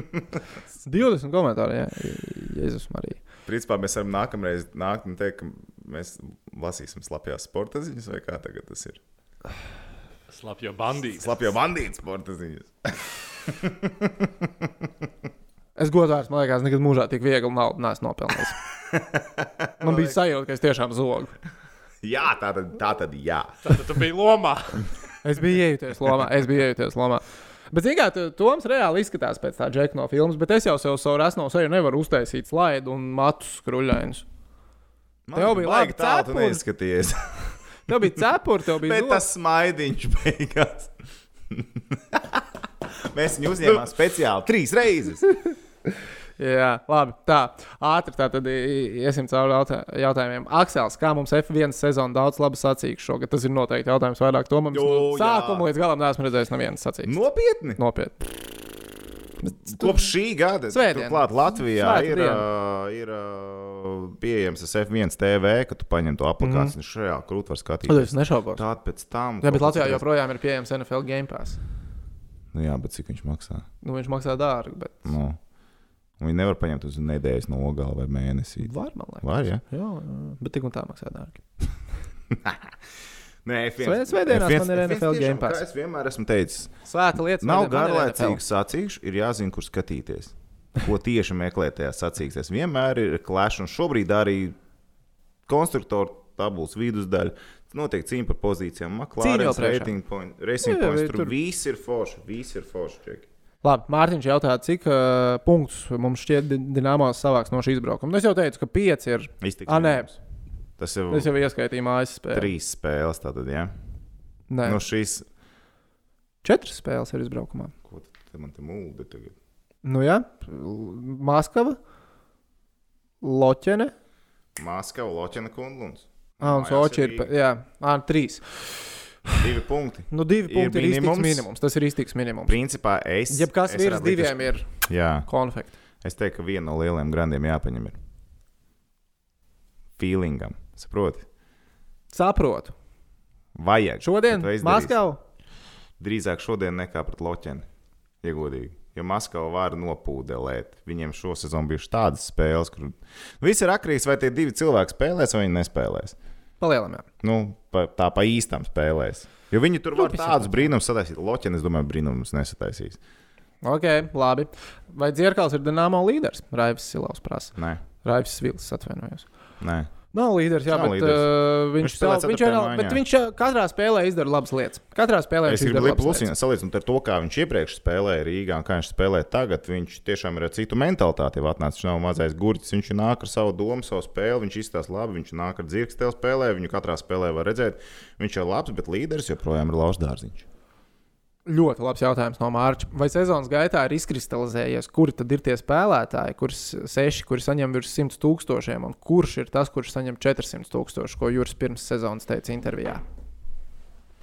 Speaker 1: 20 komentāri, jā, Jēzus Marija.
Speaker 2: Principā mēs varam nākamreiz nākt un teikt, ka mēs lasīsim slapjās sporta ziņas, vai kā tagad tas ir.
Speaker 3: Slapjo bandīts.
Speaker 2: Slapjā bandīta sporta ziņas.
Speaker 1: Es godāju, man liekas, nekad mūžā tik viegli naudu neesmu nopelnījis. Man bija sajūta, ka es tiešām zogu.
Speaker 2: Jā, tā tad, tā tad jā.
Speaker 3: Tad tu biji lomā.
Speaker 1: Es biju iejuties lomā. Es biju iejuties lomā. Bet, zināmā mērā, Toms reāli izskatās pēc tā džeka no filmas, bet es jau sev savu rasnu seju nevaru uztaisīt slaidu un matu skruļainus.
Speaker 2: Man
Speaker 1: Tev bija
Speaker 2: baigi
Speaker 1: labi
Speaker 2: tālu tu
Speaker 1: cepuri.
Speaker 2: neizskaties.
Speaker 1: Tev bija cepuri, tev bija
Speaker 2: Bet
Speaker 1: zogs.
Speaker 2: tas smaidiņš beigās. Mēs viņu uzņēmām speciāli trīs reizes.
Speaker 1: Jā, labi. Tā ātri tā tad i- iesim cauri jautā- jautājumiem. Aksels, kā mums F1 sezona daudz labi sacīks šogad? Tas ir noteikti jautājums vairāk to mums.
Speaker 2: Jū,
Speaker 1: No
Speaker 2: jā. Nu.
Speaker 1: sākuma līdz galam neesmu redzējis nevienas sacīkstas.
Speaker 2: Nopietni! Nu,
Speaker 1: Nopietni.
Speaker 2: Kopš šī gada
Speaker 1: Svētdien.
Speaker 2: turklāt Latvijā
Speaker 1: Svētku
Speaker 2: ir,
Speaker 1: dienu.
Speaker 2: uh, ir uh, pieejams tas F1 TV, ka tu paņem to aplikāciju mm. šajā krūtī var
Speaker 1: Tad
Speaker 2: skatīties.
Speaker 1: es nešaubos.
Speaker 2: Tāda pēc tam.
Speaker 1: Mhm. Jā, bet
Speaker 2: kaut kas
Speaker 1: Latvijā
Speaker 2: reiz-
Speaker 1: joprojām ir pieejams NFL game pass.
Speaker 2: Nu, jā, bet cik viņš maksā?
Speaker 1: Nu, viņš maksā dārgi, bet
Speaker 2: Nu. Un Viņi nevar paņemt uz nedēļas nogali vai mēnesi.
Speaker 1: var man liekas.
Speaker 2: Var, ja?
Speaker 1: Jā, jā, jā, bet tik un tā maksā dārgi.
Speaker 2: Nē, F1.
Speaker 1: Svē- svētdienās
Speaker 2: F1
Speaker 1: man ir NFL
Speaker 2: tiešām,
Speaker 1: Game Pass.
Speaker 2: kā Es vienmēr esmu teicis,
Speaker 1: Svēta lieta. svētdien man
Speaker 2: Nav
Speaker 1: ir
Speaker 2: garlaicīgs sacīkšu, ir jāzina, kur skatīties. Ko tieši meklēt tajā sacīksties. Vienmēr ir klāšana, un šobrīd arī konstruktora tabulas vidusdaļa. Notiek cīņa par pozīcijām.
Speaker 1: Cīņa
Speaker 2: Maklārens,
Speaker 1: vēl priekšā.
Speaker 2: rating point, racing
Speaker 1: Jā, jā,
Speaker 2: points.
Speaker 1: jā,
Speaker 2: Tur
Speaker 1: tur-
Speaker 2: viss ir forši, viss ir forši. Čeki.
Speaker 1: Labi, Mārtiņš jautā, cik uh, punktus mums šķiet di- Dienāmā savāks no šī izbraukuma. Nu, es jau teicu, ka pieci ir.
Speaker 2: Iztiks
Speaker 1: Ah, nē.
Speaker 2: minimums. Tas ir
Speaker 1: Es jau ieskaitīju mājas spēli.
Speaker 2: trīs Nu, spēles. Tātad, ja?
Speaker 1: Nē,
Speaker 2: no šīs,
Speaker 1: četras spēles ir izbraukumā.
Speaker 2: ko tu te man te mūldi tagad?
Speaker 1: Nu, jā, L- Maskava, Loķene,
Speaker 2: Maskava, Loķena kundlunds.
Speaker 1: ah, un
Speaker 2: Mājās
Speaker 1: Soči
Speaker 2: ir
Speaker 1: ir.
Speaker 2: Rīga.
Speaker 1: pa- Jā, ah, trīs.
Speaker 2: Divi punkti.
Speaker 1: Nu, divi
Speaker 2: Ir
Speaker 1: punkti ir iztiks
Speaker 2: minimums.
Speaker 1: minimums. Tas ir iztiks minimums.
Speaker 2: Principā es.
Speaker 1: Jebkas
Speaker 2: es
Speaker 1: virs
Speaker 2: varētu likt uz-
Speaker 1: diviem ir
Speaker 2: Jā,
Speaker 1: konflikts.
Speaker 2: es teiktu, ka viena no lielajiem grandiem jāpaņem ir. Feelingam. Saproti?
Speaker 1: Saprotu.
Speaker 2: Vajag.
Speaker 1: Šodien
Speaker 2: Bet tu izdarīsi.
Speaker 1: Maskavā
Speaker 2: drīzāk šodien nekā pret Loķeni. Ja godīgi. Jo Maskava var nopūdelēt. Viņiem šosezon bijušas tādas spēles, kur viss ir akrīs, vai tie divi cilvēki spēlēs, vai viņi nespēlēs.
Speaker 1: palielinājām.
Speaker 2: Nu, pa, tā pa īstām spēlēs. Jo viņi tur var tādus brīnumus sataisīt. Loķeni, es domāju, brīnumus nesataisīs.
Speaker 1: Ok, labi. Vai Dzirkals ir Dienāmo līderis? Raivs Silovs prasa.
Speaker 2: Nē,
Speaker 1: Raivs Vils atvainojos.
Speaker 2: nē.
Speaker 1: Nav līderis, jā,
Speaker 2: Nav
Speaker 1: bet
Speaker 2: līderis.
Speaker 1: uh, viņš,
Speaker 2: Viņš
Speaker 1: savu-
Speaker 2: spēlē
Speaker 1: viņš,
Speaker 2: ceturtajā
Speaker 1: vienal-
Speaker 2: mājā.
Speaker 1: bet viņš uh, katrā spēlē izdara labas lietas. Katrā spēlē
Speaker 2: Es
Speaker 1: viņš
Speaker 2: gribu
Speaker 1: izdara
Speaker 2: likt
Speaker 1: labas lietas.
Speaker 2: plusiņā, salīdzinot ar to, kā viņš iepriekš spēlēja Rīgā un kā viņš spēlē tagad. Viņš tiešām ir ar citu mentalitāti jau atnācis. Viņš nav mazais gurķis, viņš nāk ar savu domu, savu spēli, viņš izstāsta labi, viņš nāk ar dzirkstēlu spēlē, viņu katrā spēlē var redzēt. Viņš ir labs, bet līderis joprojām ir Lausdārziņš.
Speaker 1: Ļoti labs jautājums no Mārča. Vai sezonas gaitā ir izkristalizējies, kuri tad ir tie spēlētāji, kurš seši, kuri saņem virs 100 tūkstošiem, un kurš ir tas, kurš saņem 400 tūkstošus, ko Juris pirms sezonas teica intervijā?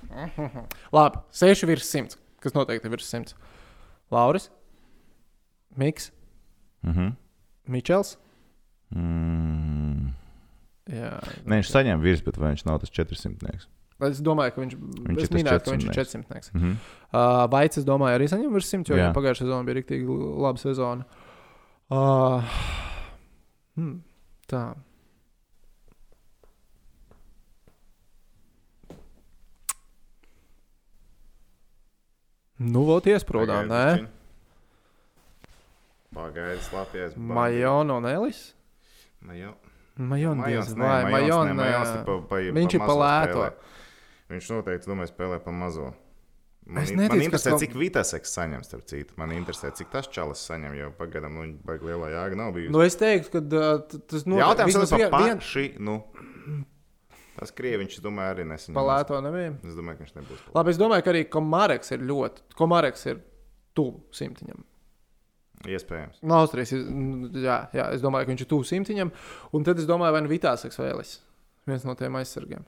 Speaker 1: Mhm. Labi, seši virs 100, kas noteikti ir virs 100. Lauris, Miks,
Speaker 2: Mhm.
Speaker 1: Mičels.
Speaker 2: Mm.
Speaker 1: Jā,
Speaker 2: Nē, viņš saņem virs, bet vai viņš nav tas 400?
Speaker 1: es domāju, ka viņš,
Speaker 2: Viņš
Speaker 1: viņš
Speaker 2: ir
Speaker 1: es
Speaker 2: tas
Speaker 1: minēju, ka viņš ir 400.
Speaker 2: Mm -hmm.
Speaker 1: Uh, Vaits, es domāju, arī saņem virs 100, jo
Speaker 2: Jā.
Speaker 1: viņam pagājušā sezona bija rīktīgi laba sezona. Uh, hmm, tā. Nu, vēl iesprūdām, nē.
Speaker 2: Pagaidiet, slapjies.
Speaker 1: Majona un Elis.
Speaker 2: Majo.
Speaker 1: Majona
Speaker 2: Majons,
Speaker 1: diez
Speaker 2: nē,
Speaker 1: vai.
Speaker 2: Majons, nē,
Speaker 1: Majona.
Speaker 2: Majons ir pa- pa-
Speaker 1: viņš ir
Speaker 2: mazo
Speaker 1: pa lēto.
Speaker 2: spēlē. Viņš noteikti, domāju, spēlē pa mazo. Man,
Speaker 1: Es
Speaker 2: in- man
Speaker 1: neticu, ka
Speaker 2: interesē,
Speaker 1: kaut-
Speaker 2: cik Vitaseks saņem, starp citu. Man interesē, cik tas čalis saņem, jo pagaidām nu, viņa baigi lielā jāga nav bijusi. Nu,
Speaker 1: Nu, es teiktu, ka uh, t- tas
Speaker 2: nu,
Speaker 1: notiek.
Speaker 2: Jautājums
Speaker 1: vismaz
Speaker 2: ir
Speaker 1: vien-
Speaker 2: par
Speaker 1: vien-
Speaker 2: paši. Nu, tas krieviņš, es domāju, arī nesaņem.
Speaker 1: Pa lēto nebija.
Speaker 2: Es domāju, ka viņš nebūs. pa
Speaker 1: Labi, es domāju, ka arī Komāreks ir ļoti. Komāreks ir tuvu simtiņam.
Speaker 2: lētu. Iespējams.
Speaker 1: No Nu, Austrijas, iz- n- jā, jā, es domāju, ka viņš ir tuvu simtiņam. Un tad es domāju, vai nu Vitāsaks vai Elis. Viens no tiem aizsargiem.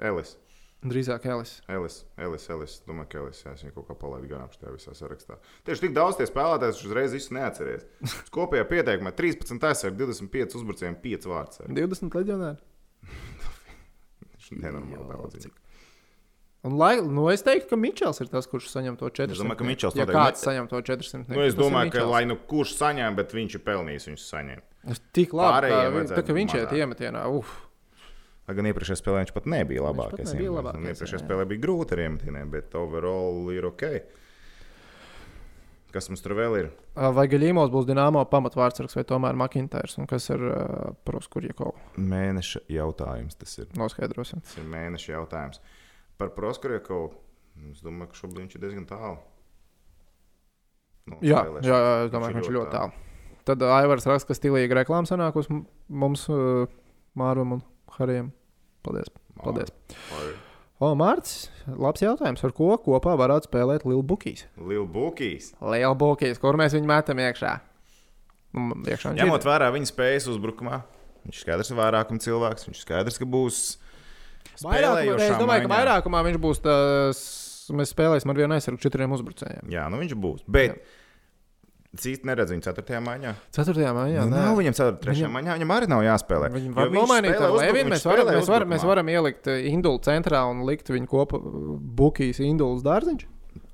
Speaker 2: Elis.
Speaker 1: Drīzāk Elis.
Speaker 2: Elis, Elis, Elis, domāju, ka Elis, jā, es viņu kaut kā palaidu garām šajā visā sarakstā. Tieši tik daudz tie spēlētāji, es uzreiz visu neatceries. Es Kopējā pieteikumā 13 aizsargi, 25 uzbrucējiem, 5 vārdsargi.
Speaker 1: 20 leģionāri.
Speaker 2: Viņš ir nenormāli daudz.
Speaker 1: Un, lai, nu, es teiktu, ka Mičels ir tas, kurš saņem to 400.
Speaker 2: domāju, ka Mičels
Speaker 1: ja
Speaker 2: noteikti-
Speaker 1: kāds saņem to 400.
Speaker 2: Nu, es domāju, ka lai nu kurš saņem, bet viņš ir pelnījis, viņš saņem.
Speaker 1: tas tik labi, ka,
Speaker 2: pārējiem
Speaker 1: vi- tā, ka
Speaker 2: vajadzētu
Speaker 1: viņš iet
Speaker 2: mazāk.
Speaker 1: iemetienā. Uf,
Speaker 2: Lai gan iepriekšējā spēlē viņš pat nebija
Speaker 1: pat
Speaker 2: labākais.
Speaker 1: nebija
Speaker 2: iemetiens.
Speaker 1: labākais,
Speaker 2: Un Iepriekšējā
Speaker 1: jā.
Speaker 2: spēlē bija grūti ar iemetieniem, bet overall ir ok. Kas mums tur vēl ir?
Speaker 1: vai Gaļījumos būs Dienāmo pamatvārdsargs vai tomēr Makintārs un kas ir uh, Proskurjekovs?
Speaker 2: Mēneša jautājums tas ir.
Speaker 1: Noskaidrosim.
Speaker 2: Tas ir mēneša jautājums. Par Proskurieku es domāju, ka šobrīd viņš ir diezgan tālu. Nu,
Speaker 1: Jā,
Speaker 2: spēlēšanas.
Speaker 1: jā, jā, es domāju, ka viņš ir ļoti tālu. Tad uh, Aivars raksta, ka stilīgi reklāmas sanākus m- mums, uh, Mārim un Harijam. Paldies. Paldies. O, Mārcis, labs jautājums. Ar ko kopā varētu spēlēt Lielu Bukīs?
Speaker 2: Liela Bukīs.
Speaker 1: Lielu Bukīs, kur mēs viņu metam iekšā? Nu, iekšā viņš
Speaker 2: Ņemot
Speaker 1: ir.
Speaker 2: vērā viņa spējas uzbrukumā, viņš ir skaidrs, ka vairākums cilvēks, viņš ir skaidrs, ka būs.
Speaker 1: Vairākumā, es
Speaker 2: spēlējošā
Speaker 1: domāju, ka
Speaker 2: maiņā.
Speaker 1: vairākumā viņš būs tas, mēs spēlēsim ar vienu aizsargu četriem uzbrucējiem.
Speaker 2: Jā, nu viņš būs. Bet es īsti neredzu viņu 4. maijā.
Speaker 1: Ceturtajā mājā.
Speaker 2: Jā, nu,
Speaker 1: nē.
Speaker 2: nav viņam 4. Viņam... maijā, viņam arī nav jāspēlē.
Speaker 1: Viņu
Speaker 2: Jo
Speaker 1: var
Speaker 2: viņš
Speaker 1: nomainīt
Speaker 2: spēlē
Speaker 1: ar
Speaker 2: uzbrukumā,
Speaker 1: Levinu.
Speaker 2: viņš
Speaker 1: Mēs, varam-
Speaker 2: spēlē
Speaker 1: mēs, varam- mēs
Speaker 2: uzbrukumā.
Speaker 1: varam ielikt eh, Indulu centrā un likt viņu kopā Bukijas Indulas dārziņš.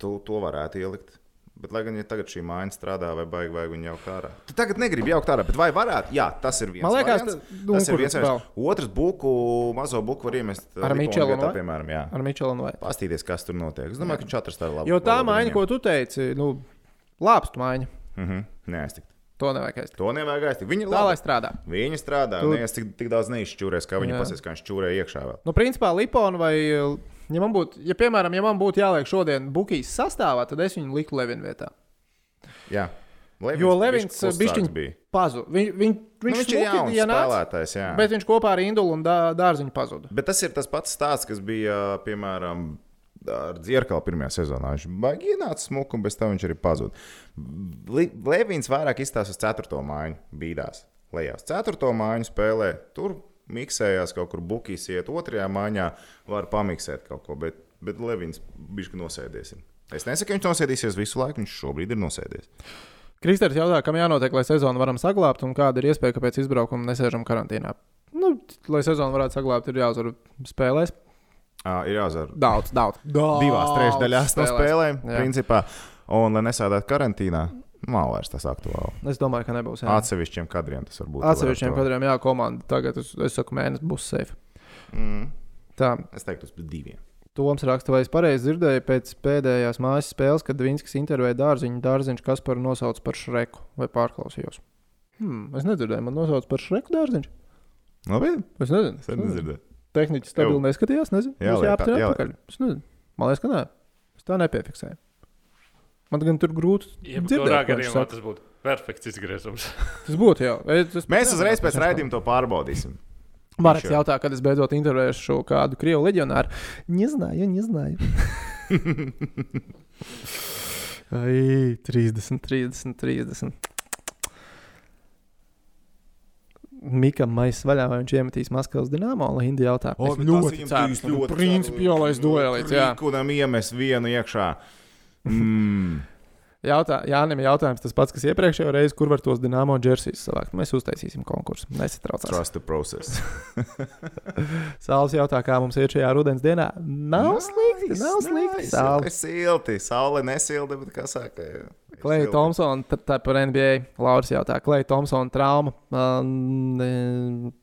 Speaker 2: Tu to varētu ielikt. Bet, lai gan ja tagad šī māja strādā, vai baigi, vai viņa jau kārā. Tu tagad negribi jaukt ārā, bet vai varētu? Jā, tas ir viens.
Speaker 1: Man liekas,
Speaker 2: variants.
Speaker 1: tas- nu,
Speaker 2: tas
Speaker 1: un
Speaker 2: ir
Speaker 1: kur
Speaker 2: viens.
Speaker 1: vēl?
Speaker 2: variants. Otrs buku, mazo buku var iemest
Speaker 1: Ar
Speaker 2: Lipona
Speaker 1: Mičelu,
Speaker 2: vietā,
Speaker 1: vai?
Speaker 2: piemēram. Jā.
Speaker 1: Ar Mičelu un Vaitu.
Speaker 2: Pastīties, kas tur notiek. Es domāju, ka viņš atrast tādu labu.
Speaker 1: Jo tā
Speaker 2: labu
Speaker 1: maiņa,
Speaker 2: viņiem.
Speaker 1: ko tu teici, nu, lāpstu maiņa,
Speaker 2: Mhm. Neaiztikt.
Speaker 1: to nevajag aizstāt.
Speaker 2: To nevajag aiztikt. Viņa
Speaker 1: Tā lai
Speaker 2: labi.
Speaker 1: strādā.
Speaker 2: Viņa strādā.
Speaker 1: Tu-
Speaker 2: Tu... Nē, es tik, tik daudz neizšķūrēs, kā
Speaker 1: Jā.
Speaker 2: viņa pasies, kā viņš čūrē iekšā vēl.
Speaker 1: Nu, principā, Lipona vai, eh, ja man būtu, ja, piemēram, ja man būtu jāliek šodien Bukijas sastāvā, tad es viņu liktu Levinu vietā.
Speaker 2: Jā. Levins,
Speaker 1: Jo Levins uh,
Speaker 2: bišķi klusāks
Speaker 1: bišķiņ
Speaker 2: bija.
Speaker 1: pazu. Viņ, viņ, viņš
Speaker 2: Nu,
Speaker 1: viņš
Speaker 2: viņš ir jauns
Speaker 1: ir jauns.
Speaker 2: spēlētājs. Jā.
Speaker 1: Bet viņš kopā ar Indulu un dā- dārziņu pazuda.
Speaker 2: Bet tas ir tas pats stāsts, kas bija piemēram. Ar dzirkalu pirmajā sezonā viņš baigi ienāca smuku, un bez tam viņš arī pazuda. Li- Levins vairāk izstāsta uz 4. mājiņu, bīdās. Lejā uz 4. mājiņu spēlē, tur miksējās kaut kur bukīs, iet otrajā maiņā, var pamiksēt kaut ko. Bet, bet Levins bija nosēdies. Es nesaku, ka viņš nosēdīsies visu laiku, viņš šobrīd ir nosēdies.
Speaker 1: Kristers jautā, kam jānotiek, lai sezonu varam saglabāt, un kāda ir iespēja, ka pēc izbraukuma nesēžam karantīnā. Nu, lai sezonu varētu saglabāt, ir jāuzvar spēlēs.
Speaker 2: Ā, Ir jāzara
Speaker 1: Daudz, daudz. daudz
Speaker 2: divās trešdaļās no
Speaker 1: spēlēs.
Speaker 2: spēlēm,
Speaker 1: Jā.
Speaker 2: principā. Un, lai nesēdētu karantīnā, nav vairs tas aktuāli.
Speaker 1: Es domāju, ka nebūs. jā.
Speaker 2: Atsevišķiem kadriem tas var būt. vēl
Speaker 1: Atsevišķiem
Speaker 2: aktuāli.
Speaker 1: kadriem, jā, komanda. Tagad es, es saku, mēnesis būs safe.
Speaker 2: Mm.
Speaker 1: Tā,
Speaker 2: Es teiktu, uz diviem.
Speaker 1: Toms raksta, vai es pareizi dzirdēju pēc pēdējās mājas spēles, kad Vinskis intervēja dārziņu, dārziņš Kasparu nosauca par Šreku vai pārklausījos. Hmm, es nedzirdēju, man nosauca par Šreku dārziņu. Nu,
Speaker 2: Labi,
Speaker 1: Es nezinu.
Speaker 2: es arī dzirdēju.
Speaker 1: Tehniski stabili
Speaker 2: Jau.
Speaker 1: neskatījās, nezinu.
Speaker 2: Jā,
Speaker 1: Jā,
Speaker 2: liek
Speaker 1: jā,
Speaker 2: tā-
Speaker 1: tā
Speaker 2: jā,
Speaker 1: ir. Man liekas, ka nē. Es tā nepiefiksēju. Man gan tur grūti.
Speaker 3: Jebkurā
Speaker 1: ko viņš
Speaker 3: gadījumā
Speaker 1: saka.
Speaker 3: tas būtu perfekts izgriezums.
Speaker 1: Tas būtu jau. Es, es,
Speaker 2: Mēs uzreiz
Speaker 1: es-
Speaker 2: pēc raidījuma to pārbaudīsim.
Speaker 1: Marks
Speaker 2: Viņš jau-
Speaker 1: jautā, kad es beidzot intervēšu kādu krievu leģionāru. Nezināju, nezināju. Ai, 30, 30, 30. Mikam maisa vaļā, vai viņš iemetīs Maskavas dīnāmo, lai Indija jautā. Es ceru, ka nu principiālais duelis. jā.
Speaker 2: Kādam iemest vienu iekšā? Mm.
Speaker 1: Jautā, Jānim jautājums tas pats, kas iepriekšējā reizē, kur var tos dīnāmo džersijas savākt. Mēs uztaisīsim konkursu. Nesatraucās.
Speaker 2: Trust the process.
Speaker 1: Sāles jautā, kā mums iet šajā rudens dienā. Nav slikti, nav slikti. Sāle.
Speaker 2: Saule silti, saule nesilda, bet kas saka?
Speaker 1: Klajs Thompsons, tad tā par NBA. Lauris jautā, Klajs Thompsons trauma. Um, e,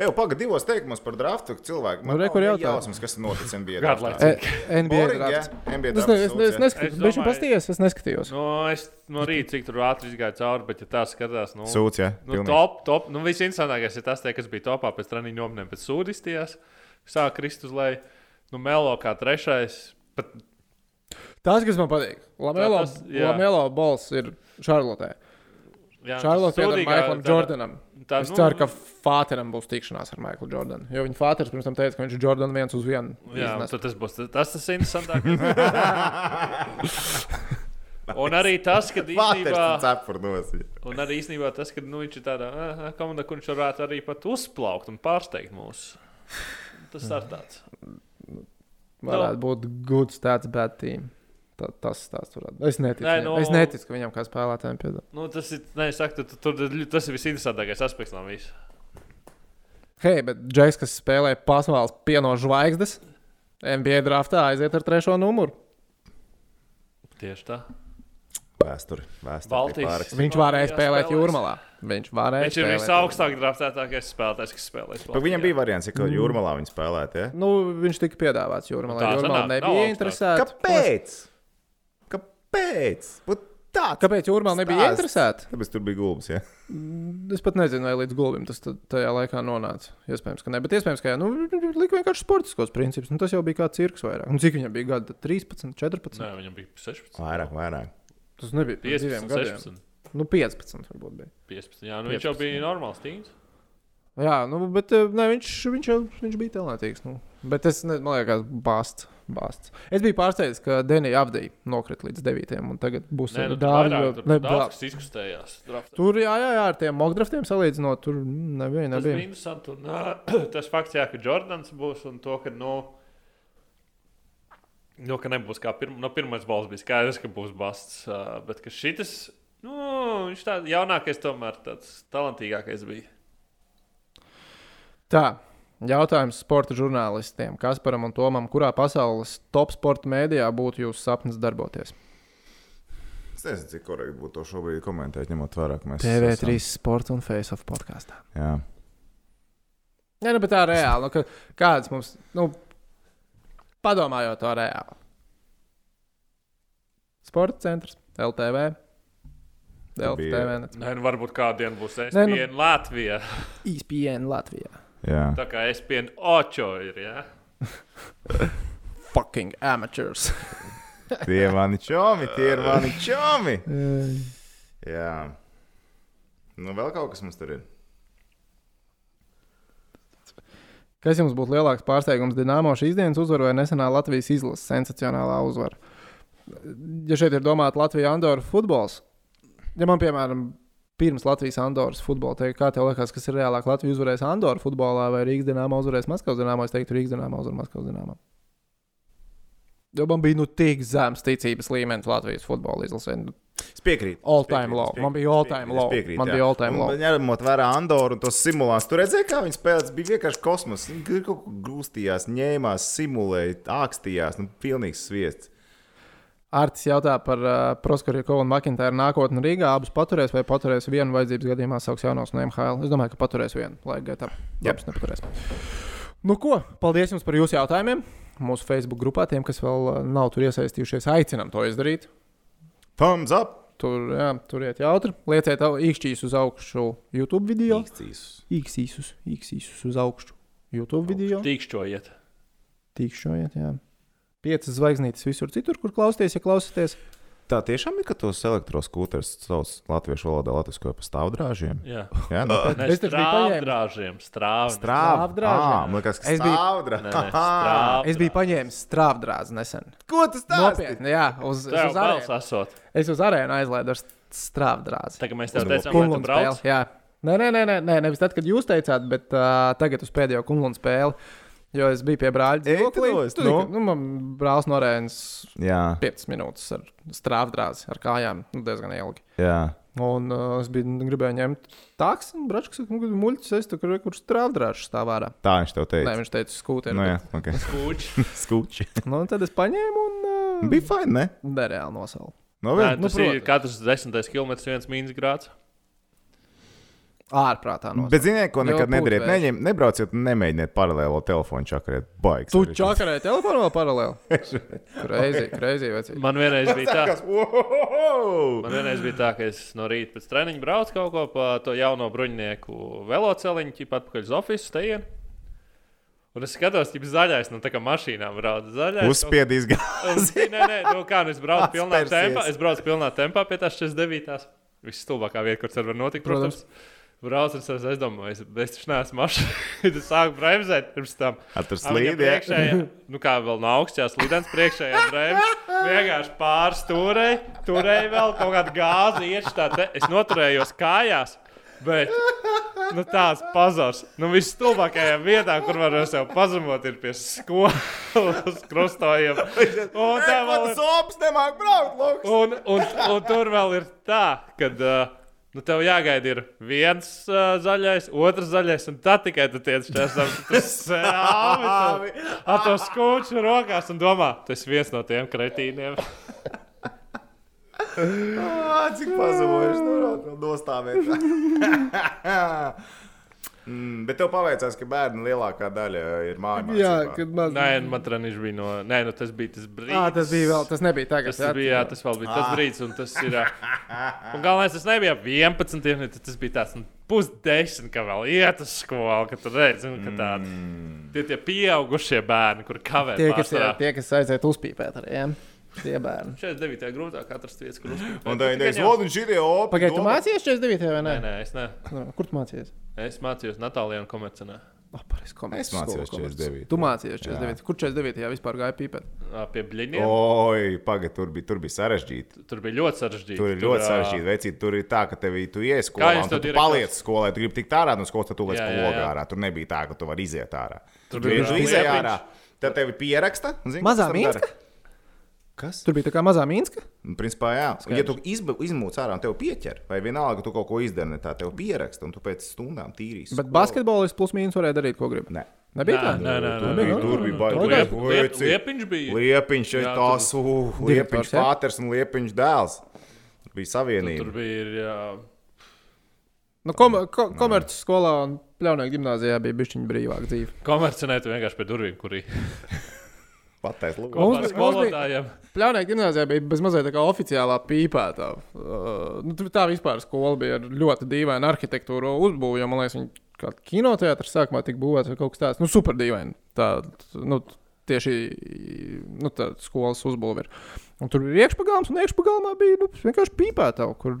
Speaker 2: Ej, pagaidi, divos teikumos par draftu cilvēku. Man
Speaker 1: Nu, re,
Speaker 2: nav
Speaker 1: kur
Speaker 2: ne
Speaker 1: jautā?
Speaker 2: jausmas, kas notic NBA.
Speaker 3: Garlaicīgi.
Speaker 2: draftā.
Speaker 1: e, NBA
Speaker 2: Boring, jā,
Speaker 1: drafts.
Speaker 2: NBA
Speaker 1: Es, ne, es, ne, es
Speaker 2: drafts.
Speaker 1: neskatījos,
Speaker 3: Es
Speaker 1: bet viņš
Speaker 3: domāju-
Speaker 1: pastījās, es neskatījos.
Speaker 3: Nu, es no rīta cik tur ātri izgāju cauri, bet ja tā skatās, nu,
Speaker 2: Sūds, jā.
Speaker 3: Nu,
Speaker 2: pilnīgi.
Speaker 3: top, top. Nu, viss interesantākais ir tas, te, kas bija topā pēc treniņa nomiem, pēc sūdistījās. Sāk krist uz leju. Nu, Melo kā trešais. Pat,
Speaker 1: Tas, kas man patīk, Lamelo,
Speaker 3: tas- jā.
Speaker 1: Lamelo balss ir Šarlotē.
Speaker 3: jā, nu,
Speaker 1: Šarlotē ir
Speaker 3: sūdīgā-
Speaker 1: Maiklam
Speaker 3: tādā-
Speaker 1: Jordanam.
Speaker 3: tā, nu-
Speaker 1: Es ceru, ka Fāteram būs tikšanās ar Maiklu Jordanu. Jo viņa Fāters pirms tam teica, ka viņš ir Jordans viens uz vienu.
Speaker 3: Jā,
Speaker 1: iznes.
Speaker 3: tad tas būs tas, tas interesantākais. un arī tas, ka
Speaker 2: Vāters
Speaker 3: īstenībā,
Speaker 2: cepur nosīt.
Speaker 3: un arī īstenībā tas, ka nu, viņš ir tādā ā, ā, komandā, kur viņš varētu arī pat uzplaukt un pārsteigt mūs. Tas ir tāds.
Speaker 1: Varētu būt good stats, bad team. Tā, tas stāsts varētu. Es neticu.
Speaker 3: Nē,
Speaker 1: Nē,
Speaker 3: nu-
Speaker 1: no... Es neticu, ka viņam kā spēlētājiem piedod.
Speaker 3: Nu, tas ir, ne, es saku, tu, tu, tu, tas ir visinteresantākais aspekts no visa.
Speaker 1: Hei, bet Džeks, kas spēlē pasaules pieno zvaigznes, NBA draftā aiziet ar trešo numuru.
Speaker 3: Tieši tā.
Speaker 2: Vēsture. Vēsture.
Speaker 3: Baltijas.
Speaker 2: tiek pārrakst-
Speaker 1: Viņš varēja spēlēt jūrmalā. Viņš varēja.
Speaker 3: Viņš ir
Speaker 1: spēlēt jūrmalā.
Speaker 3: visaugstāk draftētākais spēlētājs, kas spēlēs.
Speaker 2: Pa Viņam bija variants, ja ka
Speaker 1: Mm.
Speaker 2: jūrmalā viņi spēlēja. Ja?
Speaker 1: Nu, viņš tika piedāvāts jūrmalā.
Speaker 3: Nu, Tā
Speaker 1: Tā jūrmalā
Speaker 3: sanāk, nav
Speaker 1: nebija
Speaker 3: augstāk.
Speaker 1: interesēta.
Speaker 2: Kāpēc? Kāpēc? Būt tāds.
Speaker 1: Kāpēc jūrmalā nebija
Speaker 2: Stāsts.
Speaker 1: interesēta?
Speaker 2: Tāpēc tur bija gulbis. Ja?
Speaker 1: Es pat nezinu, vai līdz gulbim tas tad tajā laikā nonāca. Iespējams, ka ne. Bet iespējams, ka jā, nu, lika vienkārši sportiskos principus. Nu, tas jau bija kā cirks vairāk. Un cik viņam bija gadi? Tad 13, 14?
Speaker 3: Nē, viņam bija 16,
Speaker 2: Vairāk, vairāk.
Speaker 1: Tas nebija pirms diviem
Speaker 3: 15,
Speaker 1: gadiem.
Speaker 3: 16.
Speaker 1: Nu, 15 varbūt bija.
Speaker 3: 15. Jā, nu, viņš jau bija normāls tīns.
Speaker 1: Jā, nu, bet eh, ne, viņš, viņš, jau, viņš bija talantīgs. Nu. Bet es ne- man liekas, bāsts, bāsts. Es biju pārsteigts, ka Denija apgabala nokrita līdz 9. un tagad būs
Speaker 3: Nē, nu,
Speaker 1: arī
Speaker 3: tur vairāk, tur
Speaker 1: ne,
Speaker 3: bija
Speaker 1: dā-
Speaker 3: daudz, kas izkustējās. draftā.
Speaker 1: Tur jā, jā, jā, ar tiem mokdraftiem salīdzinot, tur mm, nebija.
Speaker 3: Tas bija
Speaker 1: nebija.
Speaker 3: interesanti. Un, tas fakts, jā, ka Jordans būs un to, ka, nu, nu ka nebūs kā pirma, no pirmais balss, bija skaidrs, ka būs basts. ā, Bet ka šis, nu, viņš tāds jaunākais, tomēr tāds talantīgākais bija.
Speaker 1: Tā. Jautājums sporta žurnālistiem, Kasparam un Tomam, kurā pasaules top sporta mēdījā būtu jūsu sapnis darboties?
Speaker 2: Es nezinu, cik korekti būtu to šobrīd komentēt, ņemot vērā, ka mēs
Speaker 1: TV3 sporta un face-off podkāstā.
Speaker 2: esam- Jā.
Speaker 1: Nē, nu, bet tā reāli. Nu, ka, kāds mums, nu, padomājot to reāli? Sports centrs, LTV. LTV. net.
Speaker 3: Nē, nu, varbūt kādā dienā būs
Speaker 1: Nē, nu-
Speaker 3: SPN Latvijā.
Speaker 1: ESPN Latvijā.
Speaker 2: Jā.
Speaker 3: Tā kā SPN Ocho ir. Ja?
Speaker 1: Fucking amateurs.
Speaker 2: Tie ir mani čomi, tie ir mani čomi. Jā. Nu, vēl kaut kas mums tur ir.
Speaker 1: Kas jums būtu lielāks pārsteigums? Dienāmo šīs dienas uzvara vai nesenā Latvijas izlases sensacionālā uzvara? Ja šeit ir domāta Latvija Andorra futbols, ja man, piemēram, pirms Latvijas Andoras futbola. Te, kā tev liekas, kas ir reālāk? Latvija uzvarēs Andoru futbolā vai Rīgas dīnāmā uzvarēs Maskavas dīnāmā? Es teiktu, Rīgas dīnāmā uzvarēs Maskavas dīnāmā. Jo man bija nu tik zems ticības līmenis Latvijas futbola izlasē. Nu,
Speaker 2: Es piekrītu.
Speaker 1: All
Speaker 2: Es
Speaker 1: time
Speaker 2: piekrītu,
Speaker 1: low.
Speaker 2: es
Speaker 1: Man bija
Speaker 2: piekrītu,
Speaker 1: all
Speaker 2: es piekrītu,
Speaker 1: time low.
Speaker 2: es Piekrītu,
Speaker 1: Man
Speaker 2: jā.
Speaker 1: bija all time
Speaker 2: Un,
Speaker 1: low.
Speaker 2: Ņemot vērā Andoru un tos simulācijas, tur redzēja, kā viņas spēlēja. Bija vienkārši kosmos. Viņi kaut ko grūstījās, ņēmās, simulēja, ākstījās. Nu, pilnīgs sviests.
Speaker 1: Artis jautā par uh, Proskurīko un Makintāru nākotni Rīgā. Abus paturēs vai paturēs vienu vajadzības gadījumā, sauks jaunos no MHL. Es domāju, ka paturēs vienu laika gaitā.
Speaker 2: Jā.
Speaker 1: Jā, tas nepaturēs. Nu ko, paldies jums par jūsu jautājumiem. Mūsu Facebook grupā tiem, kas vēl uh, nav tur iesaistījušies, aicinam to izdarīt.
Speaker 2: Thumbs up!
Speaker 1: Tur, jā, turiet jautri, lieciet au- īkšķīs uz augšu YouTube video.
Speaker 2: Īstīsus.
Speaker 1: Īkšķīs, īkšķīs uz augšu YouTube video.
Speaker 3: Tīkšķojiet.
Speaker 1: Tikšojiet, jā. Piecas zvaigznītes visur citur, kur klausties, ja klausāties.
Speaker 2: Tā tiešām ir, ka tos elektroskūters sauc latviešu valodā latviešu par stāvdrāžiem.
Speaker 3: Jā.
Speaker 2: Jā, nu,
Speaker 3: Nē,
Speaker 1: Es taču biju paņēmis.
Speaker 3: strāvdrāžiem, strāvdrāžiem.
Speaker 2: Strāvdrāžiem.
Speaker 1: Strāvdrāžiem.
Speaker 2: Ah, man liekas, ka
Speaker 1: Es biju-
Speaker 3: Nē, nē,
Speaker 2: strāvdrāžiem.
Speaker 3: strāv-
Speaker 1: Es biju paņēmis strāvdrāzi nesen.
Speaker 2: Ko tas tāds?
Speaker 1: Nopietni, jā, uz, es
Speaker 3: Tev
Speaker 1: uz
Speaker 3: balss
Speaker 1: arēnu.
Speaker 3: esot.
Speaker 1: Es uz arēnu aizlaidu ar st- strāvdrāzi.
Speaker 3: Tā kā mēs tev
Speaker 2: Uz
Speaker 3: teicām, ka tu
Speaker 1: Kunglunds
Speaker 3: brauc.
Speaker 1: spēle, jā. Nē, nē, nē, nē, nē, nevis tad, kad jūs teicāt, bet uh, tagad uz pēdējo kunglundu spēli. Jo es biju pie brāļa.
Speaker 2: Ei,
Speaker 1: dzīvoklī.
Speaker 2: tu dos,
Speaker 1: Tu
Speaker 2: nu?
Speaker 1: zini, ka, Nu, man brālis norēns
Speaker 2: Jā,
Speaker 1: 5 minūtes ar strāvdrāzi, ar kājām. Nu, diezgan ilgi.
Speaker 2: jā.
Speaker 1: Un uh, es biju, gribēju ņemt tādu brāļus, kas man nu, muļķis, es tur kaut kur strādāšu stāvā.
Speaker 2: Tā viņš tev
Speaker 1: Nē,
Speaker 2: teica.
Speaker 1: viņš teica, skūteri.
Speaker 2: Nu,
Speaker 1: No,
Speaker 2: jā, ok.
Speaker 3: Kūči.
Speaker 2: Skuči.
Speaker 1: nu, un tad es paņēmu un uh,
Speaker 2: Bija fajn, ne?
Speaker 1: nereāli nosaucu.
Speaker 2: No
Speaker 3: Nē,
Speaker 2: vienas
Speaker 1: nu,
Speaker 3: tas ir
Speaker 1: protams.
Speaker 3: katrs desmitais kilometrs viens mīnus grāds.
Speaker 1: Ārprātā no.
Speaker 2: Bet ziniet, ko
Speaker 1: Jo
Speaker 2: nekad
Speaker 1: pūtu
Speaker 2: nedariet?
Speaker 1: vējš.
Speaker 2: Neņem, nebrauciet un nemēģiniet paralēlo telefonu čakarēt. Baigs.
Speaker 1: Tu čakarēji telefonu vēl paralēli? Kreizī, kreizī vecī.
Speaker 3: Man vienreiz bija tā.
Speaker 2: Wow!
Speaker 3: Man vienreiz bija tā, ka es no rīta pēc treniņa braucu kaut ko pa to jauno bruņinieku veloceliņu, ķip atpakaļ uz oficiālu stejienu. Un es skatos, kā zaļais no tā kā mašīnām brauc. Zaļais.
Speaker 2: Uzspiedīs
Speaker 3: Un-
Speaker 2: gāzi.
Speaker 3: Nē, nē, nē, nu kā nu es braucu pilnā
Speaker 2: Atspērsies.
Speaker 3: tempā. Es braucu pilnā tempā pie tās 49. Visstulbākā vieta, kur tas var notikt, protams. Braucu, un es aizdomāju, es, es taču neesmu mašīna. Tad sāku bremzēt pirms tam.
Speaker 2: Ar tur
Speaker 3: A, viņam
Speaker 2: slīdi. jā.
Speaker 3: priekšējā, Nu, kā vēl no augšas līdzenas priekšējā brēmē. Vienkārši pārstūrēju, turēju vēl kaut kādu gāzi, iešķirtā. Es noturējos kājās. Bet nu, tāds pazars. Nu, Visstulbākajā vietā, kur var sev pazemot, ir pie skolas krustojuma. Un tā
Speaker 2: Ei,
Speaker 3: vēl
Speaker 2: ko
Speaker 3: ir.
Speaker 2: tas opis nemāk braukt, loks.
Speaker 3: Un, un, un tur vēl ir tā, ka uh, nu, tev jāgaida ir viens uh, zaļais, otrs zaļais, un tad tikai tu tiec šeit stāvi ar to skūču rokās un domā, tas viens no tiem kretīniem.
Speaker 2: Ā, Cik pazemojuši tur vēl nostāvēt. Mm, Bet tev paveicās, ka bērnu lielākā daļa ir mājās.
Speaker 1: Jā, kad man.
Speaker 3: Nē, nu, man treniņš bija no. Nē, nu, tas bija tas brīdis.
Speaker 1: Ā, tas bija vēl, tas nebija tagad.
Speaker 3: Tas bija, jā, tas vēl bija
Speaker 2: Ah.
Speaker 3: tas brīdis, un tas ir. ā, Un galvenais, tas nebija ap 11. dienā, tas bija tāds nu, pusdesmit, ka vēl iet uz skolu, ka tur redz, un, ka tādi
Speaker 2: Mm.
Speaker 3: tie, tie pieaugušie bērni, kur kavē.
Speaker 1: Tie, kas, jā,
Speaker 3: pārsvarā.
Speaker 1: tie, kas aiziet uzpīpēt ar viņiem, tie bērni.
Speaker 3: 49. grūtāk atrast vietas, kur uzlikt.
Speaker 2: Un tā ir
Speaker 3: Bet
Speaker 2: tā
Speaker 3: tikai
Speaker 2: līnija, un šī ir opis.
Speaker 1: Pagaidiet, tu mācījies 49. vai ne?
Speaker 3: Nē, nē, es, ne.
Speaker 1: nē. Kur tu mācījies?
Speaker 3: es mācījos Natālijā un Komercinā
Speaker 1: Oh, pareiz, komerces
Speaker 2: Es mācījos
Speaker 1: skolu, komerces.
Speaker 2: 49.
Speaker 1: Tu mācījies 49. Kur 49. jā vispār gāja pīpēt?
Speaker 3: ā, pie Bļiņiem.
Speaker 2: Oi, pagaidi, tur bija, tur bija sarežģīti.
Speaker 3: Tur bija ļoti sarežģīti.
Speaker 2: Tur ir
Speaker 3: ā,
Speaker 2: ļoti sarežģīti. Vecīt, tur ir tā, ka tev ir jāies skolā,
Speaker 3: jūs
Speaker 2: un
Speaker 3: to
Speaker 2: tad tu
Speaker 3: direktors-
Speaker 2: paliec skolā. Tu gribi tikt ārā no skolas, tad tu lec
Speaker 3: Jā, jā,
Speaker 2: logā
Speaker 3: jā.
Speaker 2: ārā. Tur nebija tā, ka tu vari iziet ārā.
Speaker 3: Tur
Speaker 2: Tur
Speaker 3: bija
Speaker 2: bija
Speaker 3: liepiņš.
Speaker 2: iziet ārā. Tad tevi pieraksta. un Zini,
Speaker 1: Mazā
Speaker 2: kas tam dara?
Speaker 1: Minska?
Speaker 2: Kas?
Speaker 1: Tur bija tā kā mazā Mīnska.
Speaker 2: Nu, Principā, jā. Un, ja tu izb- izmūc ārā un tev pieķer, vai vienalga, tu kaut ko izdari, ne tā tev pieraksta, un tu pēc stundām tīrīsi.
Speaker 1: Bet basketbolists plus mīnus varēja darīt, ko grib.
Speaker 2: Nē.
Speaker 1: Nebija tā?
Speaker 3: Nē, nē, nē,
Speaker 2: Tur
Speaker 3: nē,
Speaker 2: bija-
Speaker 3: nē,
Speaker 2: tur
Speaker 3: nē,
Speaker 2: bija
Speaker 3: nē,
Speaker 2: baigi.
Speaker 3: tur liep-
Speaker 2: Liep-
Speaker 3: liep-
Speaker 2: lieci.
Speaker 3: Liepiņš bija.
Speaker 2: Liepiņš,
Speaker 3: Jā,
Speaker 2: jā,
Speaker 3: tur-
Speaker 2: tās, uh, liepiņš
Speaker 1: Direktors, jā?
Speaker 2: pāters un liepiņš dēls. Tur bija savienība.
Speaker 3: Tur bija ir, jā,
Speaker 1: Nu, kom ko komerces skolā un pļaunīgi gimnājā bija bišķiņa brīvāka dzīve.
Speaker 3: komercinē, tu vienkārši pie durvīm, kur ir
Speaker 2: Patais, lūk.
Speaker 1: Mums
Speaker 3: kopā ar
Speaker 1: bija- mums bija-
Speaker 3: skolotājiem.
Speaker 1: Pļaunīgi gimnājā bija bezmazliet tā kā oficiālā pīpētā. Uh, nu, tur tā vispār skola bija ar ļoti dīvainu arhitektūru uzbūvi, jo man liekas, viņi kā kinoteātris sākumā tika būvēts vai kaut kas tāds. Nu, super dīvaini. Tā, nu, tieši nu, tā skolas uzbūve ir. Un tur bija iekšpagalms un iekšpagalmā bija nu, vienkārši pīpētā, kur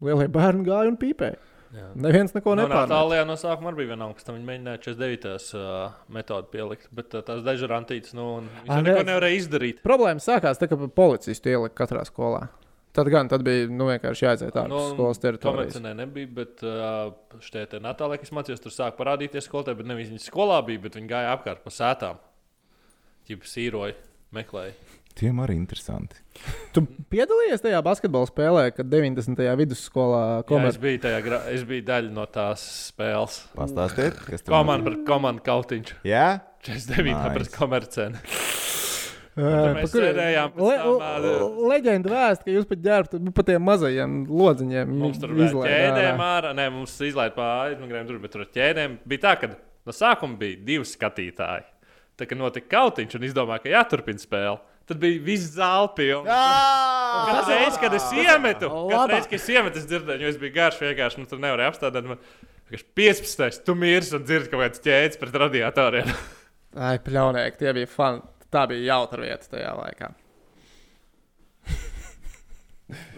Speaker 1: lielie bērni gāja un pīpēja.
Speaker 3: Jā.
Speaker 1: Neviens neko
Speaker 3: No
Speaker 1: nepārnāca.
Speaker 3: Nu, Natālijā no sākuma arī bija vienalga, pēc tam viņi mēģināja 49. Uh, metodi pielikt, bet uh, tās daži rantītas, nu, un viņš
Speaker 1: Ā,
Speaker 3: jau neko
Speaker 1: nē.
Speaker 3: nevarēja izdarīt.
Speaker 1: Problēma sākās tad, kad policistu ielika katrā skolā. Tad gan tad bija nu, vienkārši jāiziet ārpus
Speaker 3: Nu,
Speaker 1: no, skolas teritorijas.
Speaker 3: Komercinē nebija, bet uh, šeit ir Natālija, kas mācījās, tur sāk parādīties skolotāji, bet nevis viņas skolā bija, bet viņi gāja apkārt pa sētām. Ķipa sīroja, meklēja.
Speaker 2: Tiem arī interesanti.
Speaker 1: Tu piedalījies tajā basketbola spēlē, kad 90. vidusskolā
Speaker 3: Jā, es,
Speaker 1: komerci.
Speaker 3: biju tajā gra... es biju daļa no tās spēles.
Speaker 2: Pastāstiet, kas tur
Speaker 3: Komanda pret komandu kautiņš.
Speaker 2: Jā,
Speaker 3: 49.
Speaker 2: Nice.
Speaker 3: Nice. pret komercēnu.
Speaker 1: Ā, pa
Speaker 3: mēs
Speaker 1: kuriem-
Speaker 3: sēdējām pēc
Speaker 1: Le,
Speaker 3: tam, ā,
Speaker 1: le- leģenda vēsta, ka jūs pat ģērbtu pa tiem mazajiem lodziņiem.
Speaker 3: Mums tur bija
Speaker 1: izlaid
Speaker 3: ķēdēm
Speaker 1: ārā.
Speaker 3: ārā, nē, mums izlaiž pa aizmugurēm, tur bija tur ar ķēdēm. Bija tā, ka no sākuma bija divi skatītāji. Tā kā notika kautiņš un izdomāja, ka jāturpina spēle. Tad bija viss zāle pilna. Katru reizi, kad es iemetu,
Speaker 1: Labā.
Speaker 3: katru reizi, kad es iemetu, es dzirdēju, jo es biju garš, vienkārši nu, tur nevarēju apstādāt. Man... vienkārši 15. tu mirsi un dzirdi kaut kāds ķēdes pret radiatoriem.
Speaker 1: Ai, pļaunieki, tie bija fani. Tā bija jautra vieta tajā laikā.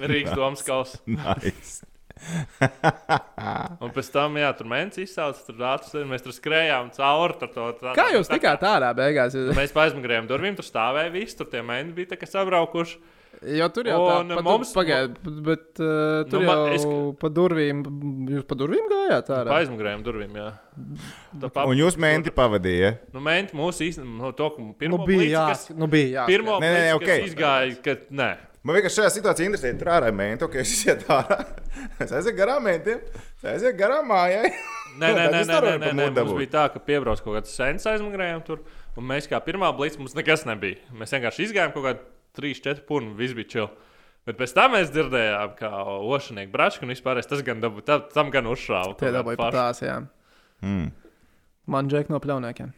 Speaker 3: Rīgas domas kausā.
Speaker 2: nice.
Speaker 3: Un pēc tam, jā, tur mēnesis izsaucās, tur rācis, mēs tur skrējām cauri. Tur, to, tā,
Speaker 1: Kā jūs tikāt ārā beigās?
Speaker 3: Mēs aizmigrējām durvīm, tur stāvēja viss, tur tie mēneši bija tā kā sabraukuši.
Speaker 1: Jo tur jau
Speaker 3: Un
Speaker 1: tā, pat, mums
Speaker 3: mums-
Speaker 1: pagaid, bet uh, tur
Speaker 3: Nu,
Speaker 1: nu,
Speaker 3: man-
Speaker 1: jau
Speaker 3: es- Nu,
Speaker 1: es... pa durvīm, jūs pa durvīm gājāt
Speaker 3: Pa
Speaker 1: ārā?
Speaker 3: aizmigrējām durvīm, jā. Tā pap...
Speaker 2: Un jūs mēnti pavadījāt. Ja?
Speaker 3: Nu, mēnesis mūsu īstenībā, no to, ka
Speaker 1: Nu
Speaker 3: pirmo
Speaker 1: bija, jā,
Speaker 3: blīci,
Speaker 1: nu bija jā.
Speaker 3: kas pirmo
Speaker 2: Nē, nē,
Speaker 3: blīci,
Speaker 2: nē,
Speaker 3: kas
Speaker 2: ok.
Speaker 3: izgāja, kad nē.
Speaker 2: Man vienkārši šajā situācijā interesē, tur ārā mēnti, ok, es izietu ārā. Es aizēju garām mēntiem, es aizēju garām mājai.
Speaker 3: Nē, nē,
Speaker 2: Tad
Speaker 3: nē,
Speaker 2: es tur
Speaker 3: nē, nē,
Speaker 2: varu
Speaker 3: nē,
Speaker 2: pa
Speaker 3: nē.
Speaker 2: muti
Speaker 3: mums
Speaker 2: dabūt.
Speaker 3: bija tā, ka piebrauc kaut kāds sens aizmigrējām tur, un mēs kā pirmā blīci mums nekas nebija. Mēs vienkārši izgājām kaut kādu 3-4 punu, viss bija čil. Bet pēc tam mēs dzirdējām, kā ošanieki braška un vispār es tas gan dabūju, tam, tam gan uzšāvu.
Speaker 1: Tie
Speaker 3: kaut kādu
Speaker 1: dabūja pat
Speaker 3: faršu.
Speaker 1: tās, jā.
Speaker 2: Mm.
Speaker 1: Man džek no pļauniekiem.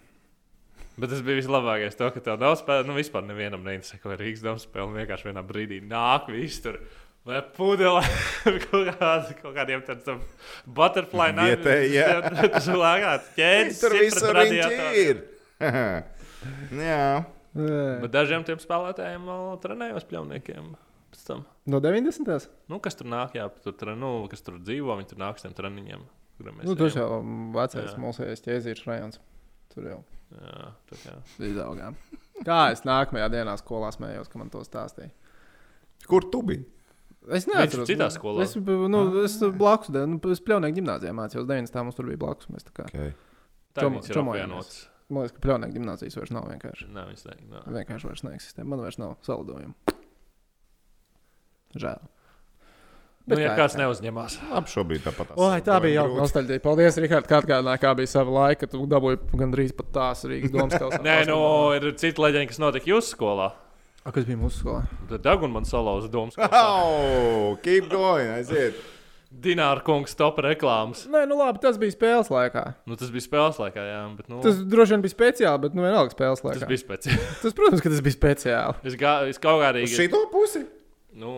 Speaker 3: Bet tas bija vislabākais, to, ka tev nav spēlēta. Nu, vispār nevienam neinteresē, ko ir Rīgas domas spēle. Vienkārši vienā brīdī nāk viss tur. Vai pudelē kaut, kād, kaut kādiem tādiem butterfly nu,
Speaker 2: Vietēji, jā.
Speaker 3: Tas ir lēkāts ķēdes.
Speaker 2: Tur
Speaker 3: cipri,
Speaker 2: viss
Speaker 3: radiatori.
Speaker 2: ir. Jā,
Speaker 1: Ē,
Speaker 3: Bet dažiem tiem spēlētājiem vēl trenējos pļauniekiem. pēc tam.
Speaker 1: No 90.
Speaker 3: Nu, kas tur nāk, jā, tur, tre- nu, kas tur dzīvo, viņi tur nāk ar tiem treniņiem. kuriem mēs
Speaker 1: Nu, tas
Speaker 3: ejam.
Speaker 1: jau vecais
Speaker 3: Jā.
Speaker 1: mūsējais ķēzīšu rajons. Tur jau
Speaker 3: Jā, tā kā.
Speaker 1: izaugām. Kā es nākamajā dienā skolā smējos, ka man to stāstīja?
Speaker 2: kur tu biji?
Speaker 1: Es
Speaker 3: Viņš
Speaker 1: neatceros.
Speaker 3: citā skolā.
Speaker 1: Es, nu, es blakus, de- nu, es pļaunieku ģimnāzijā mācījos. 90. mums tur bija blakus. Mēs tā kā.
Speaker 2: Okay.
Speaker 3: Tā
Speaker 1: Čomo-
Speaker 3: viņas ir
Speaker 1: čomojamies.
Speaker 3: apvienotas.
Speaker 1: Man liekas, ka pļaunieku ģimnāzijas vairs nav vienkārši.
Speaker 3: Nē, viņas nevienot.
Speaker 1: Vienkārši vairs neeksistē. Man vairs nav saldojumu. Žēl.
Speaker 3: Nu, ja
Speaker 1: kā
Speaker 3: kāds
Speaker 1: ir?
Speaker 3: neuzņemās.
Speaker 2: Labi, šobrīd tāpat.
Speaker 1: Oi, tā bija jauka nostalģija. Paldies, Rikārd, kā atgādināji, kā bija sava laika. Tu dabūji gandrīz pat tās Rīgas domas kausā.
Speaker 3: Nē, nu, ir cita leģenda, kas notika jūsu skolā.
Speaker 1: A, kas bija mūsu skolā?
Speaker 3: Tad Daguna man salauza domas, ka
Speaker 2: Oh, keep going, aiziet.
Speaker 3: Dināra kungs top reklāmas.
Speaker 1: Nē, nu labi, tas bija spēles laikā.
Speaker 3: Nu, tas bija spēles laikā, jā, bet nu,
Speaker 1: Tas droši vien bija speciāli, bet nu vienalga spēles
Speaker 3: tas
Speaker 1: laikā.
Speaker 3: bija speciāli.
Speaker 1: tas, protams, ka tas bija speciāli.
Speaker 3: Es, gā, es kaut kā arī.
Speaker 2: Uz šito pusi?
Speaker 3: Nu,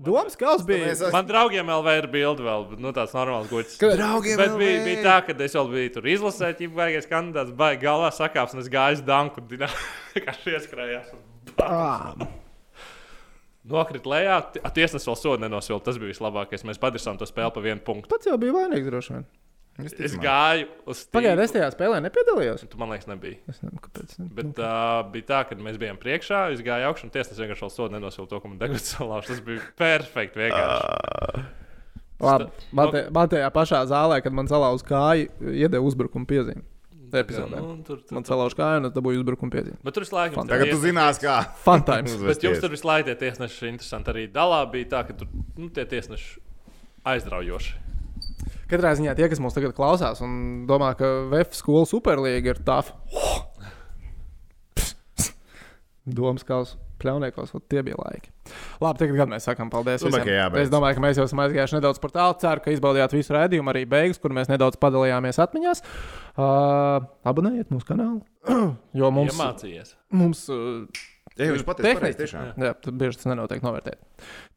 Speaker 1: Domas kausā bija.
Speaker 2: Mēs esam
Speaker 3: man draugiem LV ir bilde vēl, bet nu, tāds normāls gods.
Speaker 1: Kad-
Speaker 2: draugi.
Speaker 3: Bet bija, bija tā, ka es vēl biju tur izlasē, ja baigais kandidāts, baigais galvā sakāps, un es gāju uz Danku. Kā ieskrējās. un
Speaker 1: Ah,
Speaker 3: Nokrit lejā, t- a, tiesnesis vēl sodu nenosilda. Tas bija vislabākais. Mēs padarījām to spēli pa vienu punktu.
Speaker 1: pats jau bija vainīgs, droši vien.
Speaker 3: Es gāju uz
Speaker 1: Pagaidā,
Speaker 3: tīklu.
Speaker 1: es Nu, tajā spēlē nepiedalījos.
Speaker 3: Tu man liekas, nebija.
Speaker 1: Es nezinu, kāpēc.
Speaker 3: Bet uh, bija tā, ka mēs bijām priekšā, es gāju augšā, un tiesnesis vienkārši vēl sodu nenosilda to, ka man deguns salauž. Tas bija perfekti vienkārši.
Speaker 1: Labi,
Speaker 3: sta-
Speaker 1: man, te, man tajā pašā zālē, kad man salauza kāju, iedeva uzbrukuma piezīmi. Epizodē.
Speaker 3: Nu, tur, tur.
Speaker 1: Man salauza kāju, un es dabūju uzbrukuma piezīmi.
Speaker 3: Bet tur visu laiku jums
Speaker 2: Tagad tu zinās, kā.
Speaker 1: Fantāms.
Speaker 3: Bet jums tur visu laiku tie tiesneši ir interesanti. Arī dalā bija tā, ka tur nu, tie tiesneši aizraujoši.
Speaker 1: Katrā ziņā tie, kas mūs tagad klausās un domā, ka VF skola superlīga ir tāfa. Domas kaus, pļauniekos, vot tie bija laiki. Labi, tagad gan mēs sakām paldies.
Speaker 2: Domāju,
Speaker 1: visiem.
Speaker 2: ka jābeidz.
Speaker 1: es domāju, ka mēs jau esam aizgājuši nedaudz par tālu. Ceru, ka izbaudījāt visu raidījumu, arī beigas, kur mēs nedaudz padalījāmies atmiņās. Uh, abonējiet mūsu kanālu, jo mums,
Speaker 3: Mums... Ja mācījies.
Speaker 1: mums uh,
Speaker 2: Jā, jūs patiesi
Speaker 1: Tehniski.
Speaker 2: pareizi, tiešām.
Speaker 1: jā, tad bieži tas nenotiek novērtēt.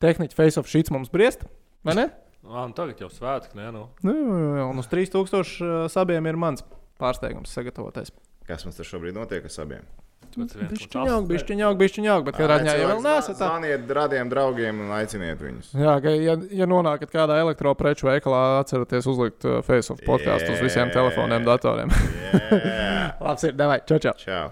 Speaker 1: Tehniķi face of sheets mums briest, vai ne?
Speaker 3: Ah, nu tagad jau svētki, nē, nu.
Speaker 1: Nu, jā, jā, jā, un uz 3000 uh, sabiem ir mans pārsteigums sagatavoties.
Speaker 2: Kas mums tur šobrīd notiek ar abiem?
Speaker 3: Tāpēc viens no tās-
Speaker 1: Bišķiņāk, bišķiņāk, bišķiņāk, bet kādā ziņā jau vēl nesat. tā.
Speaker 2: Zvaniet radiem draugiem un aiciniet viņus.
Speaker 1: Jā, ka, ja, ja nonākat kādā elektropreču veikalā, atcerieties uzlikt uh, Facebook podkāstu uz visiem
Speaker 2: Jē.
Speaker 1: telefoniem, datoriem.
Speaker 2: Jā.
Speaker 1: Labs ir, devai, čau, čau!
Speaker 2: Čau.